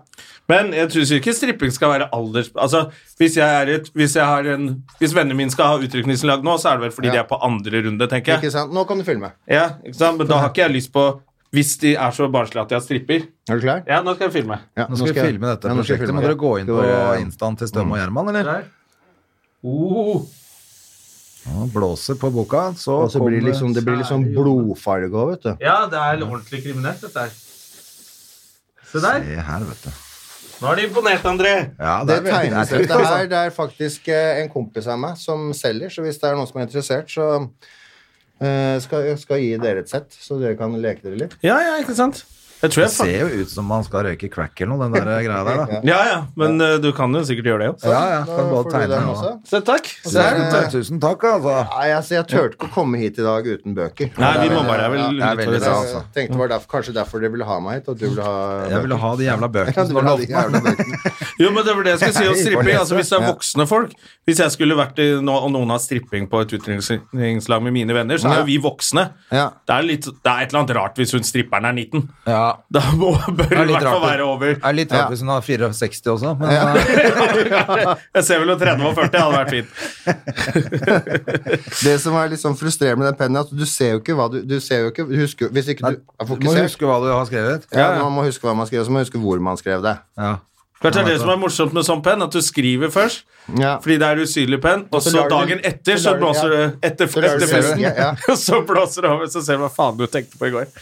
Speaker 1: Men jeg syns ikke stripping skal være alders... Altså, Hvis jeg er et, hvis jeg har en, hvis vennene mine skal ha utrykningslag nå, så er det vel fordi
Speaker 3: Ja.
Speaker 1: de er på andre runde, tenker
Speaker 3: Ikke
Speaker 1: jeg.
Speaker 3: sant? Nå kan du filme.
Speaker 1: Ja, ikke sant? Men da har ikke jeg lyst på Hvis de er så barnslige at jeg stripper.
Speaker 3: Er du klar?
Speaker 1: Ja, nå skal jeg filme.
Speaker 3: Ja,
Speaker 2: Nå skal vi filme dette prosjektet. Må dere gå inn på instaen til
Speaker 3: Mm.
Speaker 2: Støm og Gjerman, eller?
Speaker 1: Der. Oh.
Speaker 2: Ja, blåser på boka, så,
Speaker 3: Og så blir det
Speaker 2: kommer-
Speaker 3: liksom, det blir litt sånn blodfarge òg, vet du.
Speaker 1: Ja, det er ordentlig kriminelt, dette her. Se der.
Speaker 2: Se her, vet du.
Speaker 1: Nå er de imponert, André.
Speaker 2: Ja,
Speaker 3: Det
Speaker 2: er veldig- altså.
Speaker 3: tegnesettet
Speaker 2: det er-
Speaker 3: her, det er faktisk eh, en kompis av meg som selger, så hvis det er noen som er interessert, så eh, skal, skal jeg gi dere et sett, så dere kan leke dere litt.
Speaker 1: Ja, ja, ikke sant? Jeg tror jeg
Speaker 2: Det
Speaker 1: fa-
Speaker 2: ser jo ut som man skal røyke crack eller noe, den der greia der,
Speaker 3: [laughs]
Speaker 2: da.
Speaker 1: Ja, ja, men eh, du kan jo sikkert gjøre det jo.
Speaker 2: Ja, ja.
Speaker 3: Da
Speaker 2: Kan bare
Speaker 3: får du
Speaker 2: tegne
Speaker 3: den
Speaker 2: den
Speaker 3: også.
Speaker 2: også.
Speaker 1: Så takk. Se her,
Speaker 2: Tusen
Speaker 1: vet
Speaker 2: takk,
Speaker 1: du.
Speaker 2: Tusen takk, altså.
Speaker 3: Nei, altså, jeg turte ikke å komme hit i dag uten bøker.
Speaker 1: Nei,
Speaker 3: Det er
Speaker 1: vi må
Speaker 3: veldig-
Speaker 1: bare vel
Speaker 2: det er
Speaker 1: litt
Speaker 2: veldig
Speaker 1: over-
Speaker 3: Jeg
Speaker 2: bra, altså.
Speaker 3: tenkte det var derfor, kanskje derfor dere ville ha meg hit, at du ville ha
Speaker 2: Jeg [laughs] ville ha de jævla
Speaker 3: [laughs] Ja,
Speaker 2: bøkene
Speaker 3: du
Speaker 2: som var
Speaker 3: ville ha de
Speaker 2: lovt meg.
Speaker 3: jævla bøkene.
Speaker 1: Jo, men det var det jeg [laughs] skulle si om
Speaker 2: Nei,
Speaker 1: stripping.
Speaker 2: bare
Speaker 1: Altså, hvis det er
Speaker 2: lese.
Speaker 1: voksne folk Hvis jeg skulle vært i nå, og noen har stripping på et utdrikningslag med mine venner, så er jo vi voksne.
Speaker 3: Ja.
Speaker 1: Det er, litt, det er et eller annet rart hvis hun stripperen er 19.
Speaker 2: Ja.
Speaker 1: Da må, bør
Speaker 2: Det
Speaker 1: hun
Speaker 2: er
Speaker 1: i
Speaker 2: litt
Speaker 1: hvert fall
Speaker 2: rart,
Speaker 1: være over.
Speaker 2: det er litt rart hvis hun har 64 også, men eh, ja.
Speaker 3: [laughs]
Speaker 1: Jeg ser vel om 30 og 40 hadde vært fint.
Speaker 3: Det som er litt sånn frustrerende med den pennen, er at du ser jo ikke hva du, du ser jo ikke, husker, Hvis ikke du er
Speaker 2: Du må
Speaker 3: fokusert
Speaker 2: huske hva du har skrevet.
Speaker 3: ja, Man må huske hva man skrev, så må man huske hvor man skrev det.
Speaker 2: Ja.
Speaker 1: Kanskje det er det som er morsomt med sånn penn, at du skriver først,
Speaker 3: Ja.
Speaker 1: fordi det er usynlig penn, og så
Speaker 3: lager du-
Speaker 1: dagen etter,
Speaker 3: så
Speaker 1: så
Speaker 3: lager du-
Speaker 1: blåser
Speaker 3: ja.
Speaker 1: det etter,
Speaker 3: Så lager du-
Speaker 1: etter festen.
Speaker 3: Ja, ja.
Speaker 1: [laughs] Og så blåser det over, så ser du hva faen du tenkte på i går.
Speaker 3: [laughs]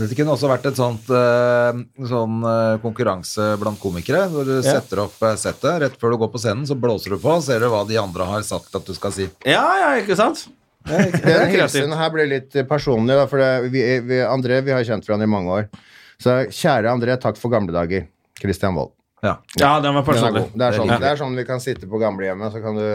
Speaker 2: Dette kunne også vært et sånt eh, sånn eh, konkurranse blant komikere, hvor du setter opp eh, settet rett før du går på scenen, så blåser du på, ser du hva de andre har sagt at du skal si.
Speaker 1: Ja, ja, ikke sant?
Speaker 3: Den
Speaker 1: kreativt.
Speaker 3: hilsen her ble litt eh, personlig, da, for det, vi, eh, vi, André, vi har kjent hverandre i mange år. Så kjære André, takk for gamle dager. Christian Wold.
Speaker 2: Ja.
Speaker 1: Ja, den
Speaker 3: Den
Speaker 1: var
Speaker 3: er
Speaker 1: personlig.
Speaker 3: god. Det er, sånn,
Speaker 2: liker
Speaker 3: det er sånn vi kan sitte på gamlehjemmet, så kan du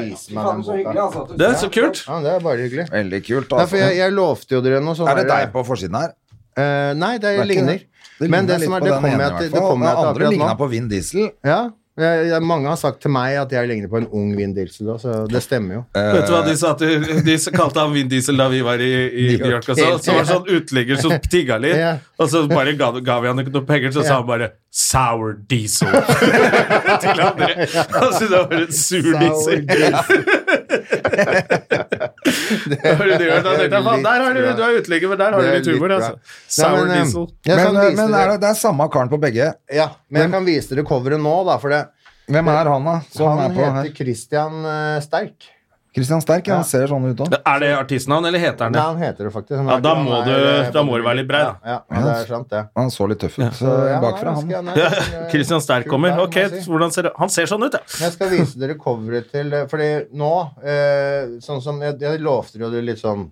Speaker 3: vise meg den boka.
Speaker 2: altså.
Speaker 1: Det er så kult.
Speaker 3: Ja, det er bare hyggelig.
Speaker 2: Veldig kult.
Speaker 3: Nei, for jeg, jeg lovte jo dere noe sånn
Speaker 2: er det
Speaker 3: her-
Speaker 2: deg på forsiden her?
Speaker 3: Eh, nei, det,
Speaker 2: Det er ikke
Speaker 3: ligner.
Speaker 2: det. Det
Speaker 3: Men
Speaker 2: ligner
Speaker 3: det som
Speaker 2: litt
Speaker 3: er,
Speaker 2: på
Speaker 3: det
Speaker 2: den
Speaker 3: kommer
Speaker 2: ene
Speaker 3: jeg
Speaker 2: i
Speaker 3: til,
Speaker 2: hvert
Speaker 3: det
Speaker 2: fall.
Speaker 3: kommer jeg
Speaker 2: Den
Speaker 3: til
Speaker 2: andre
Speaker 3: akkurat
Speaker 2: lignet
Speaker 3: nå.
Speaker 2: på Vin Diesel.
Speaker 3: Ja, Jeg, jeg, mange har sagt til meg at jeg ligner på en ung Vin Diesel, da, så det stemmer jo.
Speaker 2: Eh.
Speaker 1: Vet du hva
Speaker 3: Eh.
Speaker 1: de sa til De s- kalte han Vin Diesel da vi var i, i New York også? Så var det
Speaker 3: [laughs]
Speaker 1: sånn uteligger som tigga litt,
Speaker 3: Ja.
Speaker 1: og så bare ga, ga vi han ikke noe penger, så sa han bare 'Sour Diesel' [laughs] til andre. Han syntes han var en sur
Speaker 3: Sour
Speaker 1: diesel. [laughs] Hører du det? Da tenkte jeg, faen, Der har du, du er uteligger, men der har du
Speaker 3: Det er
Speaker 1: litt humor,
Speaker 3: litt bra.
Speaker 1: altså.
Speaker 3: Nei,
Speaker 1: Sour
Speaker 3: men, eh,
Speaker 1: Diesel.
Speaker 3: Jeg
Speaker 2: men
Speaker 3: kan vise
Speaker 2: men
Speaker 3: dere-
Speaker 2: er det, det er samme karen på begge.
Speaker 3: Ja, men jeg kan vise dere coveret nå, da, for det
Speaker 2: Hvem er han, da? Som
Speaker 3: Han
Speaker 2: er på
Speaker 3: heter
Speaker 2: her?
Speaker 3: Christian eh, Sterk.
Speaker 2: Christian Sterk, ja.
Speaker 3: Ja.
Speaker 2: han ser sånn ut òg.
Speaker 1: Er det artistnavn, eller heter han
Speaker 3: Nei,
Speaker 1: det?
Speaker 3: han heter det faktisk. Han
Speaker 1: Ja,
Speaker 3: er
Speaker 1: da
Speaker 3: ikke- han
Speaker 1: må
Speaker 3: er,
Speaker 1: du-
Speaker 3: eh,
Speaker 1: da må du være litt brei, da.
Speaker 3: Ja, ja, det er sant, det.
Speaker 2: Han så litt tøff ut så
Speaker 3: Så, ja,
Speaker 2: bakfra,
Speaker 3: nei,
Speaker 2: han.
Speaker 3: skal jeg- nei, jeg
Speaker 1: [laughs]
Speaker 3: skal- jeg-
Speaker 1: Christian Sterk
Speaker 3: kult
Speaker 1: kommer.
Speaker 3: der, må
Speaker 1: Ok,
Speaker 3: jeg si.
Speaker 1: hvordan ser det? Han ser sånn ut, ja.
Speaker 3: Jeg skal vise dere coveret til eh, Fordi nå eh, Sånn som Jeg, jeg lovte dere jo det litt sånn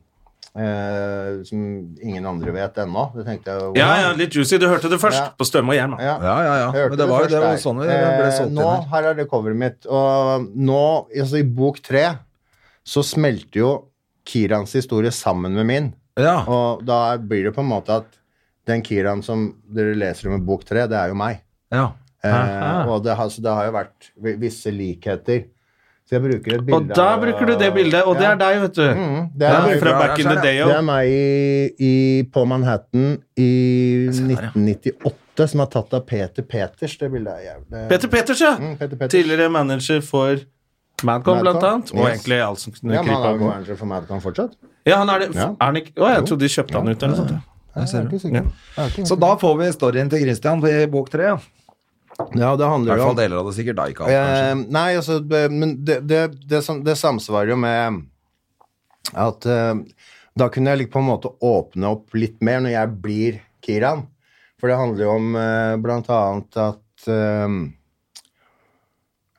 Speaker 3: eh, Som ingen andre vet ennå. Det tenkte jeg jo-
Speaker 1: Ja, ja, litt juicy. Du hørte det først
Speaker 3: Ja.
Speaker 1: på Stømme og Hjelm. da.
Speaker 3: Ja.
Speaker 2: Ja, ja, ja.
Speaker 3: Jeg hørte
Speaker 2: Men det var jo
Speaker 3: først
Speaker 2: det var
Speaker 3: her.
Speaker 2: jo sånn vi ble
Speaker 3: Eh,
Speaker 2: solgt
Speaker 3: nå,
Speaker 2: inn her.
Speaker 3: her er det coveret mitt. Og nå, altså i bok tre, så smelter jo Kirans historie sammen med min.
Speaker 2: Ja.
Speaker 3: Og da blir det på en måte at den Kiran som dere leser om i bok tre, det er jo meg.
Speaker 2: ja.
Speaker 3: Eh, og det, har- så det har jo vært vi- visse likheter. Så jeg bruker et bilde Mm,
Speaker 1: Og da bruker du det bildet, og det er deg, vet du.
Speaker 3: Det er,
Speaker 1: Ja,
Speaker 3: meg-
Speaker 1: fra back in the day
Speaker 3: det er
Speaker 1: òg.
Speaker 3: meg i, i, på Manhattan i 1998, som er tatt av Peter Peters. Det bildet er jævlig
Speaker 1: Peter Peters, ja.
Speaker 3: Mm, Peter Peters.
Speaker 1: Tidligere manager for Madcon, blant
Speaker 3: Madcon,
Speaker 1: annet. Og
Speaker 3: yes.
Speaker 1: egentlig alt som kunne
Speaker 3: Ja, men
Speaker 1: krype
Speaker 3: han er
Speaker 1: av
Speaker 3: jo
Speaker 1: gårde.
Speaker 3: manager for Madcon fortsatt.
Speaker 1: Ja, han er det.
Speaker 3: Ja.
Speaker 1: Er han ikke Å, jeg trodde de kjøpte han ut eller noe sånt. ja.
Speaker 3: Jeg er ikke sikker. Jeg er ikke sikker.
Speaker 2: Så da får vi storyen til Christian i bok tre. ja.
Speaker 3: Ja, det
Speaker 2: I
Speaker 3: handler
Speaker 2: hvert
Speaker 3: jo
Speaker 2: fall
Speaker 3: om
Speaker 2: deler av det sikkert da ikke alt,
Speaker 3: Eh,
Speaker 2: kanskje.
Speaker 3: Nei, altså det- Men det, det, det, sam- det samsvarer jo med at eh, da kunne jeg like på en måte åpne opp litt mer når jeg blir Kiran. For det handler jo om eh, blant annet at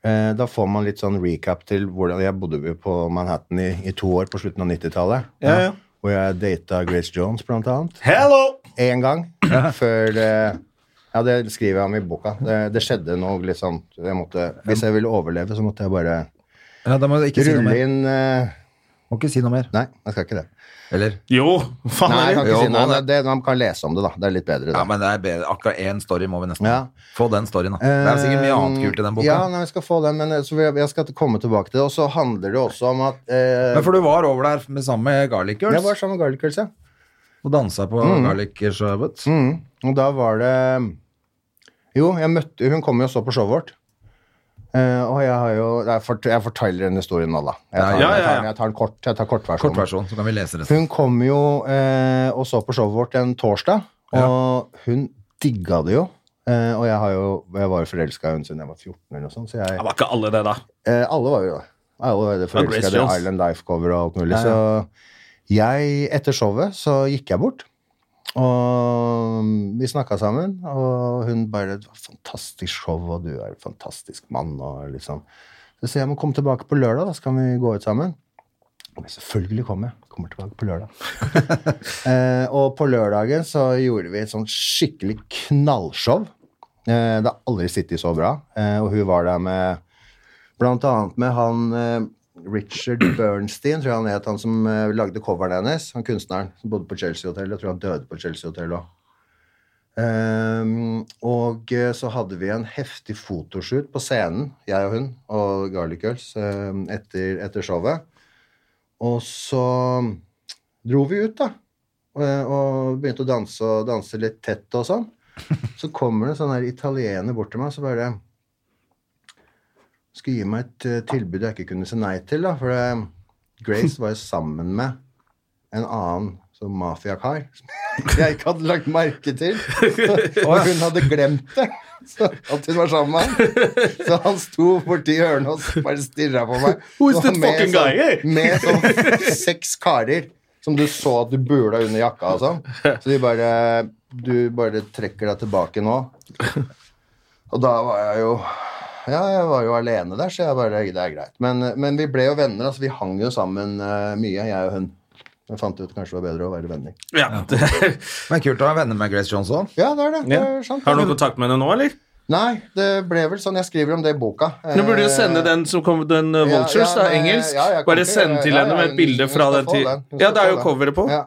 Speaker 3: eh, eh, Da får man litt sånn recap til hvordan Jeg bodde jo på Manhattan i, i to år på slutten av 90-tallet.
Speaker 1: Ja, ja.
Speaker 3: Hvor jeg data Grace Jones, blant annet
Speaker 1: Hello!
Speaker 3: én gang før det Ja, det skriver jeg om i boka. Det, det skjedde noe litt sånn jeg måtte, Hvis jeg ville overleve, så måtte jeg bare
Speaker 2: Ja, da må du ikke si noe
Speaker 3: rulle
Speaker 2: mer.
Speaker 3: inn eh,
Speaker 2: Må ikke si noe mer.
Speaker 3: Nei, jeg skal ikke det.
Speaker 2: Eller?
Speaker 1: Jo, faen
Speaker 3: Nei, jeg kan ikke
Speaker 1: heller.
Speaker 2: Ah, Jo,
Speaker 3: si noe.
Speaker 2: nå,
Speaker 3: Det, man kan lese om det, da. Det er litt bedre,
Speaker 2: Ja,
Speaker 3: da.
Speaker 2: men det er bedre. Akkurat én story må vi nesten
Speaker 3: Ja. Eh,
Speaker 2: få. den storyen, da. Det er sikkert mye annet kult i den boka.
Speaker 3: Ja, nei, vi skal få den, men eh, så vil jeg, jeg skal komme tilbake til det. Og så handler det også om at eh,
Speaker 2: Men for du var over der med sammen med Garlic Girls
Speaker 3: Jeg var sammen med Garlic Girls, ja.
Speaker 2: og dansa på Garlic Sherbet.
Speaker 3: Mm. Og da var det Jo, jeg møtte Hun kom jo og så på showet vårt. Eh, og jeg har jo Jeg, fort, jeg forteller den historien nå, da. Jeg tar,
Speaker 1: Ja, ja,
Speaker 3: Jeg tar,
Speaker 1: ja.
Speaker 3: den- jeg tar den kort. Jeg tar kortversjonen.
Speaker 2: Kort versjon, så kan vi lese resten.
Speaker 3: Hun kom jo eh, og så på showet vårt en torsdag, og hun digga det jo. Eh, og jeg, har jo, jeg var jo forelska i henne siden jeg var 14, eller noe sånt. Så jeg,
Speaker 1: Det var ikke alle det, da.
Speaker 3: eh, alle var jo det. Alle var jo det
Speaker 1: Ja, Grace
Speaker 3: forelska i det
Speaker 1: Jones.
Speaker 3: Island Life-cover og alt mulig. Så jeg, etter showet, så gikk jeg bort. Og vi snakka sammen, og hun bare "Det var 'Fantastisk show, og du er en fantastisk mann', og litt sånn. Så sier jeg må komme tilbake på lørdag, da, så kan vi gå ut sammen. Men selvfølgelig kommer jeg. Kommer tilbake på lørdag.
Speaker 1: [laughs]
Speaker 3: eh, og på lørdagen så gjorde vi et sånn skikkelig knallshow. Eh, det har aldri sittet så bra. Eh, og hun var der med Blant annet med han eh, Richard [clears throat] Bernstein, tror jeg han het, han som eh, lagde coveren hennes. Han kunstneren som bodde på Chelsea Hotel. Jeg tror han døde på Chelsea Hotel òg. og eh, så hadde vi en heftig fotoshoot på scenen, jeg og hun, og Garlic Girls, eh, etter, etter showet. Og så dro vi ut, da. eh, Og begynte å danse og danse litt tett og sånn. Så kommer det en sånn her italiener bort til meg, så bare skulle gi meg et eh, tilbud jeg ikke kunne si nei til, da, for eh, Grace var jo sammen med en annen sånn mafiakar som [laughs] jeg ikke hadde lagt merke
Speaker 1: [laughs]
Speaker 3: til. Og hun hadde glemt det, så at hun var sammen med han. Så han sto borti hjørnet og så bare stirra på meg.
Speaker 1: Who is
Speaker 3: Og
Speaker 1: that
Speaker 3: med
Speaker 1: fucking
Speaker 3: sånn-
Speaker 1: guy, eh?
Speaker 3: Med sånn seks karer som du så at du bula under jakka og sånn. Så de bare Du bare trekker deg tilbake nå. Og da var jeg jo ja, jeg var jo alene der, så jeg bare, det er greit. Men, men vi ble jo venner. altså Vi hang jo sammen eh, mye, jeg og hun. Jeg fant ut kanskje det var bedre å være venner.
Speaker 1: Ja.
Speaker 2: Men kult å være venner med Grace Jones òg.
Speaker 3: Ja, det er det. det
Speaker 1: Ja.
Speaker 3: er sant.
Speaker 1: [laughs] Har du noe kontakt med henne nå, eller?
Speaker 3: Nei, det ble vel sånn. Jeg skriver om det i boka.
Speaker 1: Du burde jo sende den som kom, den eh,
Speaker 3: Ja,
Speaker 1: Vultures,
Speaker 3: ja,
Speaker 1: da,
Speaker 3: men,
Speaker 1: engelsk.
Speaker 3: ja, jeg kan
Speaker 1: Bare
Speaker 3: ikke-
Speaker 1: send til
Speaker 3: ja,
Speaker 1: henne
Speaker 3: ja,
Speaker 1: med et
Speaker 3: hun-
Speaker 1: bilde
Speaker 3: hun
Speaker 1: fra
Speaker 3: skal
Speaker 1: den
Speaker 3: få
Speaker 1: tid.
Speaker 3: den. Hun
Speaker 1: Ja,
Speaker 3: skal
Speaker 1: det
Speaker 3: få
Speaker 1: er jo
Speaker 3: den.
Speaker 1: coveret på.
Speaker 3: Ja,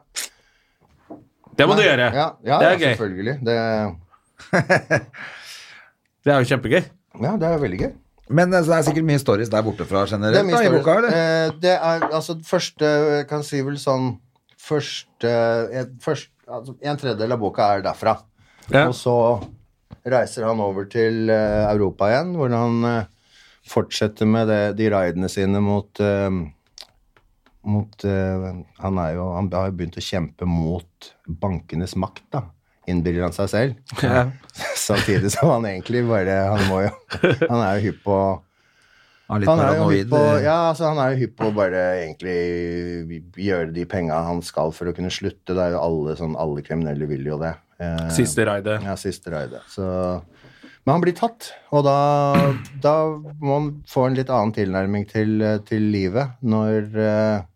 Speaker 1: Det må du
Speaker 3: ja,
Speaker 1: gjøre.
Speaker 3: ja,
Speaker 1: Det
Speaker 3: ja
Speaker 1: er gøy.
Speaker 3: selvfølgelig. Det,
Speaker 1: Det er jo kjempegøy.
Speaker 3: Ja, det er veldig gøy.
Speaker 2: Men eh, så det er sikkert mye stories der borte fra generelt.
Speaker 3: mye
Speaker 2: da, i
Speaker 3: stories.
Speaker 2: boka, eller?
Speaker 3: Eh, det er altså første jeg Kan si vel sånn Første en- først, altså, En tredjedel av boka er derfra.
Speaker 1: Ja.
Speaker 3: Og så reiser han over til eh, Europa igjen, hvor han eh, fortsetter med det, de raidene sine mot eh, mot, eh, han, er jo, han har jo begynt å kjempe mot bankenes makt, da. Innbiller han seg selv. [laughs] Samtidig som han egentlig bare Han må jo Han er jo hypp på
Speaker 2: Han er litt
Speaker 3: han er, jo
Speaker 2: paranoid.
Speaker 3: hypp på, ja, altså, han er jo hypp på å bare egentlig gjøre de penga han skal for å kunne slutte. Det er jo alle, sånn, alle kriminelle vil jo det. Eh,
Speaker 1: [laughs] Siste raidet.
Speaker 3: Ja, siste raidet. Så, men han blir tatt, og da, da må han få en litt annen tilnærming til, eh, til livet når eh,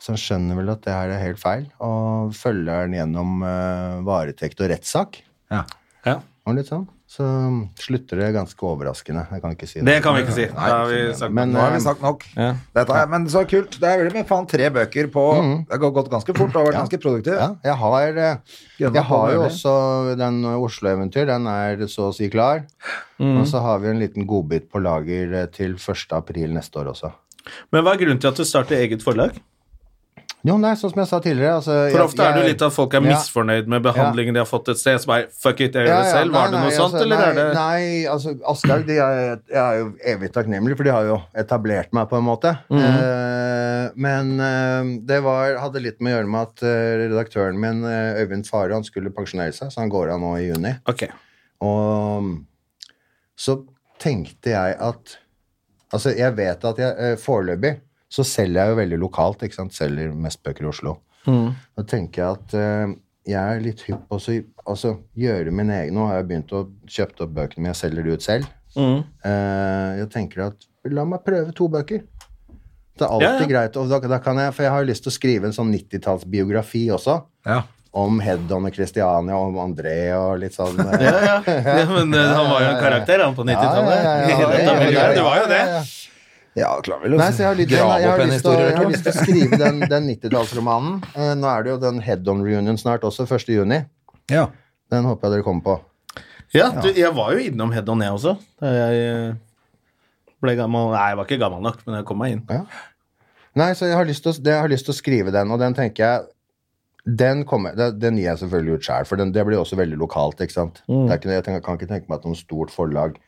Speaker 3: Altså, han skjønner vel at det her er helt feil, og følger han gjennom eh, varetekt og rettssak.
Speaker 2: Ja.
Speaker 1: Ja.
Speaker 3: Og litt sånn. Så slutter det ganske overraskende. Jeg kan ikke si det.
Speaker 1: Det kan vi ikke si. Da har vi sagt
Speaker 3: Men,
Speaker 2: Nå har vi
Speaker 3: eh,
Speaker 2: sagt nok. Dette er, men så kult. Det er veldig mye faen tre bøker på Det har gått ganske fort og vært ganske produktiv.
Speaker 3: Ja, jeg har, eh,
Speaker 2: Gjennom
Speaker 3: jeg har jo
Speaker 2: alle.
Speaker 3: også den uh, Oslo-eventyr. Den er så å si klar.
Speaker 1: Mm.
Speaker 3: Og så har vi en liten godbit på lager eh, til 1. april neste år også.
Speaker 1: Men hva er grunnen til at du starter eget forlag?
Speaker 3: Jo, nei, sånn som jeg sa tidligere altså,
Speaker 1: For ofte er det jo litt at folk er
Speaker 3: Ja.
Speaker 1: misfornøyd med behandlingen de har fått et sted. Som er, fuck it, jeg gjør det selv. Var det noe sånt, eller
Speaker 3: nei,
Speaker 1: er det
Speaker 3: Nei, altså, Aschehoug de er, Jeg er jo evig takknemlig, for de har jo etablert meg, på en måte.
Speaker 1: Mhm.
Speaker 3: Eh, men eh, det var, hadde litt med å gjøre med at eh, redaktøren min, eh, Øyvind Fare, han skulle pensjonere seg, så han går av nå i juni.
Speaker 1: Ok.
Speaker 3: Og um, så tenkte jeg at Altså, jeg vet at jeg eh, foreløpig så selger jeg jo veldig lokalt, ikke sant? Selger mest bøker i Oslo.
Speaker 1: Mm.
Speaker 3: Da tenker jeg at eh, jeg er litt hypp på å så- altså, gjøre min egen Nå har jeg begynt å kjøpe opp bøkene mine, jeg selger de ut selv.
Speaker 1: Mm.
Speaker 3: Eh, jeg tenker at la meg prøve to bøker. Det er alltid
Speaker 1: Ja, ja.
Speaker 3: greit. Og da, da kan jeg, for jeg har jo lyst til å skrive en sånn 90-tallsbiografi også
Speaker 2: Ja.
Speaker 3: om Heddon og Christiania, om André og litt sånn eh,
Speaker 1: [laughs] Ja, ja. ja, men eh, han var jo en karakter, han, på 90-tallet. [laughs]
Speaker 3: Ja, ja, ja, ja, ja, ja,
Speaker 1: Dette var jo-
Speaker 3: ja, ja,
Speaker 1: Det var jo det.
Speaker 2: Ja, klar vel å
Speaker 3: Nei, så jeg har lyst, jeg har,
Speaker 2: grave opp
Speaker 3: lyst, til,
Speaker 2: en
Speaker 3: å-
Speaker 2: historie
Speaker 3: jeg har
Speaker 2: eller
Speaker 3: lyst
Speaker 2: to.
Speaker 3: til å [laughs] skrive den, den 90-tallsromanen. Eh, nå er det jo den Head-On Reunion snart også, 1. juni.
Speaker 2: Ja.
Speaker 3: Den håper jeg dere kommer på.
Speaker 1: Ja, du, jeg var jo innom Head On, jeg også. Da jeg eh, ble gammel Nei, jeg var ikke gammel nok, men jeg kom meg inn.
Speaker 3: Nei, så jeg har lyst til å, det- jeg har lyst til å skrive den, og den tenker jeg den, kommer, den, den gir jeg selvfølgelig ut sjøl, for den, det blir også veldig lokalt. ikke sant?
Speaker 1: Mm.
Speaker 3: Det er ikke, jeg tenker, kan ikke tenke meg at noe stort forlag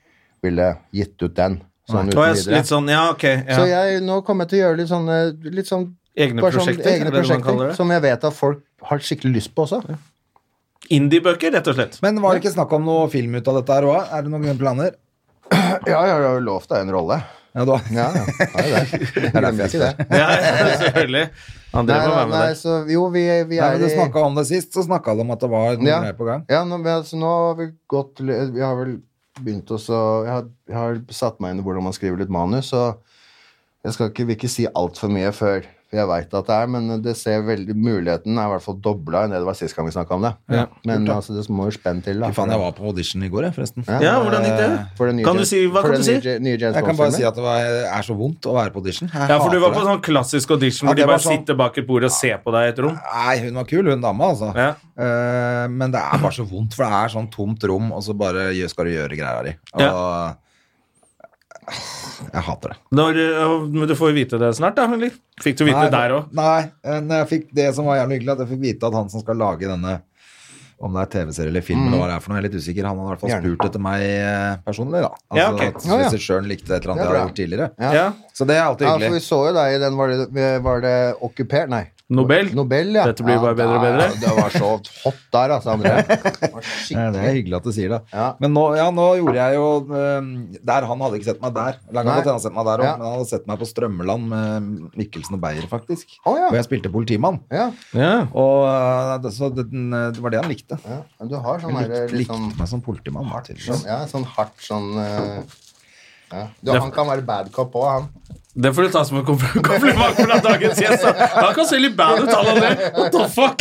Speaker 3: ville gitt ut den. Sånn
Speaker 1: Det
Speaker 3: uten
Speaker 1: var jeg s-
Speaker 3: videre.
Speaker 1: litt sånn, ja, ok.
Speaker 3: Så
Speaker 1: Ja.
Speaker 3: jeg, nå kommer jeg til å gjøre litt sånne litt sånn,
Speaker 1: Egne
Speaker 3: bare sånn
Speaker 1: prosjekter, er
Speaker 3: egne
Speaker 1: det det man kaller
Speaker 3: prosjekter
Speaker 1: det?
Speaker 3: som jeg vet at folk har skikkelig lyst på også.
Speaker 1: Indie-bøker, rett og slett.
Speaker 2: Men var det ikke snakk om noe film ut av dette her òg? Er det noen planer?
Speaker 3: Ja, jeg har jo lovt deg en rolle.
Speaker 2: Ja, du har
Speaker 3: Ja,
Speaker 2: [laughs]
Speaker 3: ja. Nei, det er det. Glemmer ikke det.
Speaker 1: Ja, [laughs] selvfølgelig. André
Speaker 3: Nei,
Speaker 1: må
Speaker 3: nei,
Speaker 1: være med
Speaker 3: nei,
Speaker 1: der.
Speaker 3: så jo, vi, vi
Speaker 2: Nei,
Speaker 3: er
Speaker 2: men Du
Speaker 3: i-
Speaker 2: snakka om det sist, så snakka du om at det var noe
Speaker 3: ja.
Speaker 2: greier på gang.
Speaker 3: Ja, nå, men altså, nå har vi gått til- Vi har vel begynt oss å jeg har, jeg har satt meg inn i hvordan man skriver litt manus, så jeg skal ikke, vil ikke si altfor mye før jeg veit at det er, men det ser veldig Muligheten er i hvert fall dobla enn det det var sist gang vi snakka om det.
Speaker 1: Ja,
Speaker 3: men altså, det må jo spenn til, da.
Speaker 2: Fy faen, jeg var på audition i går, jeg, forresten. Eh,
Speaker 1: Ja, hvordan gikk det?
Speaker 3: For den nye
Speaker 1: Kan du
Speaker 3: James-
Speaker 1: si- hva
Speaker 3: for
Speaker 1: kan
Speaker 3: den
Speaker 1: du si?
Speaker 3: nye Ja- nye James
Speaker 2: Jeg kan bare
Speaker 3: Bond-filmen.
Speaker 2: si at det var, er så vondt å være på audition. Jeg
Speaker 1: Ja, for du
Speaker 2: hater
Speaker 1: var på
Speaker 2: det.
Speaker 1: sånn klassisk audition
Speaker 2: Ja,
Speaker 1: hvor
Speaker 2: det
Speaker 1: de
Speaker 2: var
Speaker 1: bare
Speaker 2: sånn-
Speaker 1: sitter bak et bord og ser på deg i et rom.
Speaker 2: Nei, hun var kul, hun dama, altså.
Speaker 1: Ja.
Speaker 2: Eh, men det er bare så vondt, for det er sånn tomt rom, og så bare gjør- skal du gjøre greia di. Og eh, Jeg hater det.
Speaker 1: Når, øh, men du får jo vite det snart, da. Eller? Fikk du vite
Speaker 2: Nei,
Speaker 1: det der òg?
Speaker 2: Nei, eh, når jeg fikk det som var jævlig hyggelig, at jeg fikk vite at han som skal lage denne om det er TV-serie eller film, eller hva det er for noe, jeg er litt usikker. Han hadde i hvert fall
Speaker 3: Gjerne.
Speaker 2: spurt etter meg eh, personlig, da. Altså,
Speaker 1: Ja, ok.
Speaker 2: At
Speaker 3: Ja, ja.
Speaker 2: regissøren likte et eller
Speaker 3: Det er
Speaker 2: annet jeg hadde
Speaker 3: bra.
Speaker 2: gjort tidligere.
Speaker 1: Ja.
Speaker 2: Så det er alltid
Speaker 3: Ja, for vi
Speaker 2: hyggelig.
Speaker 3: så jo deg i den Var det, var det Okkuper? Nei.
Speaker 1: Nobel.
Speaker 3: Nobel, ja.
Speaker 1: Dette blir bare bedre og
Speaker 3: der-
Speaker 1: bedre.
Speaker 3: Det var så hot der, altså, André. Det var
Speaker 2: Ja,
Speaker 3: skikkelig-
Speaker 2: det er hyggelig at du sier det.
Speaker 3: Ja.
Speaker 2: Men nå, ja, nå gjorde jeg jo eh, Der han hadde ikke sett meg der. Eller han kan
Speaker 3: Nei.
Speaker 2: godt hende han har sett meg der også,
Speaker 3: Ja.
Speaker 2: men han hadde sett meg på Strømmeland med Mikkelsen og Beyer, faktisk.
Speaker 3: Å, ja.
Speaker 2: Og jeg spilte politimann.
Speaker 3: Ja,
Speaker 1: [laughs] Ja.
Speaker 2: Og eh, det, så det, den, eh, det var det han likte.
Speaker 3: ja. Men Du har sånn der,
Speaker 2: Han likte,
Speaker 3: litt
Speaker 2: likte
Speaker 3: sånn,
Speaker 2: meg som politimann. tydeligvis.
Speaker 3: sånn Ja, sånn hardt sånn eh, ja. du, Han kan være bad cop òg, han.
Speaker 1: Det får du ta som en kompl- [laughs] [laughs] kompliment fra dagens gjest. da. Han kan se litt bad ut, han André. What the fuck?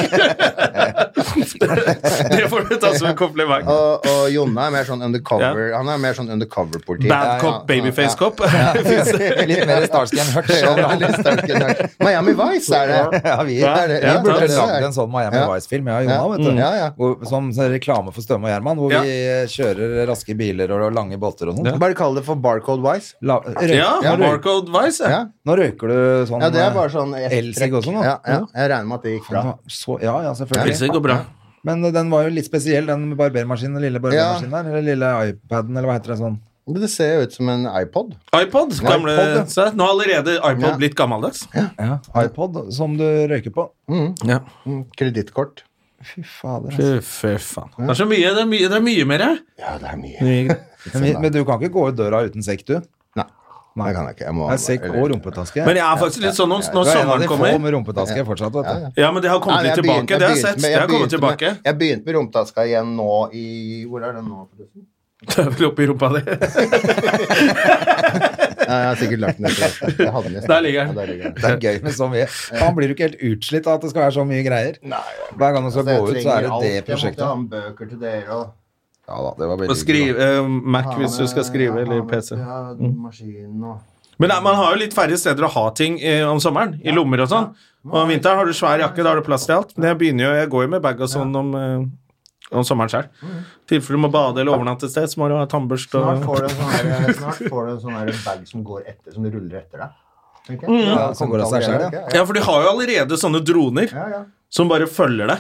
Speaker 1: Det får du ta som en kompliment.
Speaker 3: Og, og Jonna er mer sånn undercover Han er mer sånn undercover-politi.
Speaker 1: Bad cop, babyface cop. [laughs] Fins det?
Speaker 2: Litt mer Starsky enn Hutch.
Speaker 3: Ja,
Speaker 2: [laughs]
Speaker 3: det er
Speaker 2: overalt.
Speaker 3: litt sterk en her. Miami Vice er det.
Speaker 2: Ja, vi,
Speaker 1: Ja,
Speaker 2: vi
Speaker 1: ja,
Speaker 2: burde
Speaker 3: det er-
Speaker 2: lagd en sånn Miami
Speaker 3: Ja.
Speaker 2: Vice-film, jeg og Jonna, vet du.
Speaker 3: Ja, ja.
Speaker 2: Hvor, som sånn reklame for Støme og Gjerman, hvor
Speaker 1: Ja.
Speaker 2: vi eh, kjører raske biler og lange båter og sånn.
Speaker 1: Ja.
Speaker 3: Bare kall det for Barcode Vice.
Speaker 2: La- røy-
Speaker 1: Ja,
Speaker 3: Ja, du-
Speaker 1: Barcode Vice.
Speaker 3: Ja.
Speaker 1: Ja.
Speaker 2: Nå røyker du sånn
Speaker 3: Ja, det er bare sånn ett
Speaker 2: Elsig
Speaker 3: trekk.
Speaker 2: og sånn, da.
Speaker 3: Ja, ja. Jeg regner med at det gikk bra.
Speaker 2: eh, så, Ja, ja, selvfølgelig.
Speaker 1: Pølse går bra.
Speaker 2: Men eh, den var jo litt spesiell, den med barbermaskinen, den lille barbermaskinen der. Eller lille iPaden, eller hva heter det sånn.
Speaker 3: Det ser jo ut som en iPod.
Speaker 1: iPod. Gamle,
Speaker 2: iPod, ja.
Speaker 1: se, nå er allerede iPod
Speaker 3: Ja.
Speaker 1: blitt gammeldags.
Speaker 2: Ja, iPod som du røyker på.
Speaker 1: Ja.
Speaker 3: Mm, Kredittkort.
Speaker 2: Fy fader. ass.
Speaker 1: Fy faen. Det er så mye, det er mye, det er mye mer. jeg.
Speaker 3: Ja, det er mye.
Speaker 2: Men, vi- men du kan ikke gå ut døra uten sekk, du.
Speaker 3: Nei, det kan jeg ikke. Jeg må
Speaker 2: Det er sekk og rumpetaske.
Speaker 1: Men jeg er faktisk litt sånn når,
Speaker 2: Du
Speaker 1: når
Speaker 2: er en av
Speaker 1: sommeren
Speaker 2: de få
Speaker 1: kommer
Speaker 2: med rumpetaske fortsatt, vet du.
Speaker 1: Ja, men det har kommet litt tilbake. det har jeg sett. Det har kommet
Speaker 3: [laughs]
Speaker 1: tilbake.
Speaker 3: Med, jeg begynte med rumpetaska igjen nå i Hvor er den nå? forresten?
Speaker 1: Det er vel oppi rumpa di.
Speaker 3: Nei, Jeg har sikkert lagt den etter dette. Jeg hadde den i sted.
Speaker 1: Der ligger den.
Speaker 3: Ja, der ligger den.
Speaker 2: Det er gøy med så mye. [laughs] Faen, blir du ikke helt utslitt av at det skal være så mye greier? Hver gang du skal
Speaker 3: Altså, jeg
Speaker 2: gå ut, så er
Speaker 3: trenger
Speaker 2: det
Speaker 3: alt.
Speaker 2: det
Speaker 3: Jeg måtte ha
Speaker 2: prosjektet.
Speaker 3: med bøker til dere og
Speaker 2: Ja da, det var veldig
Speaker 1: Og skrive, eh, Mac hvis du skal skrive,
Speaker 3: Ja,
Speaker 1: eller
Speaker 3: men-
Speaker 1: PC.
Speaker 3: Ja, maskinen og
Speaker 1: Men nei, man har jo litt færre steder å ha ting eh, om sommeren. I lommer og sånn. Og om vinteren har du svær jakke, da har du plass til alt. Men jeg begynner jo, jeg går jo med bag og sånn om, eh, om sommeren selv.
Speaker 3: Mm.
Speaker 1: I tilfelle du må bade eller overnatte et sted, så må du ha tannbørste
Speaker 3: Snart
Speaker 1: og
Speaker 3: får du en sånn her- snart får du en sånn her bag som går etter, som ruller etter deg. Tenker jeg. Ja,
Speaker 2: som går av seg selv, ja.
Speaker 1: Ja, for de har jo allerede sånne droner
Speaker 3: Ja, Mm. ja.
Speaker 1: som bare følger deg.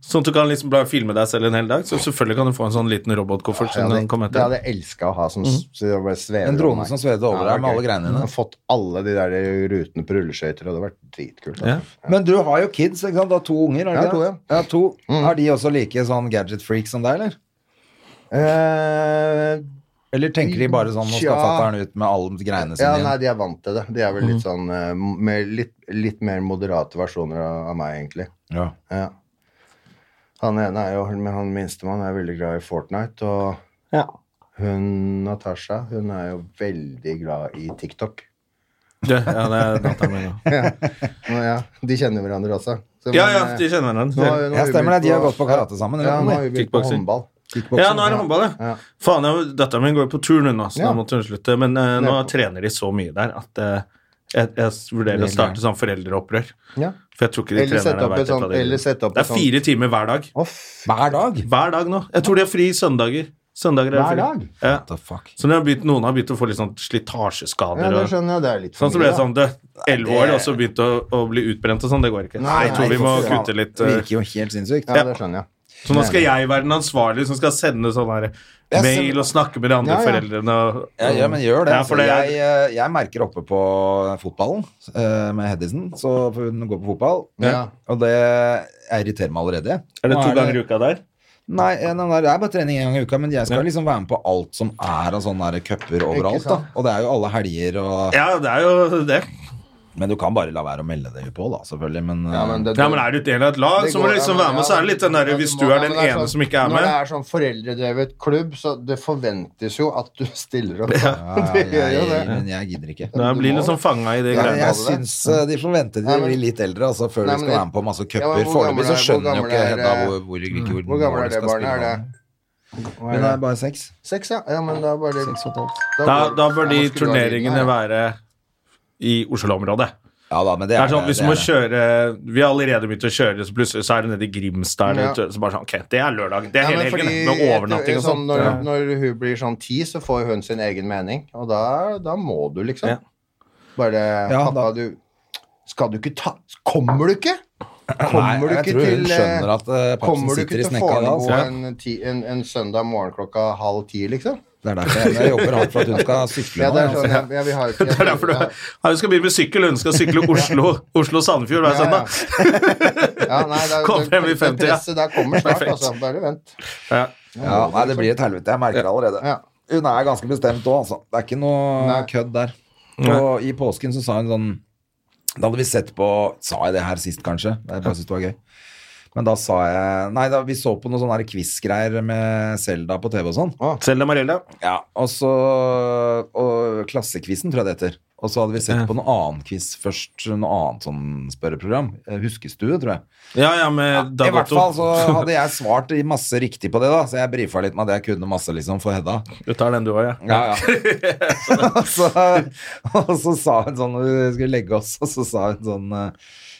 Speaker 1: Sånn at du kan liksom bare filme deg selv en hel dag. Så selvfølgelig kan du få en sånn liten robotkoffert
Speaker 3: Jeg
Speaker 1: som
Speaker 3: hadde,
Speaker 1: den kommer
Speaker 3: det
Speaker 1: etter.
Speaker 3: hadde jeg elska å ha som s- så det bare svever
Speaker 2: En
Speaker 3: over
Speaker 2: drone
Speaker 3: meg.
Speaker 2: som svevde
Speaker 3: Ja,
Speaker 2: over deg med
Speaker 3: det var
Speaker 2: alle
Speaker 3: gøy.
Speaker 2: greiene dine.
Speaker 3: Jeg hadde Fått alle de der rutene på rulleskøyter, og det hadde vært dritkult.
Speaker 1: Ja.
Speaker 3: altså.
Speaker 2: [laughs] Men du har jo kids, ikke sant? Du har to unger, har
Speaker 3: Jeg
Speaker 2: du
Speaker 3: har
Speaker 2: ikke det? Ja, Mm. to. Er de også like sånn gadget-freak som deg, eller?
Speaker 3: Eh,
Speaker 2: Eller tenker de bare sånn, nå skal
Speaker 3: Tja.
Speaker 2: fatter'n ut med alle greiene
Speaker 3: ja,
Speaker 2: sine? Mhm.
Speaker 3: nei, de er vant til det. De er vel litt sånn eh, med litt, litt mer moderate versjoner av, av meg, egentlig.
Speaker 2: Ja.
Speaker 3: Ja. Han ene er jo men han minstemann er veldig glad i Fortnite, og hun Natasha hun er jo veldig glad i TikTok.
Speaker 1: Ja, ja, det er
Speaker 3: [laughs]
Speaker 1: dataen min. ja.
Speaker 3: Nå, ja, de kjenner hverandre også. Så,
Speaker 1: Ja,
Speaker 3: men,
Speaker 1: ja,
Speaker 3: eh,
Speaker 1: de kjenner
Speaker 3: nå har hun-
Speaker 1: hverandre.
Speaker 3: nå
Speaker 2: Ja,
Speaker 3: har hun
Speaker 2: stemmer
Speaker 3: begynt
Speaker 2: det. De har gått på karate sammen, eller
Speaker 3: Ja, nå
Speaker 2: noe?
Speaker 3: har hun begynt på
Speaker 1: Kickboksing.
Speaker 3: håndball.
Speaker 2: Kickboksing,
Speaker 1: Ja, nå er det håndball, ja.
Speaker 3: sånn, Ja.
Speaker 1: Faen, jeg- datteren min går jo på tur nå, nå, så
Speaker 3: Ja.
Speaker 1: da måtte hun slutte. Men eh, nå trener de så mye der at eh, jeg, jeg vurderer å starte sånn foreldreopprør.
Speaker 3: Ja.
Speaker 1: For jeg tror ikke de
Speaker 3: Eller sette
Speaker 1: trenerne
Speaker 3: opp
Speaker 1: vet
Speaker 3: et
Speaker 1: dette,
Speaker 3: sånt
Speaker 1: de-
Speaker 3: eller sette opp
Speaker 1: Det
Speaker 3: et sånn-
Speaker 1: er
Speaker 3: sånt-
Speaker 1: fire timer hver dag.
Speaker 3: Å, f-
Speaker 2: Hver dag?
Speaker 1: Hver dag nå. Jeg tror de har fri søndager. Søndager er
Speaker 3: Hver
Speaker 1: fri.
Speaker 3: dag?
Speaker 1: Ja.
Speaker 2: What the fuck?
Speaker 1: Så de har begynt, noen har begynt å få litt sånn
Speaker 3: Ja,
Speaker 1: slitasjeskader.
Speaker 3: det
Speaker 1: og-
Speaker 3: skjønner jeg. Det er litt for
Speaker 1: Sånn så ble
Speaker 3: mye,
Speaker 1: jeg
Speaker 3: da.
Speaker 1: sånn død. Elleve år, og så begynte å, å bli utbrent og sånn. Det går ikke.
Speaker 3: Nei,
Speaker 1: jeg tror
Speaker 3: nei,
Speaker 1: vi må
Speaker 3: for faen.
Speaker 1: kutte litt.
Speaker 2: Det
Speaker 1: eh,
Speaker 2: virker jo helt sinnssykt.
Speaker 3: Ja, det skjønner jeg.
Speaker 1: Så nå skal jeg være den ansvarlige som skal sende sånn her
Speaker 2: Jeg
Speaker 1: mail
Speaker 2: sender-
Speaker 1: og snakke med de andre
Speaker 3: Ja, ja.
Speaker 1: foreldrene. Og,
Speaker 2: Ja, ja, men gjør det.
Speaker 1: Ja, for
Speaker 2: Altså,
Speaker 1: det-
Speaker 2: jeg, eh, jeg merker oppe på fotballen eh, med Hedisen, så for hun går på fotball.
Speaker 3: Ja.
Speaker 2: Og det jeg irriterer meg allerede.
Speaker 1: Er det
Speaker 2: Nå
Speaker 1: to ganger i uka der?
Speaker 2: Nei, eh, nei, nei, det er bare trening én gang i uka, men jeg skal
Speaker 1: Ja.
Speaker 2: liksom være med på alt som er av sånne der cuper overalt. Da.
Speaker 3: sant.
Speaker 2: Og det er jo alle helger og
Speaker 1: Ja, det er jo det.
Speaker 2: Men du kan bare la være å melde deg på, da, selvfølgelig. Men, eh,
Speaker 3: Ja, men det-
Speaker 1: Ja, men er du del av et lag,
Speaker 3: det
Speaker 1: så må
Speaker 3: går-
Speaker 1: du liksom
Speaker 3: ja, men-
Speaker 1: være med. Så er det litt den
Speaker 3: ja,
Speaker 1: derre hvis
Speaker 3: må-
Speaker 1: du
Speaker 3: ja,
Speaker 1: er
Speaker 3: men
Speaker 1: den
Speaker 3: det
Speaker 1: ene
Speaker 3: sånn-
Speaker 1: som ikke er
Speaker 3: Når det
Speaker 1: med.
Speaker 3: er sånn foreldredrevet klubb, så det forventes jo at du stiller opp.
Speaker 2: ja,
Speaker 3: [laughs] Det gjør jo
Speaker 2: jeg,
Speaker 3: det.
Speaker 2: men jeg gidder ikke.
Speaker 1: Da
Speaker 3: du
Speaker 1: blir
Speaker 3: må
Speaker 1: du liksom fanga i det
Speaker 3: Ja,
Speaker 2: Jeg,
Speaker 1: greiene.
Speaker 2: jeg
Speaker 3: det.
Speaker 2: syns eh, de får vente til de
Speaker 3: Nei, men-
Speaker 2: blir litt eldre altså,
Speaker 3: Nei,
Speaker 2: før de
Speaker 3: men
Speaker 2: skal
Speaker 3: jeg-
Speaker 2: være med på masse
Speaker 3: Ja, men
Speaker 2: cuper.
Speaker 3: hvor gammel
Speaker 2: Foreløpig så
Speaker 3: er- hvor
Speaker 2: skjønner jo
Speaker 3: gammel
Speaker 2: ikke
Speaker 3: er,
Speaker 2: Hedda
Speaker 3: eh,
Speaker 2: hvor, hvor, ikke hvor,
Speaker 3: Hvor gammel
Speaker 2: når
Speaker 3: er
Speaker 2: de
Speaker 3: det
Speaker 2: skal
Speaker 3: barnet?
Speaker 2: spille
Speaker 3: Er
Speaker 2: nå.
Speaker 3: det Hva
Speaker 2: Hun
Speaker 3: er
Speaker 2: er
Speaker 3: det?
Speaker 2: bare seks.
Speaker 3: eh, Seks, ja. ja men da bare
Speaker 2: Seks og et halvt.
Speaker 1: Da,
Speaker 3: går-
Speaker 1: da bør
Speaker 3: Ja,
Speaker 1: de
Speaker 3: nå skulle du ha lyden her, ja.
Speaker 1: turneringene være i Oslo-området.
Speaker 2: Ja da, men det
Speaker 1: Det
Speaker 2: er,
Speaker 1: er sånn,
Speaker 2: det
Speaker 1: hvis
Speaker 2: er
Speaker 1: Vi må
Speaker 2: det.
Speaker 1: kjøre Vi har allerede begynt å kjøre, så plutselig så er det nede i Grimstad. eller
Speaker 3: Ja.
Speaker 1: et- Så bare sånn, ok, Det er lørdag. Det er
Speaker 3: Ja,
Speaker 1: hele
Speaker 3: men
Speaker 1: helgen.
Speaker 3: fordi
Speaker 1: Med
Speaker 3: etter-
Speaker 1: overnatting og
Speaker 3: sånn,
Speaker 1: sånt.
Speaker 3: Når,
Speaker 1: Ja.
Speaker 3: når hun blir sånn ti, så får hun sin egen mening, og da, da må du liksom
Speaker 1: Ja.
Speaker 3: bare
Speaker 2: Ja,
Speaker 3: Pappa,
Speaker 2: da-
Speaker 3: du Skal du ikke ta Kommer du ikke?
Speaker 2: Nei,
Speaker 3: Kommer du
Speaker 2: jeg
Speaker 3: ikke
Speaker 2: tror hun
Speaker 3: til eh,
Speaker 2: skjønner at, eh, papsen
Speaker 3: Kommer du
Speaker 2: sitter
Speaker 3: ikke
Speaker 2: i
Speaker 3: til
Speaker 2: snekka da,
Speaker 3: Fornebu
Speaker 2: altså?
Speaker 3: en, ti- en, en søndag morgen klokka halv ti, liksom?
Speaker 2: Det er derfor jeg, jeg jobber hardt for at hun skal sykle.
Speaker 3: Ja, det er
Speaker 2: nå,
Speaker 3: sånn,
Speaker 2: altså.
Speaker 3: jeg, jeg, vi har jo ikke
Speaker 1: [laughs] Det er derfor du
Speaker 3: ja,
Speaker 1: ja, du skal begynne med sykkel. Hun skal sykle Oslo- sånn Oslo-Sandefjord hver
Speaker 3: ja.
Speaker 1: søndag.
Speaker 3: ja, nei, det, er-
Speaker 1: Kom frem i
Speaker 3: det, det
Speaker 1: 50, ja.
Speaker 3: presset der kommer snart,
Speaker 1: Perfekt.
Speaker 3: altså. Bare vent.
Speaker 1: Ja.
Speaker 2: Ja, nei, det blir et helvete. Jeg merker det allerede.
Speaker 3: Ja.
Speaker 2: Hun er ganske bestemt òg, altså. Det er ikke noe
Speaker 3: Nei.
Speaker 2: kødd der. Og i påsken så sa hun sånn Da hadde vi sett på Sa jeg det her sist, kanskje? Jeg bare syntes det var gøy. Men da sa jeg Nei, da, vi så på noen sånne her quiz-greier med Selda på TV og sånn.
Speaker 1: Selda Marella.
Speaker 2: Ja, og så og Klassekvissen, tror jeg det heter. Og så hadde vi sett på noe annen quiz først, noe annet sånn spørreprogram. Eh, Huskestue, tror jeg.
Speaker 1: Ja, ja, med
Speaker 2: I hvert fall så
Speaker 1: Dagotto.
Speaker 2: hadde jeg svart i masse riktig på det, da. Så jeg brifa litt med at jeg kunne masse, liksom, for Hedda.
Speaker 1: Du tar den du òg, ja.
Speaker 2: Ja, [laughs] ja. og, så, og så sa hun sånn når Vi skulle legge oss, og så sa hun sånn eh,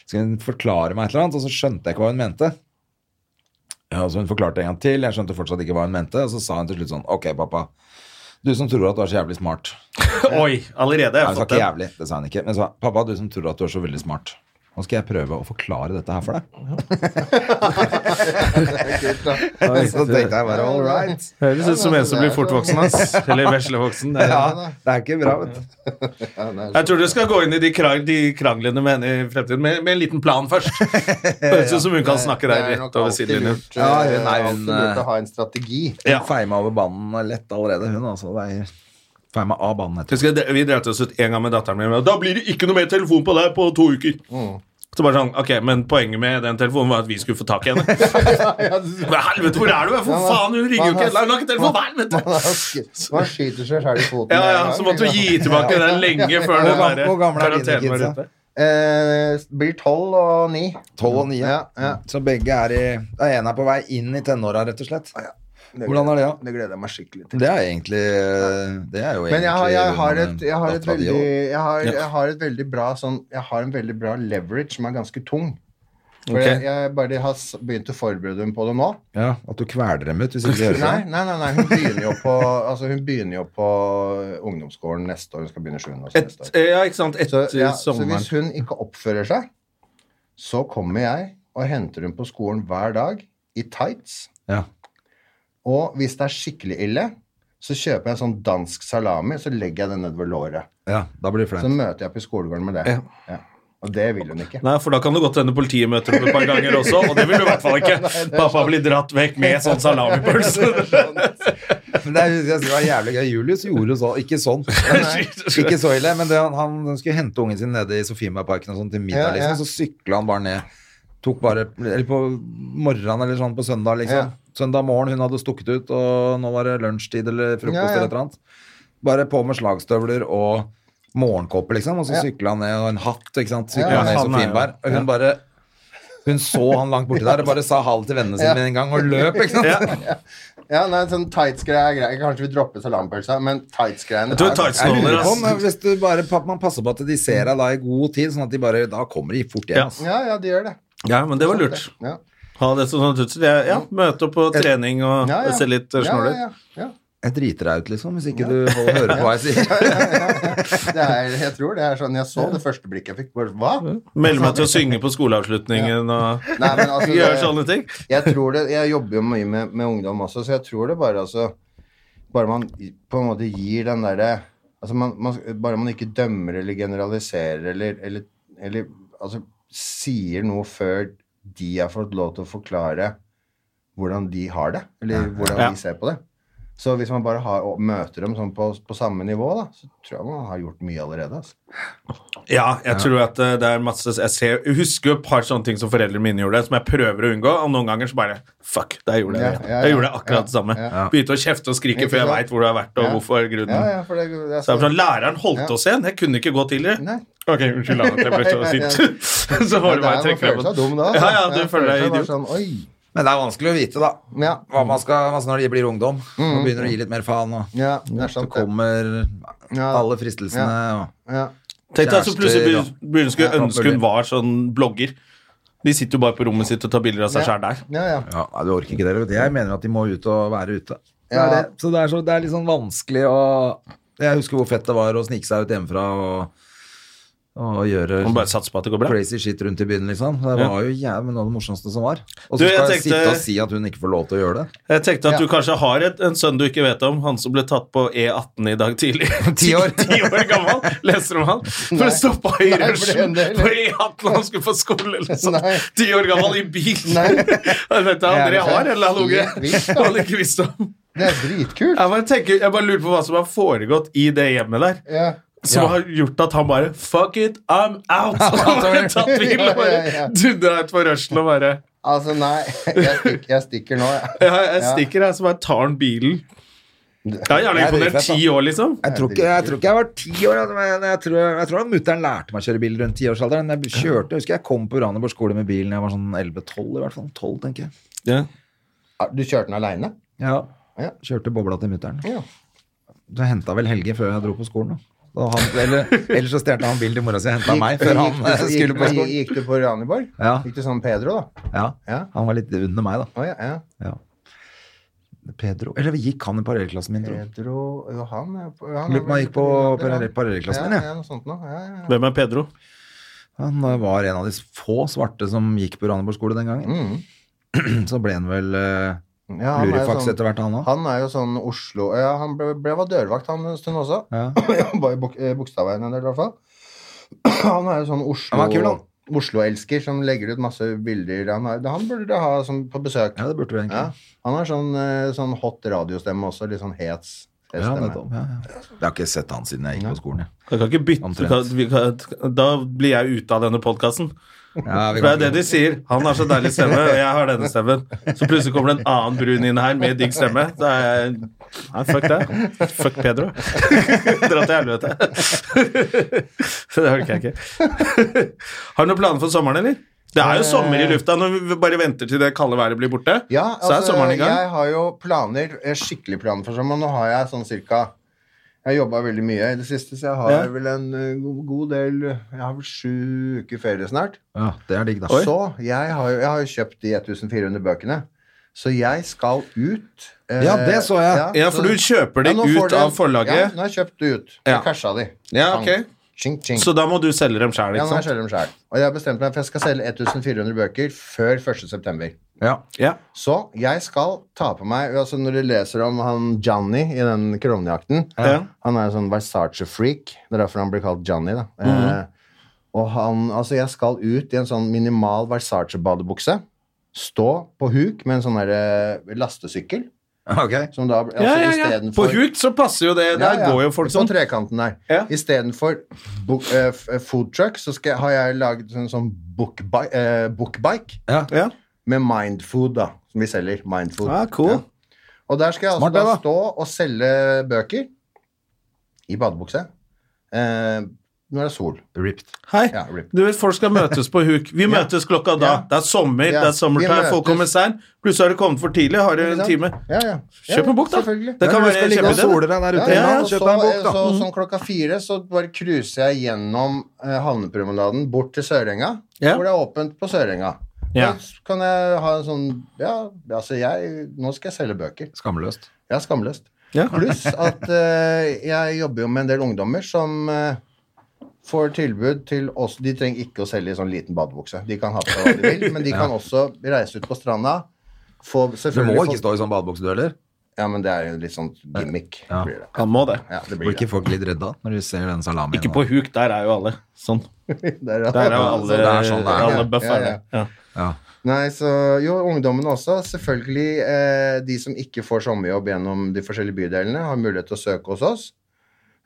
Speaker 2: Skulle hun forklare meg et eller annet, og så skjønte jeg ikke hva hun mente. Ja, så Hun forklarte en gang til, jeg skjønte fortsatt ikke hva hun mente. Og så sa hun til slutt sånn Ok, pappa. Du som tror at du er så jævlig smart.
Speaker 1: [laughs] Oi, allerede.
Speaker 2: Nei,
Speaker 1: Jeg
Speaker 2: hun
Speaker 1: har
Speaker 2: sa
Speaker 1: fått
Speaker 2: ikke
Speaker 1: den.
Speaker 2: jævlig, det sa hun ikke. Men hun sa pappa, du som tror at du er så veldig smart. Nå skal jeg prøve å forklare dette her for deg.
Speaker 3: [laughs]
Speaker 2: [laughs] så tenkte jeg bare all right.
Speaker 1: Høres ut som en som blir fortvoksen, ass. Eller veslevoksen. det er-
Speaker 2: Ja, det er ikke bra, vet du.
Speaker 1: Jeg tror du skal gå inn i de, krang, de kranglene med henne i fremtiden med, med en liten plan først. Høres ut som hun kan snakke
Speaker 3: Det
Speaker 1: deg
Speaker 3: er nok
Speaker 1: rett over
Speaker 3: alltid
Speaker 1: sidelinjen.
Speaker 3: lurt,
Speaker 2: Ja,
Speaker 3: eh,
Speaker 2: hun er jo en,
Speaker 3: alltid lurt å ha en strategi.
Speaker 1: Ja.
Speaker 2: Hun feima over banen lett allerede, hun altså. Det er feima av banen etter.
Speaker 1: Husker jeg, Vi drev oss ut en gang med datteren min. Og da blir det ikke noe mer telefon på deg på to uker. Så bare sånn, ok, Men poenget med den telefonen var at vi skulle få tak i henne. Men helvete, hvor er du? For faen, hun ringer jo ikke! La henne ikke telefonen! for Helvete!
Speaker 3: Man skyter seg selv i foten.
Speaker 1: Ja,
Speaker 3: med en
Speaker 1: ja,
Speaker 3: gang,
Speaker 1: Så måtte hun
Speaker 3: liksom.
Speaker 1: gi tilbake den lenge før
Speaker 2: Hvor
Speaker 1: den
Speaker 2: gam-
Speaker 1: der
Speaker 2: hvor gamle er dine
Speaker 1: karantenen var
Speaker 2: kids, da?
Speaker 1: ute.
Speaker 3: Eh, blir tolv og ni.
Speaker 2: 12 og 9.
Speaker 3: Ja, ja.
Speaker 2: Så begge er i ja, En er på vei inn i tenåra, rett og slett. Hvordan er det, da?
Speaker 3: Det gleder jeg meg skikkelig til.
Speaker 2: Det er egentlig Det er jo egentlig
Speaker 3: Men jeg har, jeg har,
Speaker 2: rundt
Speaker 3: et, jeg har, et,
Speaker 2: dattera di
Speaker 3: veldig,
Speaker 2: også.
Speaker 3: jeg har, jeg har et veldig bra sånn Jeg har en veldig bra leverage som er ganske tung. For
Speaker 1: Ok.
Speaker 3: jeg, jeg bare har s- begynt å forberede dem på det nå.
Speaker 2: Ja, At du kveler dem ut hvis ikke de hører på.
Speaker 3: Nei, nei, nei, nei hun, begynner jo på, altså, hun begynner jo på ungdomsskolen neste år. Hun skal begynne 7. også
Speaker 1: Et, eh,
Speaker 3: neste år.
Speaker 1: ja, ikke
Speaker 3: Så,
Speaker 1: sant? Etter
Speaker 3: ja, så
Speaker 1: sommeren.
Speaker 3: hvis hun ikke oppfører seg, så kommer jeg og henter hun på skolen hver dag i tights.
Speaker 2: Ja.
Speaker 3: Og hvis det er skikkelig ille, så kjøper jeg en sånn dansk salami, så legger jeg den nedover låret.
Speaker 2: ja, da blir det
Speaker 3: Så
Speaker 2: flaut.
Speaker 3: møter jeg på skolegården med det. Ja. Og det vil hun ikke.
Speaker 1: Nei, for da kan det godt hende politiet møter opp et par ganger også, og det vil du i hvert fall ikke. Pappa blir dratt vekk med sånn salamipølse.
Speaker 2: Men det, er, jeg synes det var jævlig gøy. Julius gjorde så, ikke sånn.
Speaker 1: [laughs]
Speaker 2: ikke så ille, men det, han, han skulle hente ungen sin nede i Sofiemarparken og sånn til middag,
Speaker 3: Ja, ja.
Speaker 2: liksom. Så sykla han bare ned. Tok bare Eller på morgenen eller sånn på søndag, liksom.
Speaker 3: Ja.
Speaker 2: Søndag morgen, hun hadde stukket ut, og nå var det lunsjtid eller frokost
Speaker 3: Ja, ja.
Speaker 2: eller et eller annet. Bare på med slagstøvler og morgenkåpe, liksom. Og så
Speaker 3: Ja.
Speaker 2: sykla han ned, og en hatt, ikke sant. Sykla
Speaker 1: Ja,
Speaker 2: han ned i
Speaker 1: han er jo-
Speaker 2: Sofienberg. Og hun bare hun så han langt borti der og bare sa ha det til vennene sine
Speaker 3: Ja.
Speaker 2: med en gang og løp. ikke sant?
Speaker 3: Ja, nei, sånn tights-greie er greit. Kanskje vi dropper salamipølsa, men tights-greiene
Speaker 1: Jeg tror
Speaker 3: er-
Speaker 1: tights-
Speaker 2: Jeg lurer
Speaker 1: Ståler,
Speaker 2: på
Speaker 1: ass.
Speaker 2: om eh, hvis du bare, pa- man passer på at de ser deg da i god tid, sånn at de bare, da kommer de fort
Speaker 1: Ja.
Speaker 2: hjem. ass.
Speaker 3: sånn- Ja, ja, de gjør det.
Speaker 1: Ja, men det var lurt.
Speaker 3: Ja,
Speaker 1: Ha det som sånn tutsel. Ja, ja, møte opp på trening og
Speaker 3: Mm. ja, ja.
Speaker 1: se litt eh,
Speaker 3: Ja,
Speaker 1: snål ut.
Speaker 3: Ja, ja, ja.
Speaker 2: Jeg driter deg ut, liksom, hvis ikke du holder, hører på hva jeg
Speaker 3: [laughs]
Speaker 2: sier.
Speaker 3: Det er, jeg tror det er sånn Jeg så det første blikket jeg fikk. Bare, hva?
Speaker 1: Melde
Speaker 3: [laughs]
Speaker 1: meg til å synge på skoleavslutningen og
Speaker 3: Nei, men
Speaker 1: [laughs]
Speaker 3: altså,
Speaker 1: gjøre
Speaker 3: det-
Speaker 1: sånne ting.
Speaker 3: jeg tror det, jeg jobber jo mye med, med ungdom også, så jeg tror det bare altså Bare man i- på en måte gir den derre altså man, man, Bare man ikke dømmer eller generaliserer eller, eller, eller altså, sier noe før de har fått lov til å forklare hvordan de har det, eller hvordan
Speaker 1: Ja.
Speaker 3: de ser på det. Så hvis man bare har, og møter dem sånn på, på samme nivå, da, så tror jeg man har gjort mye allerede. Altså.
Speaker 1: Ja, jeg tror at eh, det er masse Jeg ser, jeg husker jo et par sånne ting som foreldrene mine gjorde, som jeg prøver å unngå, og noen ganger så bare Fuck, der gjorde jeg
Speaker 3: Ja,
Speaker 1: det.
Speaker 3: ja, ja.
Speaker 1: Jeg gjorde akkurat det samme.
Speaker 3: Ja,
Speaker 1: Begynte å kjefte og skrike
Speaker 3: Ikke
Speaker 1: før jeg
Speaker 3: sant?
Speaker 1: veit hvor du har vært, og
Speaker 3: Ja.
Speaker 1: hvorfor er grunnen.
Speaker 3: Ja, ja, for det, jeg,
Speaker 1: Mm. Så det er sånn, Læreren holdt oss igjen. Jeg kunne ikke gå tidligere.
Speaker 3: Nei.
Speaker 1: Ok, unnskyld. Anne,
Speaker 3: [laughs]
Speaker 1: jeg ble så sint. [laughs] Så
Speaker 3: Ja,
Speaker 1: var det bare å
Speaker 3: der, man
Speaker 1: trekke frem
Speaker 3: føler seg dum da. altså.
Speaker 1: Ja, ja, du føler deg
Speaker 3: seg bare
Speaker 1: idiot.
Speaker 3: Sånn, Oi,
Speaker 2: Men det er vanskelig å vite, da.
Speaker 3: Ja. Mm.
Speaker 2: Hva man skal, altså når de blir ungdom. Og begynner å gi litt mer faen. Og
Speaker 3: Ja, det er
Speaker 2: så
Speaker 3: sant. det.
Speaker 2: kommer
Speaker 3: Ja.
Speaker 2: alle fristelsene. Og.
Speaker 3: Ja.
Speaker 1: Tenk deg så plutselig
Speaker 2: Kjærester,
Speaker 1: begyn- begynner hun skulle
Speaker 2: Ja,
Speaker 1: ønske hun
Speaker 2: selvfølgelig.
Speaker 1: var sånn blogger. De sitter jo bare på rommet sitt og tar bilder av seg sjæl der.
Speaker 3: Ja, ja.
Speaker 2: Ja, nei, du orker ikke det. vet du. Jeg mener at de må ut og være ute. Det
Speaker 3: Ja.
Speaker 2: er det. Så, det er så det er litt sånn vanskelig å Jeg husker hvor fett det var å snike seg ut hjemmefra og, og gjøre
Speaker 1: Man bare satser på at det går bra.
Speaker 2: crazy shit rundt i byen, liksom. Det var jo jævlig noe av det morsomste som var. Og
Speaker 1: Du,
Speaker 2: så
Speaker 1: jeg
Speaker 2: skal jeg
Speaker 1: tenkte-
Speaker 2: sitte og si at hun ikke får lov til å gjøre det.
Speaker 1: Jeg tenkte at
Speaker 3: Ja.
Speaker 1: du kanskje har et, en sønn du ikke vet om, han som ble tatt på E18 i dag tidlig.
Speaker 3: [laughs]
Speaker 2: Ti år.
Speaker 1: Ti år gammel, leser om han. For det stoppa i
Speaker 3: Nei, for det
Speaker 1: rushen
Speaker 3: hender,
Speaker 1: på E18 han skulle på skole eller sånn.
Speaker 3: Nei.
Speaker 1: Ti år gammel i bil.
Speaker 3: [laughs]
Speaker 1: [laughs]
Speaker 3: Nei.
Speaker 1: Jeg vet ikke,
Speaker 3: Jeg er
Speaker 1: André har en eller annen
Speaker 3: helt
Speaker 1: unge
Speaker 3: vilt, da.
Speaker 1: han ikke visste om.
Speaker 3: Det er dritkult.
Speaker 1: Jeg bare, tenker, jeg bare lurer på hva som har foregått i det hjemmet der.
Speaker 3: Ja.
Speaker 1: Som
Speaker 2: Ja.
Speaker 1: har gjort at han bare Fuck it, I'm
Speaker 3: [laughs]
Speaker 1: out! Og Han har tatt bilen
Speaker 3: Ja, ja,
Speaker 1: og bare
Speaker 3: ja.
Speaker 1: dundra ut på rushen og bare
Speaker 3: [laughs] Altså, nei. Jeg stikker, jeg stikker nå, jeg.
Speaker 1: Jeg, jeg stikker, jeg, så bare tar han bilen. Jeg er gjerne
Speaker 2: Jeg er
Speaker 1: imponert
Speaker 2: dritfett, da.
Speaker 1: ti år, liksom.
Speaker 2: Jeg tror, ikke, jeg tror ikke jeg var ti år, altså, men jeg tror, jeg tror mutter'n lærte meg å kjøre bil rundt tiårsalderen. Jeg kjørte, jeg husker jeg kom på Raneborg skole med bilen jeg var sånn 11-12, i hvert fall. 12, tenker jeg.
Speaker 3: Du kjørte den aleine?
Speaker 2: Ja.
Speaker 3: Ja.
Speaker 2: Kjørte bobla til mutter'n.
Speaker 3: Ja.
Speaker 2: Du henta vel Helge før jeg dro på skolen, da. da han, eller, ellers så stjal han bil til mora si og henta meg før han eh, skulle på skolen.
Speaker 3: Gikk du på Raniborg?
Speaker 2: Ja.
Speaker 3: Gikk du sammen med Pedro, da?
Speaker 2: Ja,
Speaker 3: Ja.
Speaker 2: Han var litt under meg, da.
Speaker 3: Å ja, ja.
Speaker 2: Ja. Pedro Eller gikk han i parallellklassen min, tror jeg.
Speaker 3: Pedro jo, han, er på- han
Speaker 2: Lurer på om han gikk på parallell-
Speaker 3: ja,
Speaker 2: parallellklassen min, jeg.
Speaker 3: ja, noe sånt nå. Ja, ja, ja.
Speaker 1: Hvem er Pedro?
Speaker 2: Han var en av de få svarte som gikk på Raneborg skole den gangen.
Speaker 3: Mm.
Speaker 2: Så ble han vel eh,
Speaker 3: Ja, han er jo
Speaker 2: lurifaks
Speaker 3: sånn-
Speaker 2: etter hvert, han òg.
Speaker 3: Han er jo sånn Oslo Ja, han ble, ble, var dørvakt han en stund også.
Speaker 2: Ja.
Speaker 3: Bare i Bok- eh, Bogstadveien en del, i hvert fall. Han er jo sånn Oslo
Speaker 2: Han var kul, han.
Speaker 3: Oslo-elsker som legger ut masse bilder. Han, er, han burde dere ha som, på besøk.
Speaker 2: ja, det burde du egentlig.
Speaker 3: Ja. Han har sånn, eh, sånn hot radiostemme også. Litt sånn het s-
Speaker 2: Ja,
Speaker 3: stemme.
Speaker 2: nettopp. Ja, ja. Jeg har ikke sett han siden jeg gikk på
Speaker 3: [laughs]
Speaker 2: skolen. jeg.
Speaker 1: Jeg kan ikke bytte
Speaker 2: Omtrent.
Speaker 1: kan, vi kan, Da blir jeg ute av denne podkasten.
Speaker 2: Ja, vi
Speaker 1: For det er
Speaker 2: kan
Speaker 1: det de
Speaker 2: ikke-
Speaker 1: sier. Han har så deilig stemme, og jeg har denne stemmen. Så plutselig kommer det en annen brun inn her med digg stemme. Da er jeg Nei, fuck det. Fuck Pedro. [laughs] Dra til helvete. [laughs] Så det orker jeg ikke. Har du noen planer for sommeren, eller? Det er jo sommer i lufta når vi bare venter til det kalde været blir borte.
Speaker 3: Ja,
Speaker 1: så er
Speaker 3: altså,
Speaker 1: sommeren i gang.
Speaker 3: jeg har jo planer, eh, skikkelig planer for sommeren. Nå har jeg sånn cirka Jeg har jobba veldig mye i det siste, så jeg har
Speaker 1: Ja.
Speaker 3: vel en eh, go- god del Jeg har vel sju uker ferie snart.
Speaker 2: Ja, det er digg, da.
Speaker 3: Så jeg har, jo- jeg har jo kjøpt de 1400 bøkene. Så jeg skal ut eh,
Speaker 2: Ja, det så jeg.
Speaker 1: Ja, for du kjøper de
Speaker 3: Ja, nå får
Speaker 1: ut
Speaker 3: de- Ja,
Speaker 1: av forlaget.
Speaker 3: nå har jeg kjøpt de ut.
Speaker 1: Ja.
Speaker 3: Jeg casha de.
Speaker 1: Ja,
Speaker 3: Pang.
Speaker 1: ok.
Speaker 3: Tjing, tjing.
Speaker 1: Så liksom. da må du selge dem sjæl,
Speaker 3: ja, nå har jeg
Speaker 1: ikke sant?
Speaker 3: selger dem selv. Og jeg har bestemt meg for jeg skal selge 1400 bøker før 1. september.
Speaker 2: Ja. [laughs]
Speaker 1: Ja.
Speaker 3: Så jeg skal ta på meg altså Når du leser om han Johnny i den klovnejakten
Speaker 1: Ja.
Speaker 3: Han er jo sånn Versace-freak. Det er derfor han blir kalt Johnny, da.
Speaker 1: Mhm.
Speaker 3: eh, og han Altså, jeg skal ut i en sånn minimal Versace-badebukse. Stå på huk med en sånn derre lastesykkel.
Speaker 2: Ok.
Speaker 3: Som da altså,
Speaker 1: Ja, ja, ja.
Speaker 3: istedenfor-
Speaker 1: På Huk så passer jo det.
Speaker 3: Ja,
Speaker 1: Der
Speaker 3: ja,
Speaker 1: går jo folk sånn.
Speaker 3: På trekanten der.
Speaker 1: Ja.
Speaker 3: Istedenfor bo- eh, f- eh, food truck, så skal, jeg- har jeg laget en sånn bookbike, eh, bookbike
Speaker 2: Ja.
Speaker 1: Ja.
Speaker 3: med mindfood, da. Som vi selger. Mindfood.
Speaker 1: Ah, cool.
Speaker 3: Ja. Og der skal jeg altså
Speaker 2: Smart, det,
Speaker 3: da
Speaker 2: da.
Speaker 3: stå og selge bøker i badebukse. Eh, når det er sol.
Speaker 2: Ripped.
Speaker 1: Hei.
Speaker 3: Ja, rip.
Speaker 1: Du vet, Folk skal møtes på huk. Vi møtes klokka da.
Speaker 3: [laughs] Ja.
Speaker 1: Det er sommer,
Speaker 3: Ja.
Speaker 1: det er summertime,
Speaker 3: Vi
Speaker 1: folk
Speaker 3: møtes.
Speaker 1: kommer seint. Plutselig har du kommet for tidlig, har du en time.
Speaker 3: Ja, ja. Ja,
Speaker 1: Kjøp en bok, da.
Speaker 3: Selvfølgelig.
Speaker 1: Det kan
Speaker 2: du
Speaker 1: være
Speaker 2: skal ligge og
Speaker 1: kjempeidé,
Speaker 2: sole
Speaker 1: det.
Speaker 2: deg der
Speaker 3: Ja,
Speaker 2: ute.
Speaker 3: ja,
Speaker 2: Ja,
Speaker 3: og
Speaker 2: Kjøp
Speaker 3: så-
Speaker 2: deg en bok, da.
Speaker 3: Så,
Speaker 1: Mm.
Speaker 3: sånn klokka fire så bare cruiser jeg gjennom eh, havnepromenaden bort til Sørenga,
Speaker 1: Ja.
Speaker 3: hvor det er åpent på Sørenga.
Speaker 1: Ja.
Speaker 3: Da kan jeg ha en sånn Ja, altså jeg Nå skal jeg selge bøker.
Speaker 2: Skamløst.
Speaker 3: Jeg er skamløst.
Speaker 1: Ja.
Speaker 3: Pluss at eh, jeg jobber jo med en del ungdommer som eh, får tilbud til oss De trenger ikke å selge i sånn liten badebukse. De kan ha på seg hva de vil, men de kan også reise ut på stranda. Få,
Speaker 2: Du
Speaker 3: selvfølgelig
Speaker 2: må ikke
Speaker 3: få-
Speaker 2: stå i sånn badebukse, du heller.
Speaker 3: Ja, men det er jo litt sånn gimmick.
Speaker 2: Ja.
Speaker 3: Blir det.
Speaker 1: Han må det.
Speaker 3: Ja, det blir
Speaker 2: Blir ikke folk litt redda når de ser den salamien?
Speaker 1: Ikke
Speaker 2: da?
Speaker 1: på huk, der er jo alle sånn.
Speaker 3: det. [laughs] Der er
Speaker 1: Der er jo
Speaker 3: alle-
Speaker 1: alle,
Speaker 2: det er sånn det er.
Speaker 1: alle buff
Speaker 3: Ja,
Speaker 1: er
Speaker 3: ja,
Speaker 1: det. Ja.
Speaker 2: Ja.
Speaker 3: Nei, så jo, ungdommene også. Selvfølgelig eh, de som ikke får sommerjobb gjennom de forskjellige bydelene, har mulighet til å søke hos oss.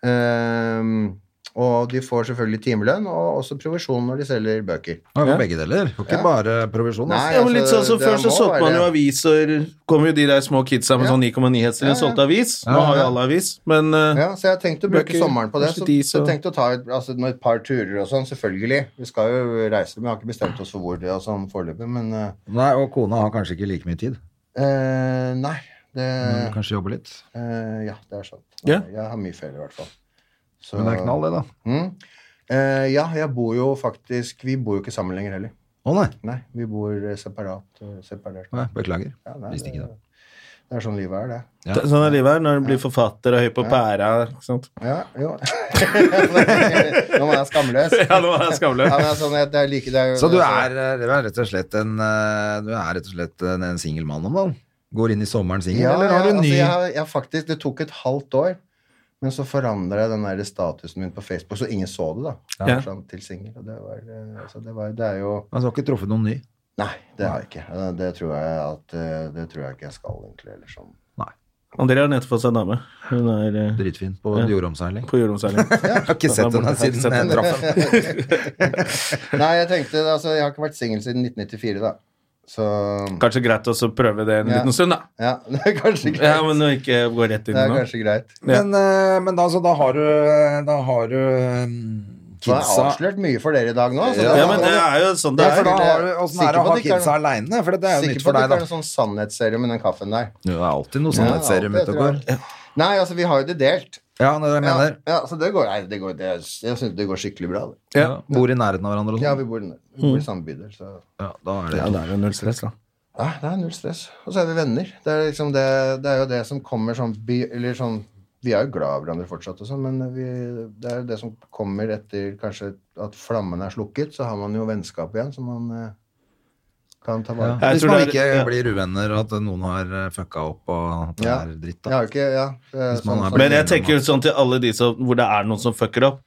Speaker 3: Ehm, og de får selvfølgelig timelønn og også provisjon når de selger bøker.
Speaker 2: Ja, men Begge deler. Får ikke
Speaker 3: Ja.
Speaker 2: bare provisjon.
Speaker 3: Nei,
Speaker 2: Altså.
Speaker 1: Ja, men litt sånn som
Speaker 3: det
Speaker 1: Før så
Speaker 3: må
Speaker 1: solgte man
Speaker 3: være-
Speaker 1: jo aviser Kom jo de der små kidsa med
Speaker 3: Ja.
Speaker 1: sånn 9,9 hester
Speaker 3: Ja, ja.
Speaker 1: og solgte avis. Nå har jo alle avis, men eh,
Speaker 3: Ja, så jeg har tenkt å bruke
Speaker 1: Bøker,
Speaker 3: sommeren på det.
Speaker 1: kanskje
Speaker 3: Så,
Speaker 1: de
Speaker 3: så
Speaker 1: så-
Speaker 3: jeg tenkte å ta et, altså, noen- et par turer og sånn, selvfølgelig. Vi skal jo reise, men vi har ikke bestemt oss for hvor det er og sånn foreløpig. Men eh,
Speaker 2: Nei, og kona har kanskje ikke like mye tid.
Speaker 3: eh, nei. Det,
Speaker 2: Hun kanskje jobber litt.
Speaker 3: eh, ja, det er sant.
Speaker 1: Ja.
Speaker 3: Jeg har mye ferie, i hvert fall. Så-
Speaker 2: Men det er knall, det, da.
Speaker 3: Mm. Eh, ja, jeg bor jo faktisk Vi bor jo ikke sammen lenger heller.
Speaker 2: Å nei.
Speaker 3: Nei, vi bor eh, separat. eh, Separert.
Speaker 2: nei. Beklager.
Speaker 3: Ja, nei,
Speaker 2: Visste ikke det.
Speaker 3: Det er sånn livet er, det.
Speaker 2: Ja.
Speaker 1: det- sånn er livet her når du blir forfatter og høy på pæra. Ikke sant? [laughs]
Speaker 3: Ja, jo. [laughs] Nå var jeg
Speaker 2: [laughs]
Speaker 3: skamløs.
Speaker 1: Ja, nå er jeg skamløs.
Speaker 3: Ja, men det er sånn, at det er like, det er, jo-
Speaker 2: Så du
Speaker 3: altså,
Speaker 2: er, eh, du er rett og slett en, eh, du er rett og slett en, en singel mann om dagen? Går inn i sommeren singel,
Speaker 3: ja,
Speaker 2: eller har
Speaker 3: ja,
Speaker 2: du en ny
Speaker 3: Altså, jeg, har- jeg, har faktisk, det tok et halvt år, men så forandra jeg den der statusen min på Facebook, så ingen så det, da.
Speaker 1: Ja.
Speaker 3: Sånn, til singel. Og det var, eh, altså, det var Det er jo
Speaker 2: Altså, du har ikke truffet noen ny?
Speaker 3: Nei, det har jeg ikke. Det, det tror jeg at eh, Det tror jeg ikke jeg skal, egentlig. Eller sånn.
Speaker 1: André har nettopp fått seg dame. Hun er eh,
Speaker 2: Dritfin på
Speaker 1: [laughs]
Speaker 2: jordomseiling?
Speaker 1: på jordomseiling.
Speaker 2: Jeg har ikke
Speaker 1: Ja,
Speaker 2: sett
Speaker 1: da burde
Speaker 2: henne
Speaker 1: jeg ikke
Speaker 2: siden
Speaker 1: sett
Speaker 2: jeg
Speaker 1: henne.
Speaker 2: traff henne.
Speaker 3: Nei, jeg tenkte altså, Jeg har ikke vært singel siden 1994, da. Så
Speaker 1: Kanskje greit også å prøve det en
Speaker 3: Ja.
Speaker 1: liten stund, da.
Speaker 3: ja, [laughs] det er kanskje greit.
Speaker 1: Ja, men nå ikke gå rett inn
Speaker 3: det er
Speaker 1: nå.
Speaker 3: kanskje greit.
Speaker 1: Ja.
Speaker 2: Men, eh, men da, altså, da har du Da har du mm,
Speaker 3: Så har jeg
Speaker 2: kidsa
Speaker 3: avslørt mye for dere i dag nå. Så
Speaker 2: Ja,
Speaker 3: da-
Speaker 1: Ja, men det er jo sånn det
Speaker 2: Ja,
Speaker 1: er.
Speaker 2: for da har du Åssen
Speaker 3: Sikker
Speaker 2: er det
Speaker 3: på
Speaker 2: å ha
Speaker 3: at det ikke er
Speaker 2: kidsa
Speaker 3: noe-
Speaker 2: aleine? For det er jo
Speaker 3: Sikker
Speaker 2: nytt
Speaker 3: på
Speaker 2: for
Speaker 3: at det ikke er
Speaker 2: deg,
Speaker 3: noen
Speaker 2: da.
Speaker 3: sånn sannhetsserie med den kaffen der.
Speaker 2: Det er alltid noe sånn
Speaker 3: Ja, alltid etter det. Nei, altså, vi har jo det delt.
Speaker 2: Ja, det er det jeg mener.
Speaker 3: Ja, ja, så det går, nei, det går, det, jeg synes det går skikkelig bra. Det.
Speaker 2: Ja. Bor i nærheten av hverandre og
Speaker 3: Ja,
Speaker 2: sånn.
Speaker 3: vi bor, i den- vi bor i samme bydel, så
Speaker 2: Ja, da er
Speaker 1: Ja,
Speaker 2: det
Speaker 1: da er det null stress, da.
Speaker 3: ja, Ah, det er null stress. Og så er vi venner. Det er, liksom det, det er jo det som kommer sånn, by, eller sånn Vi er jo glad i hverandre fortsatt, og sånn, men vi, det er jo det som kommer etter kanskje at flammen er slukket. Så har man jo vennskap igjen som man eh, kan ta vare på.
Speaker 2: ja.
Speaker 1: Jeg
Speaker 2: Hvis
Speaker 1: tror
Speaker 2: man
Speaker 1: det er-
Speaker 2: ikke
Speaker 1: ja.
Speaker 2: blir uvenner, at noen har eh, fucka opp og at det
Speaker 3: Ja.
Speaker 2: er dritt,
Speaker 3: Jeg
Speaker 2: da.
Speaker 3: har jo ikke Ja. det er
Speaker 2: Hvis man
Speaker 3: sånn
Speaker 2: er
Speaker 3: som-
Speaker 1: Men jeg tenker jo sånn til alle de som, hvor det er noen som fucker opp.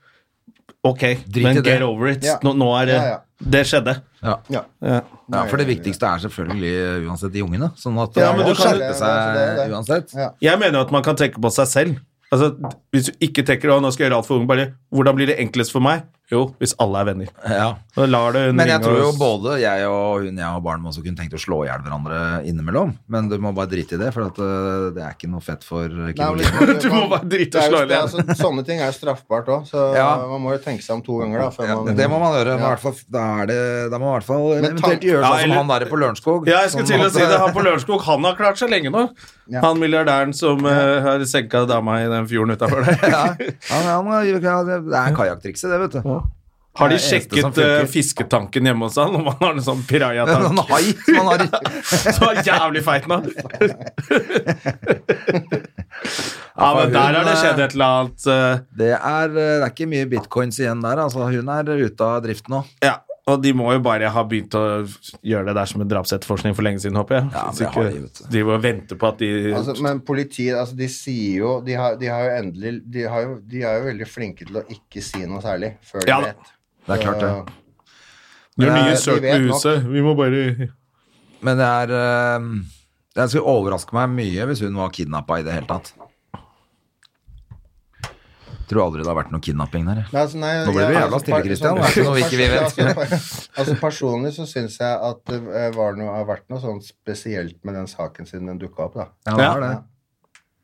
Speaker 1: Ok,
Speaker 2: Drit i
Speaker 1: men
Speaker 2: det.
Speaker 1: get over it.
Speaker 3: Ja.
Speaker 1: Nå, nå er det
Speaker 3: Ja, ja.
Speaker 1: Det skjedde.
Speaker 2: Ja.
Speaker 3: ja.
Speaker 1: Ja.
Speaker 3: sånn-
Speaker 2: ja, for det viktigste er selvfølgelig eh, uansett de ungene. Sånn at
Speaker 1: Ja,
Speaker 2: man
Speaker 1: men
Speaker 2: må
Speaker 1: du kan-
Speaker 2: skjerpe
Speaker 3: Det er
Speaker 2: seg
Speaker 3: det.
Speaker 2: uansett.
Speaker 3: Ja.
Speaker 1: Jeg mener jo at man kan tenke på seg selv. Altså, Hvis du ikke tenker å, nå skal jeg gjøre alt for unge, bare hvordan blir det enklest for meg? Jo, hvis alle er venner.
Speaker 2: Ja.
Speaker 1: Da lar du hun
Speaker 2: Men jeg
Speaker 1: ringe
Speaker 2: tror jo
Speaker 1: oss.
Speaker 2: både jeg og hun jeg har barn med også kunne tenkt å slå i hjel hverandre innimellom. Men du må bare drite i det, for at eh, det er ikke noe fett for eh,
Speaker 3: Nei, men
Speaker 2: kirurgen.
Speaker 3: liksom,
Speaker 1: [laughs] Du må
Speaker 3: man-
Speaker 1: bare drite
Speaker 3: det er
Speaker 1: og slå
Speaker 3: jo-
Speaker 1: i det.
Speaker 3: altså, Sånne ting er jo straffbart òg, så
Speaker 2: Ja.
Speaker 3: man må jo tenke seg om to ganger. Da, før
Speaker 2: Ja,
Speaker 3: man,
Speaker 2: det må man gjøre. men i
Speaker 3: Ja.
Speaker 2: hvert fall- Da, er det, da må man i hvert fall
Speaker 3: Men
Speaker 2: eventuelt
Speaker 3: tank-
Speaker 2: gjøre
Speaker 1: Ja,
Speaker 2: sånn som
Speaker 1: eller-
Speaker 2: han der på Lørenskog.
Speaker 1: Ja, jeg skulle til
Speaker 2: Sånn
Speaker 1: å
Speaker 2: at-
Speaker 1: si det. Han på Lørenskog, han har klart seg lenge nå.
Speaker 3: Ja.
Speaker 1: Han milliardæren som eh, har senka dama i den fjorden utafor der.
Speaker 2: [laughs] Ja, han, han, det er kajakktrikset, det, vet du.
Speaker 1: Har de
Speaker 2: Det er det eneste som
Speaker 1: sjekket
Speaker 2: funker.
Speaker 1: eh, fisketanken hjemme hos han? Om han har en sånn
Speaker 2: En [laughs]
Speaker 1: pirajatank?
Speaker 2: hai som han har i
Speaker 1: Så jævlig feit nå! Ja, men der har det skjedd et eller annet. eh,
Speaker 2: [laughs] det er, det er ikke mye bitcoins igjen der. Altså, hun er ute av drift nå.
Speaker 1: Ja, og de må jo bare ha begynt å gjøre det der som en drapsetterforskning for lenge siden, håper jeg.
Speaker 2: Ja, men
Speaker 1: Hvis
Speaker 2: det
Speaker 1: ikke
Speaker 2: har de, vet du.
Speaker 1: de må vente på at de
Speaker 3: altså, men politiet altså, de sier jo De har, de har jo endelig de, har jo, de er jo veldig flinke til å ikke si noe særlig før de
Speaker 1: Ja da.
Speaker 3: vet.
Speaker 2: Det er klart,
Speaker 3: Så-
Speaker 2: det.
Speaker 1: Gjør
Speaker 3: Nei,
Speaker 1: nye
Speaker 3: de
Speaker 1: søk
Speaker 3: vet
Speaker 1: med
Speaker 3: nok.
Speaker 1: huset. Vi må bare
Speaker 2: Men det er eh, Det skulle overraske meg mye hvis hun var kidnappa i det hele tatt. Tror aldri det har vært noe kidnapping der. jeg.
Speaker 3: Nei, altså, nei,
Speaker 2: Nå ble
Speaker 3: jeg-
Speaker 2: du jævla
Speaker 3: altså,
Speaker 2: stille,
Speaker 3: per-
Speaker 2: Christian.
Speaker 3: sånn-
Speaker 2: Det er ikke noe vi ikke vi vet.
Speaker 3: [laughs] Altså, per- altså, personlig så syns jeg at det eh, var noe, har vært noe sånn spesielt med den saken siden den dukka opp, da.
Speaker 2: Ja, det er det.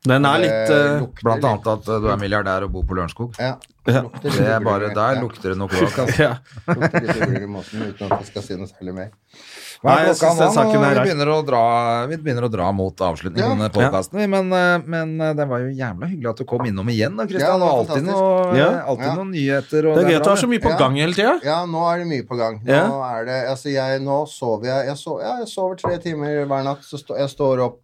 Speaker 1: Den er litt
Speaker 3: Det
Speaker 1: eh,
Speaker 3: lukter
Speaker 2: Blant
Speaker 3: litt-
Speaker 2: annet at eh, du er milliardær og bor på Lørenskog.
Speaker 3: Ja.
Speaker 1: Ja.
Speaker 3: lukter litt
Speaker 2: Det er bare
Speaker 3: uglering.
Speaker 2: Der
Speaker 3: Ja.
Speaker 2: lukter [laughs] det noe kloakk. altså.
Speaker 1: ja.
Speaker 3: Lukter litt uglering i måten uten at jeg skal si noe særlig mer.
Speaker 2: Hva
Speaker 1: Nei,
Speaker 2: er
Speaker 1: jeg
Speaker 2: klokka
Speaker 1: synes den
Speaker 2: nå?
Speaker 1: saken
Speaker 2: Nå
Speaker 1: er rar.
Speaker 2: begynner å dra, vi begynner å dra mot avslutningen
Speaker 3: Ja.
Speaker 2: av denne podcasten, vi, men, eh, men eh, det var jo jævla hyggelig at du kom innom igjen. Da, Christian.
Speaker 3: Ja, det var
Speaker 2: det var alltid,
Speaker 3: fantastisk.
Speaker 2: noe, eh,
Speaker 1: Ja.
Speaker 2: alltid
Speaker 3: Ja.
Speaker 2: noen nyheter. Og
Speaker 1: Det er gøy at du
Speaker 2: bra,
Speaker 1: har så mye på
Speaker 3: Ja.
Speaker 1: gang hele tida.
Speaker 3: Ja, nå er det mye på gang. Nå
Speaker 1: Ja.
Speaker 3: er det, altså jeg, nå sover jeg jeg, so, ja, jeg sover tre timer hver natt. Så stå, jeg står opp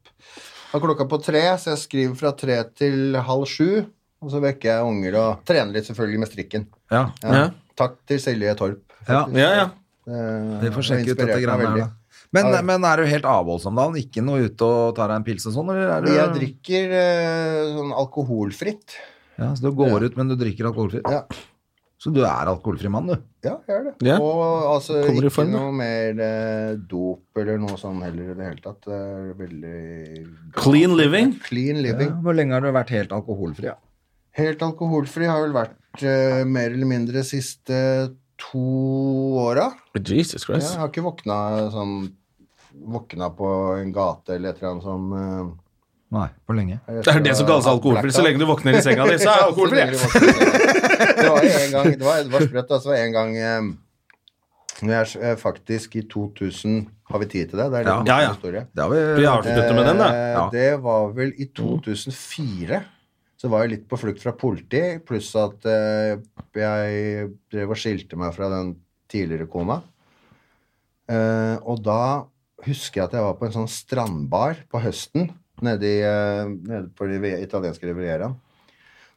Speaker 3: av klokka på tre, så jeg skriver fra tre til halv sju. Og så vekker jeg unger og trener litt selvfølgelig med strikken.
Speaker 2: Ja.
Speaker 3: Ja.
Speaker 1: Ja.
Speaker 3: Takk til Silje Torp.
Speaker 2: Ja.
Speaker 1: Ja, ja.
Speaker 3: Eh,
Speaker 2: Vi får
Speaker 3: har
Speaker 2: sjekke ut
Speaker 3: inspirert
Speaker 2: dette
Speaker 3: meg
Speaker 2: greiene her,
Speaker 3: veldig.
Speaker 2: da. Men,
Speaker 3: Ja.
Speaker 2: men er du helt avholdsom da? Ikke noe ute og tar deg en pils og sånn? Eller er du,
Speaker 3: Jeg drikker eh, sånn alkoholfritt.
Speaker 2: Ja, så du går ut, men du drikker alkoholfri?
Speaker 3: Ja.
Speaker 2: Så du er alkoholfri mann, du?
Speaker 3: Ja, jeg gjør det.
Speaker 1: Ja.
Speaker 3: Og altså
Speaker 1: Kommer i
Speaker 3: ikke
Speaker 1: form, da.
Speaker 3: noe mer eh, dop eller noe sånn heller i det hele tatt. Det er veldig
Speaker 1: Clean living.
Speaker 3: Clean
Speaker 2: Ja.
Speaker 3: living.
Speaker 2: Hvor lenge har du vært helt alkoholfri? Ja?
Speaker 3: Helt alkoholfri har vel vært eh, mer eller mindre siste to åra.
Speaker 1: Jesus
Speaker 3: Jeg har ikke våkna sånn Våkna på en gate eller et eller annet sånn eh,
Speaker 2: Nei, hvor lenge?
Speaker 1: Det er det som kalles alkoholfri. Så lenge du våkner i senga di, så er
Speaker 3: [laughs]
Speaker 1: jeg
Speaker 3: Ja, så
Speaker 1: alkoholfri.
Speaker 3: lenge du våkner i senga. Det var en gang Det var, det var sprøtt. Altså, det var en gang eh, når jeg eh, faktisk i 2000 Har vi tid til det? Det er litt
Speaker 1: Ja, ja.
Speaker 3: historie.
Speaker 2: Det har vi
Speaker 1: Vi avslutter med den, da. Mm.
Speaker 3: Eh,
Speaker 2: Ja.
Speaker 3: Det var vel i 2004. Så var jeg litt på flukt fra politi, pluss at eh, jeg drev og skilte meg fra den tidligere kona. Eh, og da husker jeg at jeg var på en sånn strandbar på høsten nede, i, eh, nede på de italienske rivieraen.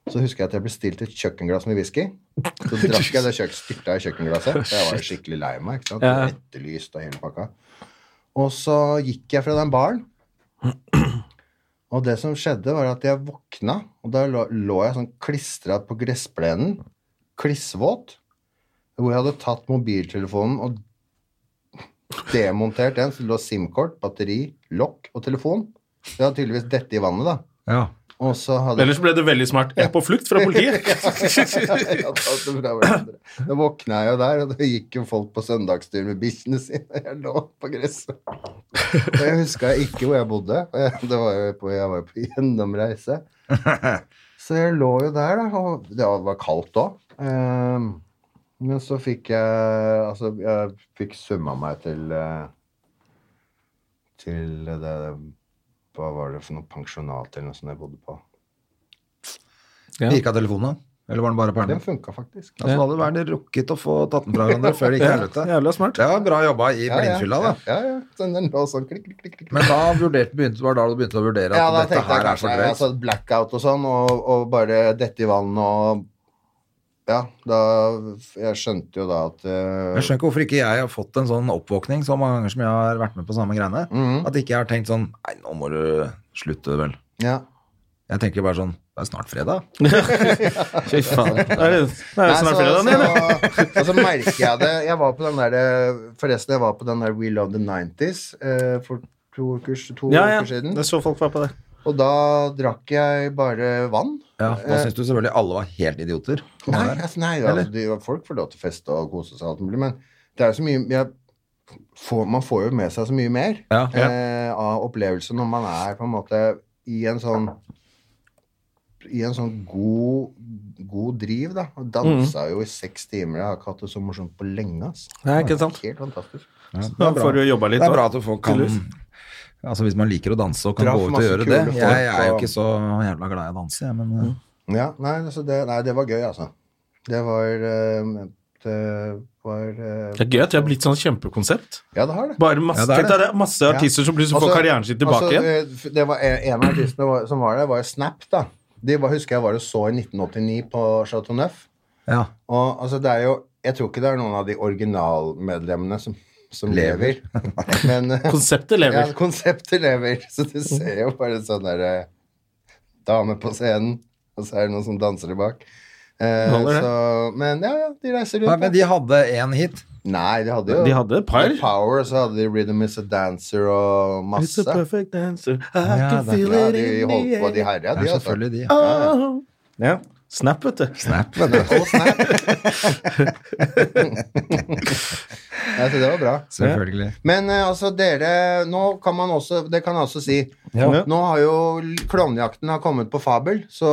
Speaker 3: Så husker jeg at jeg bestilte et kjøkkenglass med whisky. Så drakk jeg det kjøk, styrta i kjøkkenglasset. for
Speaker 1: [laughs]
Speaker 3: Jeg var jo skikkelig lei meg. ikke sant?
Speaker 1: Ja.
Speaker 3: Etterlyst og hele pakka. Og så gikk jeg fra den baren. Og det som skjedde, var at jeg våkna, og da lå, lå jeg sånn klistra på gressplenen, klissvåt, hvor jeg hadde tatt mobiltelefonen og demontert den, så det lå SIM-kort, batteri, lokk og telefon. Det hadde tydeligvis dette i vannet, da.
Speaker 2: Ja.
Speaker 3: Og så hadde
Speaker 1: Ellers ble det veldig smart. Jeg er på flukt fra politiet.
Speaker 3: [laughs] Ja, tatt det fra hverandre. Da våkna jeg jo der, og da gikk jo folk på søndagstur med bikkjene sine. [laughs] og Jeg lå på gresset. Og jeg huska ikke hvor jeg bodde. og Jeg, det var jo på, jeg var jo på gjennomreise. Så jeg lå jo der, da. Og det var kaldt òg. men så fikk jeg Altså, jeg fikk summa meg til eh, Til det Hva var det for noe pensjonat eller noe sånt jeg bodde på?
Speaker 2: Virka telefonen, da? eller var den bare på
Speaker 3: Den
Speaker 2: Erlend?
Speaker 3: funka faktisk.
Speaker 2: Altså, hadde verden rukket å få tatt den fra hverandre før det gikk til helvete.
Speaker 1: Jævla smart.
Speaker 2: Det var bra jobba i blindfylla, da.
Speaker 3: Ja, ja. ja. Sånn, den lå sånn klikk, klikk, klikk. klikk.
Speaker 2: Men da vurderte, begynte, var det da du begynte å vurdere at
Speaker 3: Ja, da
Speaker 2: dette
Speaker 3: tenkte jeg
Speaker 2: her er så
Speaker 3: kanskje
Speaker 2: drøyt?
Speaker 3: altså, blackout og sånn, og, og bare dette i vann og Ja, da Jeg skjønte jo da at eh,
Speaker 2: Jeg skjønner ikke hvorfor ikke jeg har fått en sånn oppvåkning så mange ganger som jeg har vært med på samme greiene.
Speaker 3: Mhm.
Speaker 2: At ikke jeg har tenkt sånn Nei, nå må du slutte, vel.
Speaker 3: ja.
Speaker 2: Jeg tenker bare sånn Det er snart fredag.
Speaker 1: Fy faen. Det er det- det er jo
Speaker 3: Nei, så-
Speaker 1: snart fredag igjen, det.
Speaker 3: så, og så merker jeg det. Jeg var på den der eh, Forresten, jeg var på den der We Love the 90s eh, for to uker, to
Speaker 1: Ja, ja.
Speaker 3: uker siden.
Speaker 1: Jeg så folk var på det.
Speaker 3: Og da drakk jeg bare vann.
Speaker 2: Ja, Da syns du selvfølgelig alle var helt idioter.
Speaker 3: Nei,
Speaker 2: Var det?
Speaker 3: altså, nei altså, de, folk får lov til å feste og kose seg, og alt mulig, men det er jo så mye jeg, får, Man får jo med seg så mye mer
Speaker 2: Ja.
Speaker 3: eh, av opplevelser når man er på en måte i en sånn i en sånn god, god driv, da. Og Dansa jo i seks timer. Jeg har ikke hatt det så morsomt på lenge. ass.
Speaker 1: Nei, ikke sant.
Speaker 3: Helt fantastisk.
Speaker 1: Da får du jobba litt
Speaker 2: det er bra
Speaker 1: da.
Speaker 2: at folk kan
Speaker 1: Tydeligvis.
Speaker 2: Altså Hvis man liker å danse og kan
Speaker 3: Traff
Speaker 2: gå ut og
Speaker 3: masse
Speaker 2: gjøre det.
Speaker 3: kule
Speaker 2: Jeg,
Speaker 3: folk,
Speaker 2: jeg er jo
Speaker 3: og- Mhm.
Speaker 2: ikke så jævla glad i å danse, jeg, men eh,
Speaker 3: Ja, nei, altså det, nei, det var gøy, altså. Det var eh, Det var eh,
Speaker 1: Det er gøy at det har blitt sånn kjempekonsept.
Speaker 3: Ja, det har det.
Speaker 1: Bare masse,
Speaker 2: Ja, det er det.
Speaker 1: tenk deg, det er masse artister som plutselig får
Speaker 3: Altså-
Speaker 1: karrieren sin tilbake
Speaker 3: altså,
Speaker 1: igjen.
Speaker 3: eh, f- Det var en en av artistene var, som var der, var jo Snap, da. De var, husker jeg var og så i 1989 på Chateau Neuf.
Speaker 2: ja.
Speaker 3: Og altså, det er jo Jeg tror ikke det er noen av de originalmedlemmene som, som lever.
Speaker 2: Lever.
Speaker 3: Men eh,
Speaker 1: Konseptet lever.
Speaker 3: ja, konseptet lever. Så du ser jo bare sånn der eh, dame på scenen, og så er det noen som danser i bak. Eh,
Speaker 1: Holder det.
Speaker 3: så, men ja, ja, de reiser
Speaker 2: Nei,
Speaker 3: rundt.
Speaker 2: Men de hadde én hit.
Speaker 3: da. Nei, de hadde jo
Speaker 1: De hadde et par.
Speaker 3: The Power, og så hadde de Rhythm Is A Dancer og
Speaker 1: It's a
Speaker 3: masse.
Speaker 1: perfect answer. I
Speaker 2: Ja,
Speaker 1: can
Speaker 2: det-
Speaker 1: feel
Speaker 3: Ja,
Speaker 1: it
Speaker 3: de
Speaker 1: in
Speaker 3: holdt på,
Speaker 1: the
Speaker 3: de
Speaker 1: air.
Speaker 3: herja,
Speaker 2: Det
Speaker 3: de,
Speaker 2: er
Speaker 3: altså.
Speaker 2: selvfølgelig de.
Speaker 1: Oh. Ja. Snap, vet du.
Speaker 2: Snap, vet du.
Speaker 3: Og
Speaker 2: [laughs]
Speaker 3: snap. Nei, så det var bra.
Speaker 2: Selvfølgelig.
Speaker 3: Men eh, altså, dere Nå kan man også Det kan jeg også si. Nå har jo l- Klovnejakten har kommet på Fabel, så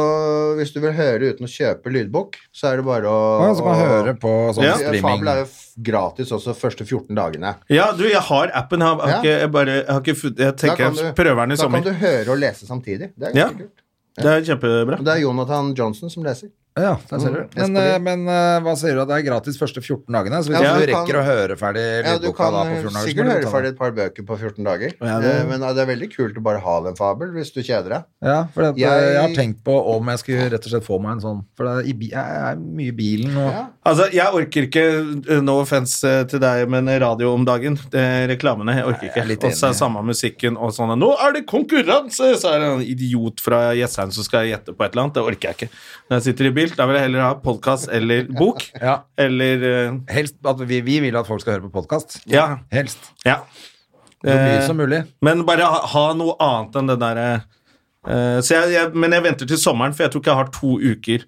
Speaker 3: hvis du vil høre uten å kjøpe lydbok, så er det bare å
Speaker 2: Og så kan man høre på sånn
Speaker 1: Ja.
Speaker 3: å-
Speaker 2: streaming.
Speaker 3: Fabel er jo f- gratis også første 14 dagene.
Speaker 1: Ja, du, jeg har appen. Jeg har, jeg har
Speaker 3: Ja.
Speaker 1: ikke, jeg bare, jeg har ikke funnet Jeg
Speaker 3: Da
Speaker 1: tenker
Speaker 3: kan
Speaker 1: jeg prøver den i
Speaker 3: da
Speaker 1: sommer.
Speaker 3: kan du høre og lese samtidig. Det er
Speaker 1: Ja.
Speaker 3: ganske kult.
Speaker 1: Det er kjempebra.
Speaker 3: Og det er Jonathan Johnson som leser.
Speaker 2: Ja, der ser du.
Speaker 3: Mm,
Speaker 2: Men,
Speaker 3: Espen.
Speaker 2: eh, men eh, hva sier du at det er gratis første 14 dagene? Så hvis
Speaker 3: Ja,
Speaker 2: du
Speaker 3: du kan-
Speaker 2: rekker å høre ferdig
Speaker 3: Ja, du
Speaker 2: lydboka
Speaker 3: kan eh,
Speaker 2: da på 14 dager, så
Speaker 3: sikkert
Speaker 2: må du
Speaker 3: høre
Speaker 2: betale.
Speaker 3: ferdig et par bøker på 14 dager.
Speaker 1: Ja, det-
Speaker 3: Eh, Men eh, det er veldig kult å bare ha den Fabel hvis du kjeder deg.
Speaker 2: Ja, for det, at,
Speaker 3: Jeg-
Speaker 2: eh, jeg har tenkt på om jeg skulle rett og slett få meg en sånn. For det er, i bi- jeg er mye i bilen og
Speaker 3: Ja.
Speaker 1: Altså, jeg orker ikke eh, No offense eh, til deg, men radio om dagen. eh, reklamene. Jeg orker
Speaker 2: jeg er
Speaker 1: ikke.
Speaker 2: litt
Speaker 1: Og så er
Speaker 2: enig.
Speaker 1: samme musikken og sånn Nå er det konkurranse! Så er det en idiot fra Jessheim som skal gjette på et eller annet. Det orker jeg ikke. Når jeg sitter i bil, da vil jeg heller ha podkast eller bok.
Speaker 2: Ja.
Speaker 1: Eller eh,
Speaker 2: Helst at vi, vi vil at folk skal høre på podkast.
Speaker 1: Ja.
Speaker 2: Helst.
Speaker 1: ja.
Speaker 2: Så mye
Speaker 1: Eh,
Speaker 2: som mulig.
Speaker 1: Men bare ha, ha noe annet enn det derre eh, så jeg, jeg, Men jeg venter til sommeren, for jeg tror ikke jeg har to uker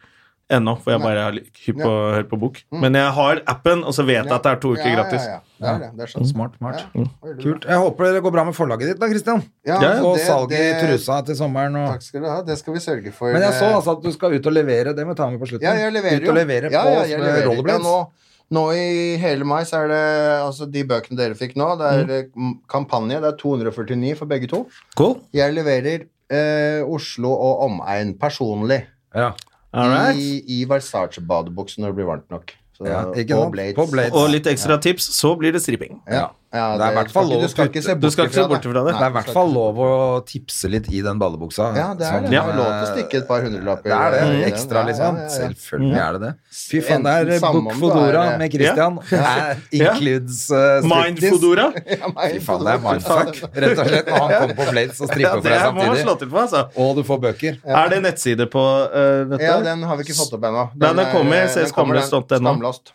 Speaker 1: ennå. For jeg bare er litt hypp på å høre på bok. Men jeg har appen, og så vet jeg at det er to uker
Speaker 3: Mm. Ja,
Speaker 1: gratis.
Speaker 3: Ja, ja. Det er det. Det er sånn.
Speaker 2: Smart, smart.
Speaker 3: Ja, veldig bra.
Speaker 2: Mm. Kult. Jeg håper det går bra med forlaget ditt da, Christian.
Speaker 3: Ja,
Speaker 2: og
Speaker 3: det-
Speaker 2: salget i
Speaker 3: det-
Speaker 2: trusa til sommeren. Og...
Speaker 3: Takk skal du ha. Det skal vi sørge for.
Speaker 2: Men jeg så altså at du skal ut og levere. Det må vi ta med på slutten.
Speaker 3: Eh, Ja, jeg leverer
Speaker 2: ut og levere på
Speaker 3: ja, ja, jeg
Speaker 2: eh,
Speaker 3: leverer.
Speaker 2: rollerblades.
Speaker 3: Ja, nå, nå i hele mai så er det altså de bøkene dere fikk nå. Det
Speaker 2: Mm.
Speaker 3: er eh, m- kampanje. Det er 249 for begge to.
Speaker 1: Cool.
Speaker 3: Jeg leverer eh, Oslo og omegn personlig.
Speaker 2: Ja.
Speaker 3: I, i Versace-badebukse når det blir varmt nok. Så,
Speaker 2: Ja, ikke
Speaker 3: og
Speaker 2: sant?
Speaker 3: Blades.
Speaker 2: På Blades.
Speaker 1: Og litt ekstra tips, så blir det stripping.
Speaker 3: Ja. Ja,
Speaker 2: Det er i hvert fall lov
Speaker 3: du skal
Speaker 2: å
Speaker 3: ikke se
Speaker 2: putte-
Speaker 1: Du skal ikke se bort ifra det.
Speaker 2: Det er i hvert fall lov å tipse litt i den ballebuksa. Sånn, eh,
Speaker 3: Ja, det er det.
Speaker 1: Ja.
Speaker 3: Det er lov til å stikke et par hundrelapper.
Speaker 2: Det er det.
Speaker 3: i den.
Speaker 2: Ekstra,
Speaker 3: Ja,
Speaker 2: liksom.
Speaker 3: ja, ja, ja.
Speaker 2: Selvfølgelig
Speaker 1: Mm.
Speaker 2: er det det. Fy faen,
Speaker 3: Enten
Speaker 2: det er
Speaker 3: samme om
Speaker 2: Book
Speaker 3: du
Speaker 2: Fodora
Speaker 3: er-
Speaker 2: med Christian.
Speaker 1: [laughs]
Speaker 2: Er includes uh,
Speaker 1: Mind
Speaker 2: striptease.
Speaker 1: Fodora.
Speaker 3: [laughs] Ja, meg-
Speaker 2: Fy faen,
Speaker 3: [laughs]
Speaker 2: det er mindfuck, rett og slett. Når han kommer på Blades og
Speaker 1: Ja,
Speaker 2: stripper for
Speaker 1: det må man
Speaker 2: deg
Speaker 1: slå
Speaker 2: samtidig.
Speaker 1: til på, altså.
Speaker 2: Og du får bøker.
Speaker 1: Er det nettside på eh, dette?
Speaker 3: Ja, den har vi ikke fått opp ennå.
Speaker 1: Nei, den kommer,
Speaker 3: eh, den
Speaker 1: ses
Speaker 3: kommer, den.
Speaker 1: skamløst.no.
Speaker 3: Skamløst.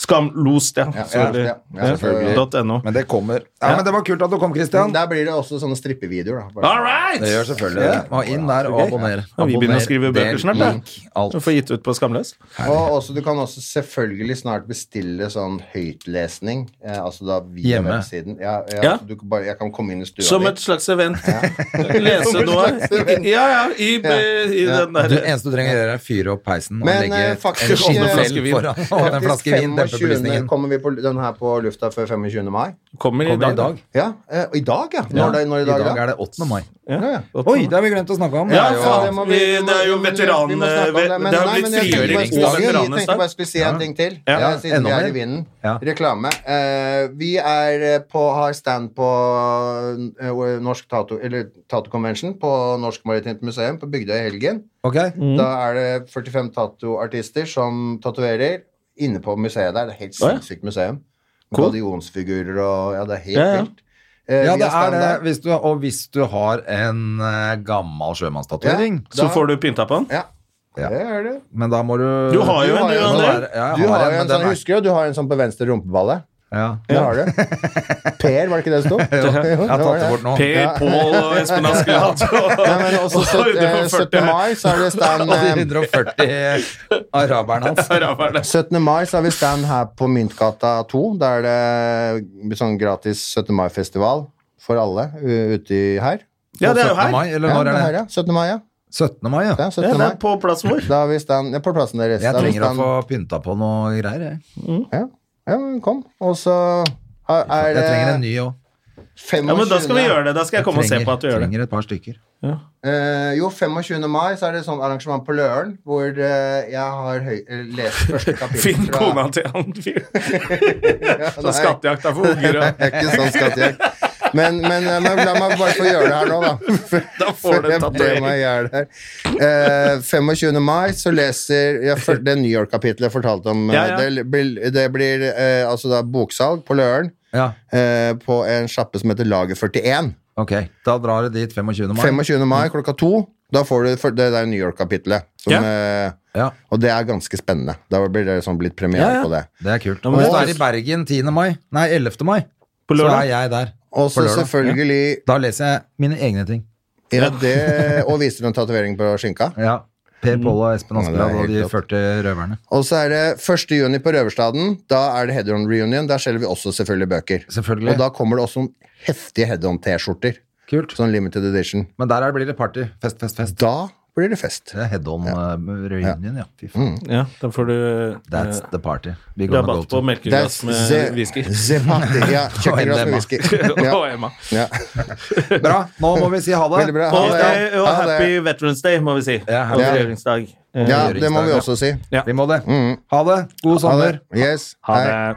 Speaker 1: Skamlost, ja.
Speaker 3: ja, ja, ja, selvfølgelig.
Speaker 1: .no.
Speaker 2: Men det kommer. Ja, men Det var kult at du kom, Christian.
Speaker 3: Der blir det også sånne strippevideoer. Da.
Speaker 1: All right!
Speaker 2: Det gjør selvfølgelig det. Må inn der og abonner.
Speaker 1: Ja, vi begynner å skrive
Speaker 2: Abonner,
Speaker 1: bøker snart, da.
Speaker 2: lik, alt.
Speaker 1: Du får gitt ut på Skamløs.
Speaker 3: Og også, du kan også selvfølgelig snart bestille sånn høytlesning. Eh, altså da via
Speaker 2: Hjemme.
Speaker 3: websiden. Ja, ja,
Speaker 1: Ja.
Speaker 3: Du, kan bare, jeg kan komme inn i stua
Speaker 1: Som
Speaker 3: di.
Speaker 1: et slags event. [laughs] Lese noe. Ja, ja, i, i den
Speaker 2: Du,
Speaker 1: der
Speaker 2: eneste du trenger å gjøre, er å fyre opp peisen og
Speaker 3: Men, eh,
Speaker 2: legge
Speaker 3: faktisk,
Speaker 2: en skinnefell
Speaker 1: eh,
Speaker 2: foran og en
Speaker 3: Faktisk
Speaker 2: flaske vin. Dempe
Speaker 3: 25.
Speaker 2: belysningen.
Speaker 3: kommer vi på den her på lufta før 25. mai.
Speaker 1: Kommer i
Speaker 2: Kommer i
Speaker 1: dag.
Speaker 2: dag.
Speaker 3: Ja, eh, I dag, ja. Når, det- når i
Speaker 2: I
Speaker 3: dag, da?
Speaker 2: dag er det 8. mai.
Speaker 3: Ja, ja.
Speaker 2: Oi, det har vi glemt å snakke om.
Speaker 1: Ja,
Speaker 2: Det er jo-
Speaker 1: faen,
Speaker 3: må
Speaker 1: vi- det er jo
Speaker 3: vi må-
Speaker 1: veteran-
Speaker 3: vi må snakke om det, men-
Speaker 1: det er jo
Speaker 3: nei, men
Speaker 1: blitt
Speaker 3: jeg tenkte bare-
Speaker 2: frigjøringsdag,
Speaker 3: jeg tenkte
Speaker 1: veteranenes dag.
Speaker 3: bare jeg skulle si en ting til,
Speaker 1: Ja.
Speaker 3: eh, siden
Speaker 2: Enda
Speaker 3: vi er i
Speaker 2: mer.
Speaker 3: vinden.
Speaker 2: Ja.
Speaker 3: Reklame. Eh, vi er eh, på, har stand på eh, Norsk Tato, eller Tato Convention på Norsk Maritimt Museum på Bygdøy i helgen.
Speaker 2: Ok,
Speaker 1: Mm.
Speaker 3: Da er det 45 tatoartister som tatoverer inne på museet der. Det er helt
Speaker 1: Å, ja.
Speaker 3: sinnssykt museum.
Speaker 1: Cool.
Speaker 3: Gallionsfigurer og Ja, det er helt
Speaker 1: Ja, ja.
Speaker 3: vilt. Eh,
Speaker 2: Ja,
Speaker 3: vi
Speaker 2: det
Speaker 3: har
Speaker 2: er
Speaker 3: stand
Speaker 2: det.
Speaker 3: der.
Speaker 2: Hvis du, og hvis du har en eh, gammel sjømannstatuering,
Speaker 3: Da-
Speaker 1: Så får du pynta på den.
Speaker 3: Ja.
Speaker 2: Ja.
Speaker 3: Det er det.
Speaker 2: men da må du
Speaker 1: Du har jo
Speaker 3: Du
Speaker 1: en,
Speaker 3: har
Speaker 1: du,
Speaker 3: jo en
Speaker 1: André.
Speaker 2: der. Ja, jeg
Speaker 3: Du
Speaker 2: har
Speaker 3: har jo
Speaker 2: en, men
Speaker 3: en sånn,
Speaker 2: den er-
Speaker 3: husker du, du har en sånn på venstre rumpeballe.
Speaker 2: Ja.
Speaker 3: Det har du. Per, var det ikke det det
Speaker 2: [laughs]
Speaker 3: sto?
Speaker 2: Jeg har tatt det bort nå. [laughs]
Speaker 1: Per, Pål og Espen Askeladd.
Speaker 3: Ja, men også
Speaker 1: Og så
Speaker 3: sytt- eh, 17.
Speaker 1: 140
Speaker 3: mai så er det
Speaker 2: [laughs]
Speaker 3: stand
Speaker 2: Og de
Speaker 3: eh,
Speaker 2: 140
Speaker 1: [laughs]
Speaker 2: araberne hans.
Speaker 1: araberne.
Speaker 3: 17. eh, mai så har vi stand her på Myntgata 2. Da er det sånn gratis 17. mai-festival for alle u- uti her.
Speaker 1: Ja, det er jo
Speaker 2: 17.
Speaker 1: her.
Speaker 2: mai, eller
Speaker 3: Ja,
Speaker 2: når
Speaker 3: det
Speaker 2: er
Speaker 3: her,
Speaker 2: det?
Speaker 3: ja. 17. mai, ja.
Speaker 2: 17. mai, ja.
Speaker 3: Det er
Speaker 1: Ja,
Speaker 3: 17.
Speaker 1: det
Speaker 3: mai.
Speaker 1: er på plassen vår.
Speaker 3: Da har vi stand ja, på plassen deres.
Speaker 2: Jeg
Speaker 3: Da har vi
Speaker 2: trenger å
Speaker 3: stand-
Speaker 2: få pynta på noe greier, jeg.
Speaker 3: ja. ja, men kom. Og så har- er
Speaker 2: Jeg
Speaker 3: det
Speaker 2: trenger en ny òg.
Speaker 1: Ja, men da skal vi gjøre det. Da skal jeg komme og se på at du gjør det.
Speaker 2: Trenger et par stykker.
Speaker 3: Eh, jo, 25. mai så er det et sånt arrangement på Løren hvor eh, jeg har høy eh, lest første kapittel
Speaker 1: [laughs] Finn
Speaker 3: fra-
Speaker 1: kona til han
Speaker 3: [laughs]
Speaker 1: fyren.
Speaker 3: Nei.
Speaker 1: Sånn skattejakt er for
Speaker 3: [laughs]
Speaker 1: unger, og
Speaker 3: Det er ikke sånn skattejakt. Men, men, eh, men la meg bare få gjøre det her nå, da.
Speaker 1: [laughs] da får
Speaker 3: Jeg brer
Speaker 1: du en
Speaker 3: meg
Speaker 1: tatovering.
Speaker 3: i hjel her. Eh, 25. mai så leser jeg for, Det New York-kapitlet jeg fortalte om eh,
Speaker 1: Ja, ja.
Speaker 3: Det blir, det blir eh, altså da boksalg på Løren
Speaker 2: Ja,
Speaker 3: eh, på en sjappe som heter Lager 41.
Speaker 2: ok. Da drar du dit 25. mai.
Speaker 3: 25. mai klokka to. Da får du for, det der New York-kapitlet. som,
Speaker 1: Ja.
Speaker 3: eh,
Speaker 2: Ja,
Speaker 3: Og det er ganske spennende. Da blir det sånn blitt premiere
Speaker 1: Ja, ja.
Speaker 3: på det.
Speaker 2: det er kult.
Speaker 1: men
Speaker 2: Hvis
Speaker 1: det-
Speaker 2: du er i Bergen 10. mai, nei 11. mai,
Speaker 1: På
Speaker 2: så
Speaker 1: lørdag.
Speaker 2: er jeg der.
Speaker 3: Og
Speaker 2: På
Speaker 3: så
Speaker 2: lørdag,
Speaker 3: selvfølgelig
Speaker 2: Da leser jeg mine egne ting.
Speaker 3: ja, det, Og viser en tatovering på skinka.
Speaker 2: Ja. Per Pål og Espen
Speaker 3: Mm. Ja, det
Speaker 2: Askeladd
Speaker 3: er
Speaker 2: og de
Speaker 3: helt
Speaker 2: 40 røverne.
Speaker 3: Og så er det 1. juni på Røverstaden. Da er det Head-On Reunion. Der selger vi også selvfølgelig bøker.
Speaker 2: Selvfølgelig.
Speaker 3: Og da kommer det også noen heftige Head-On-T-skjorter.
Speaker 2: Kult.
Speaker 3: Sånn limited edition.
Speaker 2: Men der er det- blir det party. Fest, fest, fest.
Speaker 3: Da blir det fest.
Speaker 2: Det er head on eh, reunion, ja. Fy
Speaker 3: Mm.
Speaker 2: faen.
Speaker 1: Ja, da får du eh,
Speaker 2: That's the party. Vi går med
Speaker 1: rabatt på
Speaker 2: go-to.
Speaker 1: melkeglass med whisky.
Speaker 3: the party. Ja, kjøkkenglass med
Speaker 2: Og
Speaker 3: whisky. Ja,
Speaker 1: [laughs] Og Emma.
Speaker 3: ja.
Speaker 2: Bra. Nå må vi si ha det.
Speaker 3: Veldig bra. Ha
Speaker 1: Og,
Speaker 3: det.
Speaker 1: eh, og
Speaker 3: Ha det.
Speaker 1: happy Veterans Day, må vi si.
Speaker 2: Ja,
Speaker 1: Og
Speaker 3: ja.
Speaker 1: regjeringsdag. Eh,
Speaker 3: Ja, det må vi også si.
Speaker 2: Vi må det. Mm. Ha det. God
Speaker 3: Ha
Speaker 2: sommer.
Speaker 3: det. Yes.
Speaker 1: Ha
Speaker 3: Hei.
Speaker 1: det.